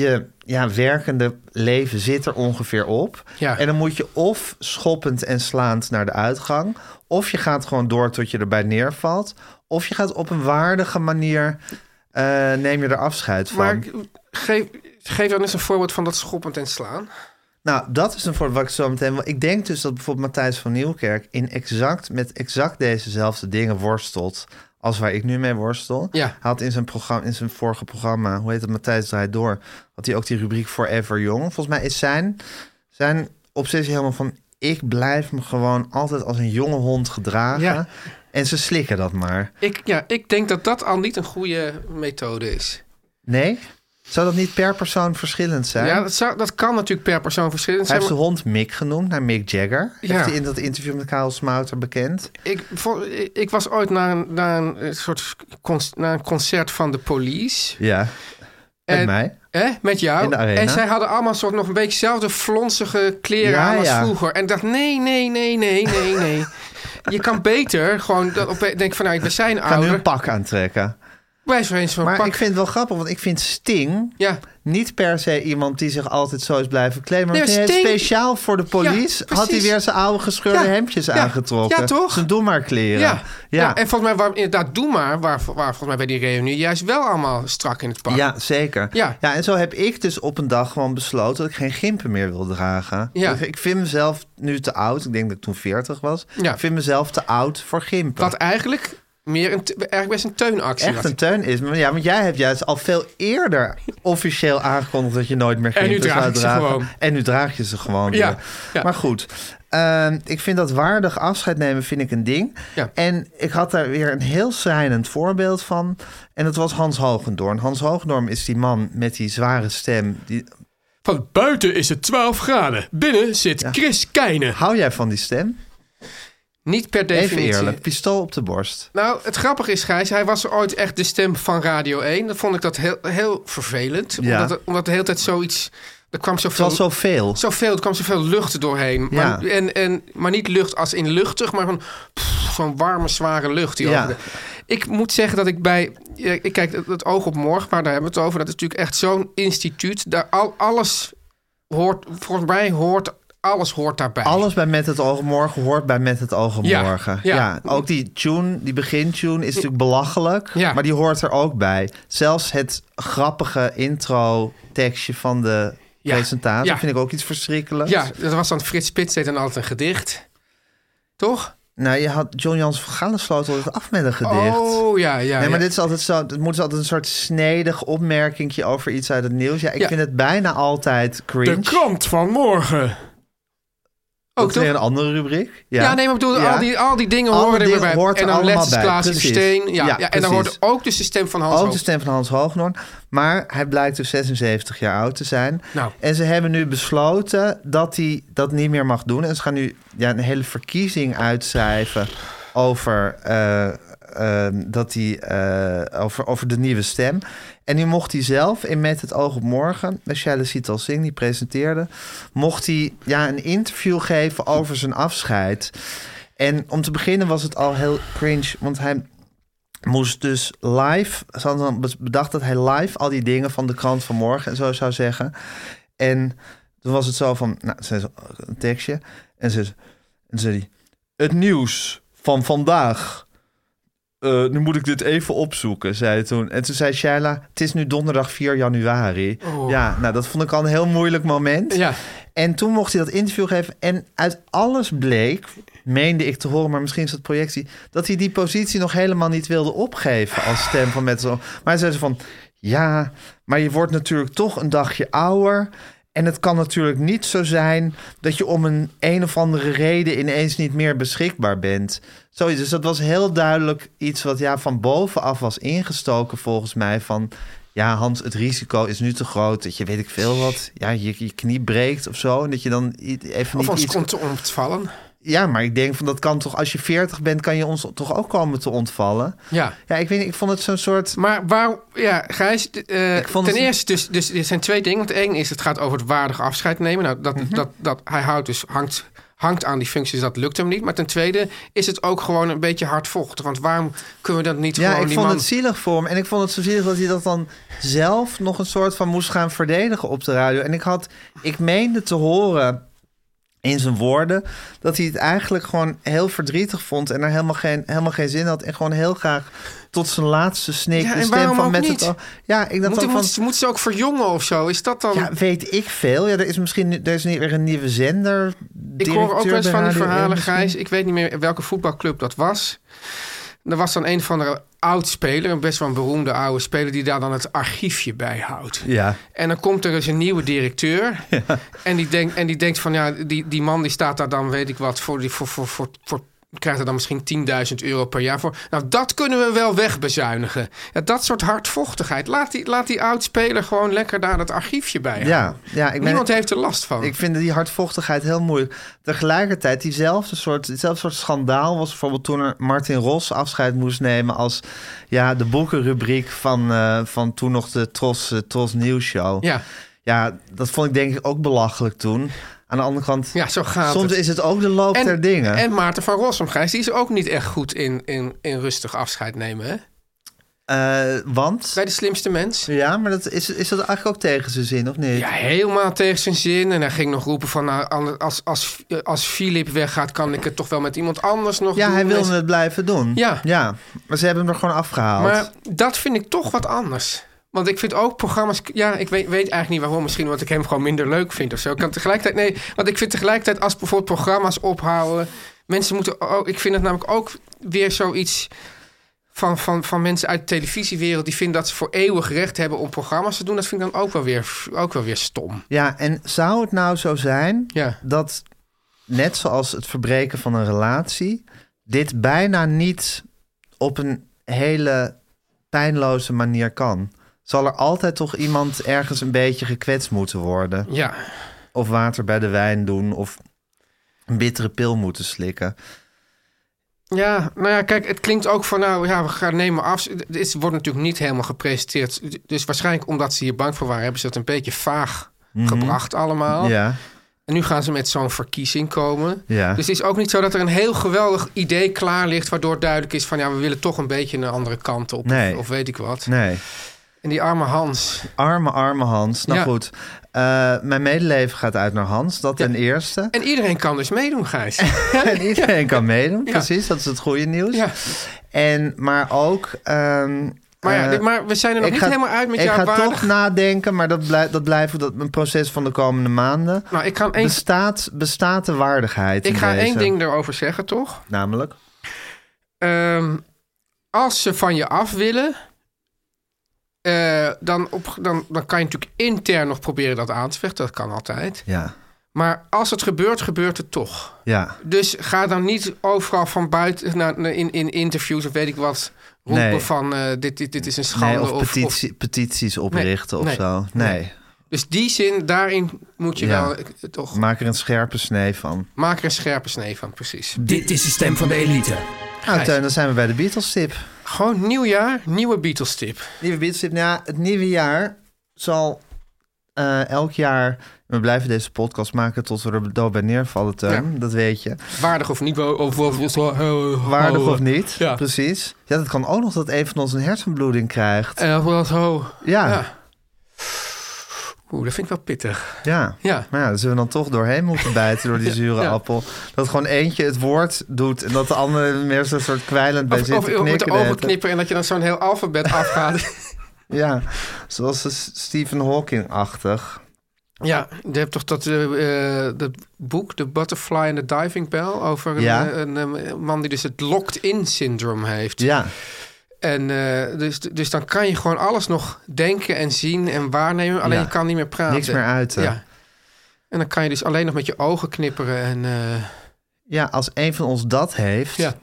Speaker 3: je ja, werkende leven zit er ongeveer op.
Speaker 2: Ja.
Speaker 3: En dan moet je of schoppend en slaand naar de uitgang, of je gaat gewoon door tot je erbij neervalt, of je gaat op een waardige manier, eh, neem je er afscheid van.
Speaker 2: Maar geef, geef dan eens een voorbeeld van dat schoppend en slaan.
Speaker 3: Nou, dat is een voorbeeld wat ik zo meteen... want Ik denk dus dat bijvoorbeeld Matthijs van Nieuwkerk... In exact, met exact dezezelfde dingen worstelt... als waar ik nu mee worstel.
Speaker 2: Ja.
Speaker 3: Hij had in zijn, programma, in zijn vorige programma... hoe heet het, Matthijs draait door... had hij ook die rubriek Forever Young. Volgens mij is zijn, zijn obsessie helemaal van... ik blijf me gewoon altijd als een jonge hond gedragen...
Speaker 2: Ja.
Speaker 3: en ze slikken dat maar.
Speaker 2: Ik, ja, ik denk dat dat al niet een goede methode is.
Speaker 3: Nee? Zou dat niet per persoon verschillend zijn?
Speaker 2: Ja, dat, zou, dat kan natuurlijk per persoon verschillend
Speaker 3: Hij
Speaker 2: zijn.
Speaker 3: heeft de
Speaker 2: maar
Speaker 3: hond Mick genoemd, naar Mick Jagger.
Speaker 2: Ja.
Speaker 3: Heeft hij in dat interview met Karel Smouter bekend.
Speaker 2: ik, vo- ik was ooit naar een, naar een eh, soort con- naar een concert van de police.
Speaker 3: Ja. Met
Speaker 2: En-
Speaker 3: mij.
Speaker 2: Hè, met jou.
Speaker 3: In de arena.
Speaker 2: En zij hadden allemaal soort nog een beetje zelfde flonsige kleren
Speaker 3: Ja,
Speaker 2: aan als
Speaker 3: ja.
Speaker 2: vroeger. En ik dacht, nee, nee, nee, nee, nee, nee. Je kan beter gewoon dat op, denk van, nou, we zijn
Speaker 3: Ik ga nu een
Speaker 2: ouder.
Speaker 3: pak aantrekken.
Speaker 2: Wij zijn eens zo'n
Speaker 3: Maar
Speaker 2: pak.
Speaker 3: ik vind het wel grappig, want ik vind Sting
Speaker 2: Ja,
Speaker 3: niet per se iemand die zich altijd zo is blijven kleden. Maar
Speaker 2: Nee, maar
Speaker 3: meteen
Speaker 2: Sting-
Speaker 3: speciaal voor de police
Speaker 2: Ja,
Speaker 3: had hij
Speaker 2: precies.
Speaker 3: weer zijn oude gescheurde
Speaker 2: Ja,
Speaker 3: hemdjes
Speaker 2: ja,
Speaker 3: aangetrokken.
Speaker 2: ja, toch?
Speaker 3: Zijn doe maar kleren.
Speaker 2: ja.
Speaker 3: ja.
Speaker 2: ja. En volgens mij, waar, inderdaad, Doe Maar, waar, waar volgens mij bij die reunie juist wel allemaal strak in het pak.
Speaker 3: Ja, zeker.
Speaker 2: Ja.
Speaker 3: en zo heb ik dus op een dag gewoon besloten dat ik geen gimpen meer wil dragen.
Speaker 2: Ja.
Speaker 3: Dus ik vind mezelf nu te oud. Ik denk dat ik toen 40 was.
Speaker 2: Ja.
Speaker 3: Ik vind mezelf te oud voor gimpen.
Speaker 2: Dat eigenlijk meer een, te- eigenlijk best een teunactie
Speaker 3: echt
Speaker 2: was.
Speaker 3: een teun is. Maar ja, want jij hebt juist al veel eerder officieel aangekondigd dat je nooit meer
Speaker 2: En nu
Speaker 3: gimpen
Speaker 2: draag
Speaker 3: zou
Speaker 2: ik ze
Speaker 3: dragen.
Speaker 2: gewoon.
Speaker 3: En nu draag je ze gewoon
Speaker 2: Ja,
Speaker 3: weer.
Speaker 2: ja.
Speaker 3: Maar goed, ehm, ik vind dat waardig afscheid nemen vind ik een ding.
Speaker 2: Ja.
Speaker 3: En ik had daar weer een heel schrijnend voorbeeld van. En dat was Hans Hogendoorn. Hans Hogendoorn is die man met die zware stem. Die...
Speaker 2: Van buiten is het 12 graden. Binnen zit Chris Keijnen.
Speaker 3: Hou jij van die stem?
Speaker 2: Niet per
Speaker 3: Even
Speaker 2: definitie.
Speaker 3: eerlijk, pistool op de borst.
Speaker 2: Nou, het grappige is, Gijs, hij was ooit echt de stem van Radio 1. Dat vond ik dat heel, heel vervelend.
Speaker 3: Ja.
Speaker 2: Omdat, het- omdat de hele tijd zoiets... Er kwam
Speaker 3: Het
Speaker 2: zoveel,
Speaker 3: was zoveel.
Speaker 2: zoveel, er kwam zoveel lucht er doorheen. Maar,
Speaker 3: Ja.
Speaker 2: en, en, maar niet lucht als in luchtig, maar van pff, zo'n warme, zware lucht. Die
Speaker 3: Ja.
Speaker 2: over de- Ik moet zeggen dat ik bij... ja, Ik kijk, het, het oog op morgen, maar daar hebben we het over. Dat is natuurlijk echt zo'n instituut. Daar al, alles hoort, volgens mij hoort... Alles hoort daarbij.
Speaker 3: Alles bij Met het Oog op Morgen hoort bij Met het Oog op
Speaker 2: Ja,
Speaker 3: Morgen. Ja.
Speaker 2: ja.
Speaker 3: ook die tune, die begintune is natuurlijk belachelijk.
Speaker 2: Ja.
Speaker 3: Maar die hoort er ook bij. Zelfs het grappige intro-tekstje van de
Speaker 2: Ja,
Speaker 3: presentatie
Speaker 2: ja.
Speaker 3: vind ik ook iets verschrikkelijks.
Speaker 2: Ja, dat was dan Frits Spits deed dan altijd een gedicht. Toch?
Speaker 3: Nou, je had John Jans van Galen sloot altijd af met een gedicht.
Speaker 2: Oh, ja, ja.
Speaker 3: Nee, maar
Speaker 2: ja.
Speaker 3: dit is altijd zo. Het moet altijd een soort snedig opmerkingje over iets uit het nieuws. Ja, ik
Speaker 2: Ja.
Speaker 3: vind het bijna altijd cringe.
Speaker 2: De krant van morgen.
Speaker 3: Dat
Speaker 2: Ook
Speaker 3: is
Speaker 2: toch?
Speaker 3: weer
Speaker 2: Ja.
Speaker 3: een andere rubriek. Ja,
Speaker 2: nee, maar ik bedoel,
Speaker 3: Ja.
Speaker 2: al, die, al die dingen
Speaker 3: Alle
Speaker 2: horen er weer
Speaker 3: dingen
Speaker 2: bij.
Speaker 3: hoort er
Speaker 2: en dan
Speaker 3: allemaal
Speaker 2: Let's
Speaker 3: bij,
Speaker 2: Klaas en
Speaker 3: precies.
Speaker 2: Steen. Ja,
Speaker 3: Ja,
Speaker 2: ja, en dan
Speaker 3: precies.
Speaker 2: hoort ook dus de stem van Hans
Speaker 3: Ook de
Speaker 2: Hoog.
Speaker 3: stem van Hans Hoognoorn. Maar hij blijkt dus 76 jaar oud te zijn.
Speaker 2: Nou.
Speaker 3: En ze hebben nu besloten dat hij dat niet meer mag doen. En ze gaan nu ja, een hele verkiezing uitschrijven over, eh, eh, dat hij, eh, over, over de nieuwe stem. En nu mocht hij zelf in Met het Oog op Morgen, met Shaila Sital Singh, die presenteerde, mocht hij ja, een interview geven over zijn afscheid. En om te beginnen was het al heel cringe, want hij moest dus live, ze hadden dan bedacht dat hij live al die dingen van de krant van morgen en zo zou zeggen. En toen was het zo van, nou, zei ze een tekstje. En ze, en zei die, het nieuws van vandaag. Eh, nu moet ik dit even opzoeken, zei hij toen. En toen zei Shaila, het is nu donderdag 4 januari. Ja, nou, dat vond ik al een heel moeilijk moment.
Speaker 2: Ja.
Speaker 3: En toen mocht hij dat interview geven. En uit alles bleek, meende ik te horen, maar misschien is dat projectie, dat hij die positie nog helemaal niet wilde opgeven als stem van met Maar hij zei zo van, ja, maar je wordt natuurlijk toch een dagje ouder. En het kan natuurlijk niet zo zijn dat je om een een of andere reden ineens niet meer beschikbaar bent. Zoiets. Dus dat was heel duidelijk iets wat ja, van bovenaf was ingestoken volgens mij van... Ja, Hans, het risico is nu te groot dat je, weet ik veel wat, ja, je, je knie breekt of zo. En dat je dan i- even
Speaker 2: Of
Speaker 3: niet
Speaker 2: ons
Speaker 3: iets...
Speaker 2: komt te ontvallen.
Speaker 3: Ja, maar ik denk van dat kan toch, als je 40 bent, kan je ons toch ook komen te ontvallen.
Speaker 2: Ja.
Speaker 3: Ja, ik weet niet, ik vond het zo'n soort.
Speaker 2: Maar waar, ja, Gijs, d- eh,
Speaker 3: Ik vond
Speaker 2: ten
Speaker 3: het-
Speaker 2: eerste, dus, dus er zijn twee dingen. Want één is, het gaat over het waardig afscheid nemen. Nou, dat, dat, dat, hij houdt dus, hangt, hangt aan die functies, dat lukt hem niet. Maar ten tweede is het ook gewoon een beetje hardvochtig. Want waarom kunnen we dat niet
Speaker 3: Ja,
Speaker 2: gewoon
Speaker 3: ik
Speaker 2: die
Speaker 3: vond
Speaker 2: man...
Speaker 3: het zielig voor hem. En ik vond het zo zielig dat hij dat dan zelf nog een soort van moest gaan verdedigen op de radio. En ik had, ik meende te horen in zijn woorden dat hij het eigenlijk gewoon heel verdrietig vond en er helemaal geen, helemaal geen zin had en gewoon heel graag tot zijn laatste snik
Speaker 2: Ja,
Speaker 3: de
Speaker 2: en
Speaker 3: stem
Speaker 2: waarom
Speaker 3: van
Speaker 2: ook
Speaker 3: met
Speaker 2: niet?
Speaker 3: het oog- ja ik dacht
Speaker 2: moet,
Speaker 3: ook van
Speaker 2: moet, moet ze ook verjongen of zo? Is dat dan...
Speaker 3: ja weet ik veel ja er is misschien nu- er is nu weer een nieuwe zender eh,
Speaker 2: Ik hoor ook wel eens van die verhalen,
Speaker 3: Gijs.
Speaker 2: Gijs. Ik weet niet meer welke voetbalclub dat was. Er was dan een van de oud-speler, een best wel een beroemde oude speler... die daar dan het archiefje bij houdt.
Speaker 3: ja
Speaker 2: En dan komt er eens een nieuwe directeur. En, die denkt, en die denkt van, ja, die, die man die staat daar dan, weet ik wat... voor, die, voor, voor, voor, voor krijgt er dan misschien 10.000 euro per jaar voor. Nou, dat kunnen we wel wegbezuinigen. Ja, dat soort hardvochtigheid. Laat die, laat die oud-speler gewoon lekker daar dat archiefje bij houden.
Speaker 3: ja ja ik ben
Speaker 2: Niemand heeft er last van.
Speaker 3: Ik vind die hardvochtigheid heel moeilijk. Tegelijkertijd, diezelfde soort, diezelfde soort schandaal was bijvoorbeeld toen er Martin Ros afscheid moest nemen als ja, de boekenrubriek van, eh, van toen nog de Tros, eh, Tros Nieuws Show.
Speaker 2: Ja.
Speaker 3: Ja, dat vond ik denk ik ook belachelijk toen. Aan de andere kant,
Speaker 2: ja, zo gaat
Speaker 3: soms
Speaker 2: het.
Speaker 3: is het ook de loop der dingen.
Speaker 2: En Maarten van Rossum, Gijs, die is ook niet echt goed in, in, in rustig afscheid nemen. Hè?
Speaker 3: Eh, want,
Speaker 2: Bij de slimste mens.
Speaker 3: ja, maar dat is, is dat eigenlijk ook tegen zijn zin, of niet?
Speaker 2: Ja, helemaal tegen zijn zin. En hij ging nog roepen van, nou, ander- als, als, eh, als Filip weggaat, kan ik het toch wel met iemand anders nog
Speaker 3: Ja,
Speaker 2: doen.
Speaker 3: hij wilde
Speaker 2: En-
Speaker 3: het blijven doen.
Speaker 2: Ja.
Speaker 3: ja, maar ze hebben hem er gewoon afgehaald.
Speaker 2: Maar dat vind ik toch wat anders. Want ik vind ook programma's... Ja, ik weet, weet eigenlijk niet waarom. Misschien omdat ik hem gewoon minder leuk vind of zo. Ik kan tegelijkertijd... Nee, want ik vind tegelijkertijd als bijvoorbeeld programma's ophouden... Mensen moeten ook... Ik vind het namelijk ook weer zoiets... Van, van, van mensen uit de televisiewereld die vinden dat ze voor eeuwig recht hebben om programma's te doen. Dat vind ik dan ook wel weer, ook wel weer stom.
Speaker 3: Ja, en zou het nou zo zijn
Speaker 2: Ja.
Speaker 3: dat, net zoals het verbreken van een relatie, dit bijna niet op een hele pijnloze manier kan? Zal er altijd toch iemand ergens een beetje gekwetst moeten worden?
Speaker 2: Ja.
Speaker 3: Of water bij de wijn doen, of een bittere pil moeten slikken?
Speaker 2: Ja, nou ja, kijk, het klinkt ook van, nou ja, we gaan nemen af. Het wordt natuurlijk niet helemaal gepresenteerd. Dus waarschijnlijk omdat ze hier bang voor waren, hebben ze dat een beetje vaag gebracht allemaal.
Speaker 3: Mhm. Ja,
Speaker 2: En nu gaan ze met zo'n verkiezing komen.
Speaker 3: Ja.
Speaker 2: Dus het is ook niet zo dat er een heel geweldig idee klaar ligt, waardoor het duidelijk is van, ja, we willen toch een beetje een andere kant op.
Speaker 3: Nee.
Speaker 2: Of weet ik wat.
Speaker 3: nee.
Speaker 2: En die arme Hans.
Speaker 3: Arme, arme Hans. Nou
Speaker 2: Ja.
Speaker 3: goed, Eh, mijn medeleven gaat uit naar Hans, dat ten eerste.
Speaker 2: En iedereen kan dus meedoen, Gijs.
Speaker 3: En iedereen kan meedoen,
Speaker 2: Ja.
Speaker 3: precies. Dat is het goede nieuws.
Speaker 2: ja.
Speaker 3: En, maar ook... ehm,
Speaker 2: Maar, ja,
Speaker 3: eh,
Speaker 2: dit- maar we zijn er nog niet
Speaker 3: ga-
Speaker 2: helemaal uit met
Speaker 3: ik
Speaker 2: jouw
Speaker 3: ga
Speaker 2: waardig...
Speaker 3: toch nadenken, maar dat blijft, dat blijft dat een proces van de komende maanden.
Speaker 2: Nou, ik kan één,
Speaker 3: Bestaat, bestaat de waardigheid
Speaker 2: ik
Speaker 3: in
Speaker 2: ga één
Speaker 3: deze?
Speaker 2: ding erover zeggen, toch?
Speaker 3: Namelijk?
Speaker 2: Ehm, als ze van je af willen, eh, dan, op, dan, dan kan je natuurlijk intern nog proberen dat aan te vechten. Dat kan altijd.
Speaker 3: Ja.
Speaker 2: Maar als het gebeurt, gebeurt het toch.
Speaker 3: Ja.
Speaker 2: Dus ga dan niet overal van buiten naar, naar- in, in interviews of weet ik wat roepen
Speaker 3: Nee.
Speaker 2: van eh, dit, dit, dit is een schande.
Speaker 3: Nee, of,
Speaker 2: of- of-
Speaker 3: petitie- petities oprichten
Speaker 2: Nee,
Speaker 3: of zo.
Speaker 2: nee,
Speaker 3: Nee.
Speaker 2: dus die zin, daarin moet je
Speaker 3: Ja.
Speaker 2: wel eh, toch.
Speaker 3: Maak er een scherpe snee van.
Speaker 2: Maak er een scherpe snee van, precies.
Speaker 4: Dit is de stem van de elite.
Speaker 3: Nou, Teun, dan zijn we bij de Beatles-tip.
Speaker 2: Gewoon nieuw jaar, nieuwe Beatles-tip.
Speaker 3: Nieuwe Beatles-tip. Nou ja, het nieuwe jaar zal eh, elk jaar... We blijven deze podcast maken tot we er dood bij neervallen, Teun. Dat weet je.
Speaker 2: Waardig of niet. Of, of, of-
Speaker 3: Waardig of niet,
Speaker 2: Oh, Ja.
Speaker 3: precies. Ja, dat kan ook nog dat een van ons een hersenbloeding krijgt.
Speaker 2: En dat was zo.
Speaker 3: Ja, ja.
Speaker 2: Ja. Oeh, dat vind ik wel pittig. Ja.
Speaker 3: Maar ja, daar zullen we dan toch doorheen moeten bijten door die zure
Speaker 2: ja.
Speaker 3: appel. Dat gewoon eentje het woord doet en dat de andere meer zo'n soort kwijlend bij
Speaker 2: Of,
Speaker 3: zit
Speaker 2: of
Speaker 3: te
Speaker 2: je moet
Speaker 3: knikken.
Speaker 2: de
Speaker 3: de hele
Speaker 2: ogen
Speaker 3: tijd.
Speaker 2: knippen en dat je dan zo'n heel alfabet afgaat.
Speaker 3: Ja, zoals de S- Stephen Hawking-achtig.
Speaker 2: Ja, je hebt toch dat, eh, eh, dat boek, The Butterfly and the Diving Bell... over een,
Speaker 3: Ja.
Speaker 2: eh, een, eh, man die dus het locked-in-syndroom heeft.
Speaker 3: Ja,
Speaker 2: En eh, dus, dus dan kan je gewoon alles nog denken en zien en waarnemen... alleen
Speaker 3: Ja.
Speaker 2: je kan niet meer praten.
Speaker 3: niks meer uiten. Ja.
Speaker 2: Ja. En dan kan je dus alleen nog met je ogen knipperen en... eh,
Speaker 3: als een van ons dat heeft,
Speaker 2: ja.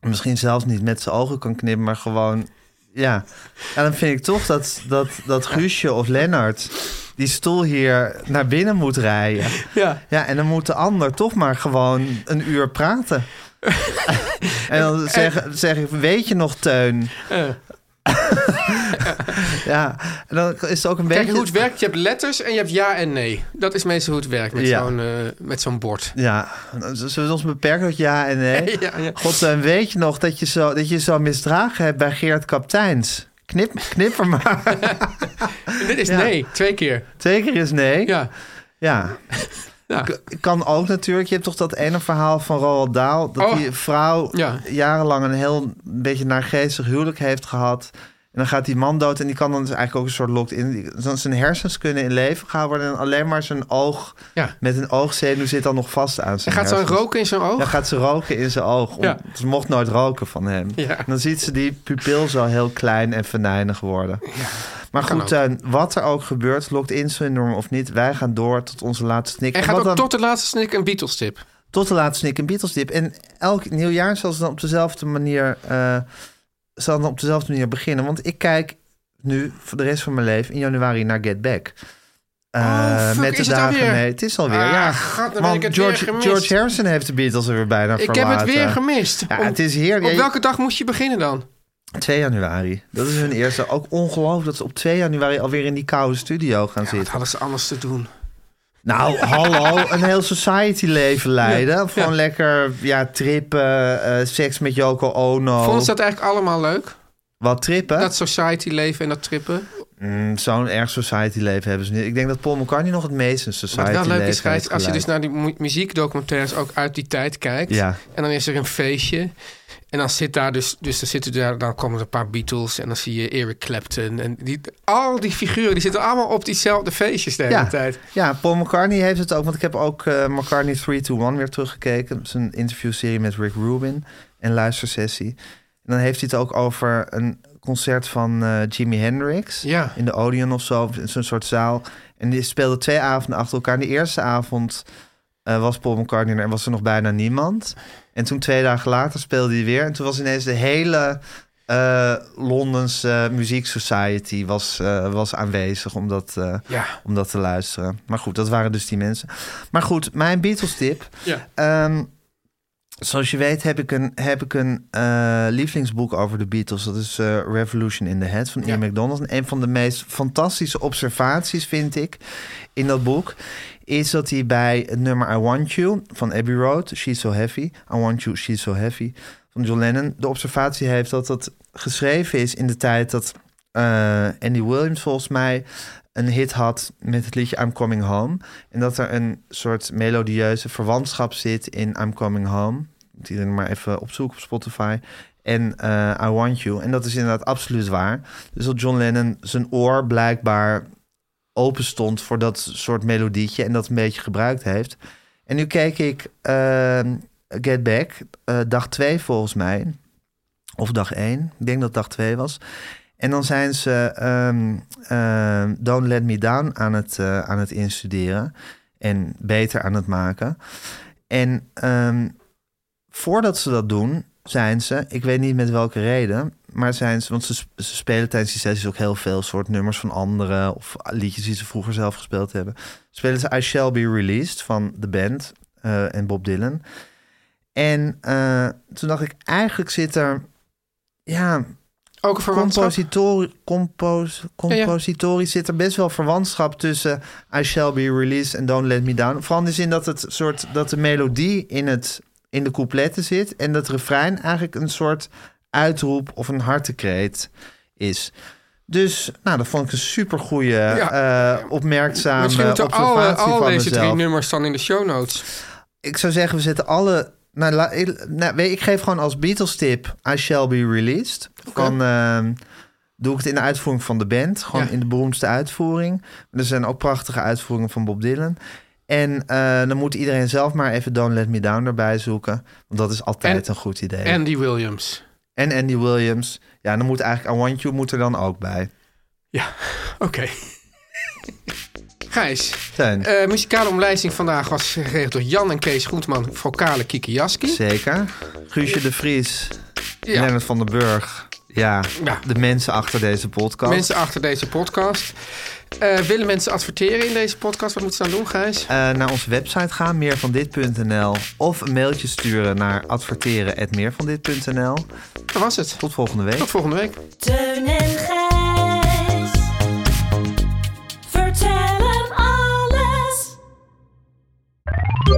Speaker 3: misschien zelfs niet met zijn ogen kan knippen, maar gewoon Ja, en dan vind ik toch dat, dat, dat Guusje of Lennart die stoel hier naar binnen moet rijden.
Speaker 2: Ja.
Speaker 3: Ja, en dan moet de ander toch maar gewoon een uur praten. en dan zeg, zeg ik, weet je nog, Teun?
Speaker 2: eh.
Speaker 3: ja, en dan is het ook een
Speaker 2: Kijk
Speaker 3: beetje...
Speaker 2: hoe het werkt. Je hebt letters en je hebt ja en nee. Dat is meestal hoe het werkt met
Speaker 3: Ja.
Speaker 2: zo'n eh, met zo'n bord.
Speaker 3: Ja, zullen we ons beperken tot ja en nee?
Speaker 2: Ja, ja.
Speaker 3: God, Teun, weet je nog dat je zo, dat je zo misdragen hebt bij Geert Kapteins? Knip, knip er maar.
Speaker 2: En dit is
Speaker 3: Ja.
Speaker 2: nee, twee keer.
Speaker 3: Twee keer is nee.
Speaker 2: Ja.
Speaker 3: Ja.
Speaker 2: Ja.
Speaker 3: K- Kan ook natuurlijk. Je hebt toch dat ene verhaal van Roald Dahl... dat
Speaker 2: Oh.
Speaker 3: die vrouw
Speaker 2: Ja.
Speaker 3: jarenlang een heel een beetje naargeestig huwelijk heeft gehad... En dan gaat die man dood en die kan dan dus eigenlijk ook een soort locked in. die- Dan zijn hersens kunnen in leven gehouden worden en alleen maar zijn oog
Speaker 2: Ja.
Speaker 3: met een oogzenuw zit dan nog vast aan
Speaker 2: En
Speaker 3: zijn
Speaker 2: gaat zo'n
Speaker 3: hersens.
Speaker 2: roken in zijn oog?
Speaker 3: Dan gaat ze roken in zijn oog. Om-
Speaker 2: Ja.
Speaker 3: Ze mocht nooit roken van hem.
Speaker 2: Ja.
Speaker 3: En dan ziet ze die pupil zo heel klein en venijnig worden. Maar
Speaker 2: Kan
Speaker 3: goed, Teun, wat er ook gebeurt, lokt insulin of niet, wij gaan door tot onze laatste snik.
Speaker 2: en gaat
Speaker 3: wat
Speaker 2: ook
Speaker 3: dan-
Speaker 2: tot de laatste snik een Beatles tip.
Speaker 3: tot de laatste snik en Beatles dip. En elk nieuwjaar zal ze dan op dezelfde manier, eh, zal dan op dezelfde manier beginnen. Want ik kijk nu voor de rest van mijn leven in januari naar Get Back. Eh,
Speaker 2: Oh, fuck,
Speaker 3: met de
Speaker 2: is het
Speaker 3: dagen
Speaker 2: alweer?
Speaker 3: mee. Het is alweer,
Speaker 2: Ah,
Speaker 3: ja.
Speaker 2: god, dan ben
Speaker 3: Want
Speaker 2: ik het weer
Speaker 3: George,
Speaker 2: gemist.
Speaker 3: George Harrison heeft de Beatles er weer bijna
Speaker 2: Ik heb
Speaker 3: verlaten.
Speaker 2: het weer gemist.
Speaker 3: Ja,
Speaker 2: Om-
Speaker 3: het is heerlijk.
Speaker 2: Op
Speaker 3: Ja, je-
Speaker 2: welke dag moest je beginnen dan?
Speaker 3: 2 januari. Dat is hun eerste. Ook ongelooflijk dat ze op 2 januari alweer in die koude studio gaan
Speaker 2: Wat
Speaker 3: zitten.
Speaker 2: hadden ze anders te doen?
Speaker 3: Nou, hallo. Een heel society leven leiden. Gewoon lekker ja, trippen, eh, seks met Yoko Ono.
Speaker 2: Vonden ze dat eigenlijk allemaal leuk?
Speaker 3: Wat trippen?
Speaker 2: Dat society leven en dat trippen?
Speaker 3: Mm, Zo'n erg society leven hebben ze niet. Ik denk dat Paul McCartney nog het meest een
Speaker 2: Wat
Speaker 3: society
Speaker 2: wel
Speaker 3: leven
Speaker 2: leuk is, Gijs,
Speaker 3: heeft
Speaker 2: als je dus
Speaker 3: geleid.
Speaker 2: naar die mu- muziekdocumentaires ook uit die tijd kijkt.
Speaker 3: Ja.
Speaker 2: En dan is er een feestje. En dan zit daar dus, dus dan zitten daar, dan komen er een paar Beatles en dan zie je Eric Clapton. En die, al die figuren, die zitten allemaal op diezelfde feestjes de hele
Speaker 3: Ja.
Speaker 2: tijd.
Speaker 3: Ja, Paul McCartney heeft het ook. Want ik heb ook eh, McCartney 321 weer teruggekeken. Dat is een interviewserie met Rick Rubin. En luistersessie. En dan heeft hij het ook over een concert van eh, Jimi Hendrix.
Speaker 2: Ja.
Speaker 3: In de Odeon of zo. in Zo'n soort zaal. En die speelde twee avonden achter elkaar. En de eerste avond eh, was Paul McCartney er en was er nog bijna niemand. En toen twee dagen later speelde hij weer. En toen was ineens de hele eh Londense eh, Muziek Society was, eh, was aanwezig om dat, eh,
Speaker 2: Ja.
Speaker 3: om dat te luisteren. Maar goed, dat waren dus die mensen. Maar goed, mijn Beatles tip.
Speaker 2: Ja.
Speaker 3: Ehm, zoals je weet heb ik een, heb ik een eh, lievelingsboek over de Beatles. Dat is eh, Revolution in the Head van Ian
Speaker 2: Ja.
Speaker 3: McDonald. En een van de meest fantastische observaties vind ik in dat boek... is dat hij bij het nummer I Want You van Abbey Road... She's So Heavy, I Want You, She's So Heavy van John Lennon... de observatie heeft dat dat geschreven is in de tijd dat... eh, Andy Williams volgens mij een hit had met het liedje I'm Coming Home. En dat er een soort melodieuze verwantschap zit in I'm Coming Home. Moet iedereen maar even opzoeken op Spotify. En eh, I Want You. En dat is inderdaad absoluut waar. Dus dat John Lennon zijn oor blijkbaar open stond voor dat soort melodietje en dat een beetje gebruikt heeft. En nu keek ik eh, Get Back, eh, dag 2 volgens mij. Of dag 1. Ik denk dat dag 2 was. En dan zijn ze ehm, ehm, Don't Let Me Down aan het, eh, aan het instuderen. En beter aan het maken. En ehm, voordat ze dat doen, zijn ze, ik weet niet met welke reden, maar zijn ze, want ze, sp- ze spelen tijdens die sessies ook heel veel soort nummers van anderen of liedjes die ze vroeger zelf gespeeld hebben. Spelen ze I Shall Be Released van de band eh, en Bob Dylan. En eh, toen dacht ik, eigenlijk zit er, ja,
Speaker 2: Ook een verwantschap.
Speaker 3: compositor, compos,
Speaker 2: ja.
Speaker 3: compositorisch zit er best wel verwantschap tussen I Shall Be Released en Don't Let Me Down. Vooral in de zin dat, het soort, dat de melodie in, het, in de coupletten zit en dat refrein eigenlijk een soort uitroep of een hartekreet is. Dus, nou, dat vond ik een supergoeie,
Speaker 2: Ja.
Speaker 3: eh, opmerkzame
Speaker 2: Misschien moeten we al,
Speaker 3: observatie
Speaker 2: al
Speaker 3: van
Speaker 2: deze
Speaker 3: mezelf.
Speaker 2: drie nummers dan in de show notes.
Speaker 3: Ik zou zeggen, we zetten alle... Nou, la- ik, nou, weet je, ik geef gewoon als Beatles-tip... I Shall Be Released. Van, ehm, doe ik het in de uitvoering van de band. Gewoon
Speaker 2: Ja.
Speaker 3: in de beroemdste uitvoering. Er zijn ook prachtige uitvoeringen van Bob Dylan. En eh, dan moet iedereen zelf maar even Don't Let Me Down erbij zoeken. Want dat is altijd
Speaker 2: En-
Speaker 3: een goed idee.
Speaker 2: Andy Williams.
Speaker 3: En Andy Williams. Ja, dan moet eigenlijk I Want You moet er dan ook bij.
Speaker 2: Ja, oké. Gijs,
Speaker 3: Teun,
Speaker 2: eh, muzikale omlijsting vandaag was geregeld door Jan en Kees Groentman, vocale Kiki Jaski.
Speaker 3: zeker. Guusje de Vries.
Speaker 2: Ja.
Speaker 3: Lennart van den Burg. Ja,
Speaker 2: Ja.
Speaker 3: de mensen achter deze podcast.
Speaker 2: Mensen achter deze podcast. Eh, willen mensen adverteren in deze podcast? Wat moeten ze dan doen, Gijs?
Speaker 3: Eh, naar onze website gaan, meervandit.nl. Of een mailtje sturen naar adverteren.meervandit.nl.
Speaker 2: Dat was het.
Speaker 3: Tot volgende week.
Speaker 2: Tot volgende week.
Speaker 5: Teun en Gijs. Vertel hem alles.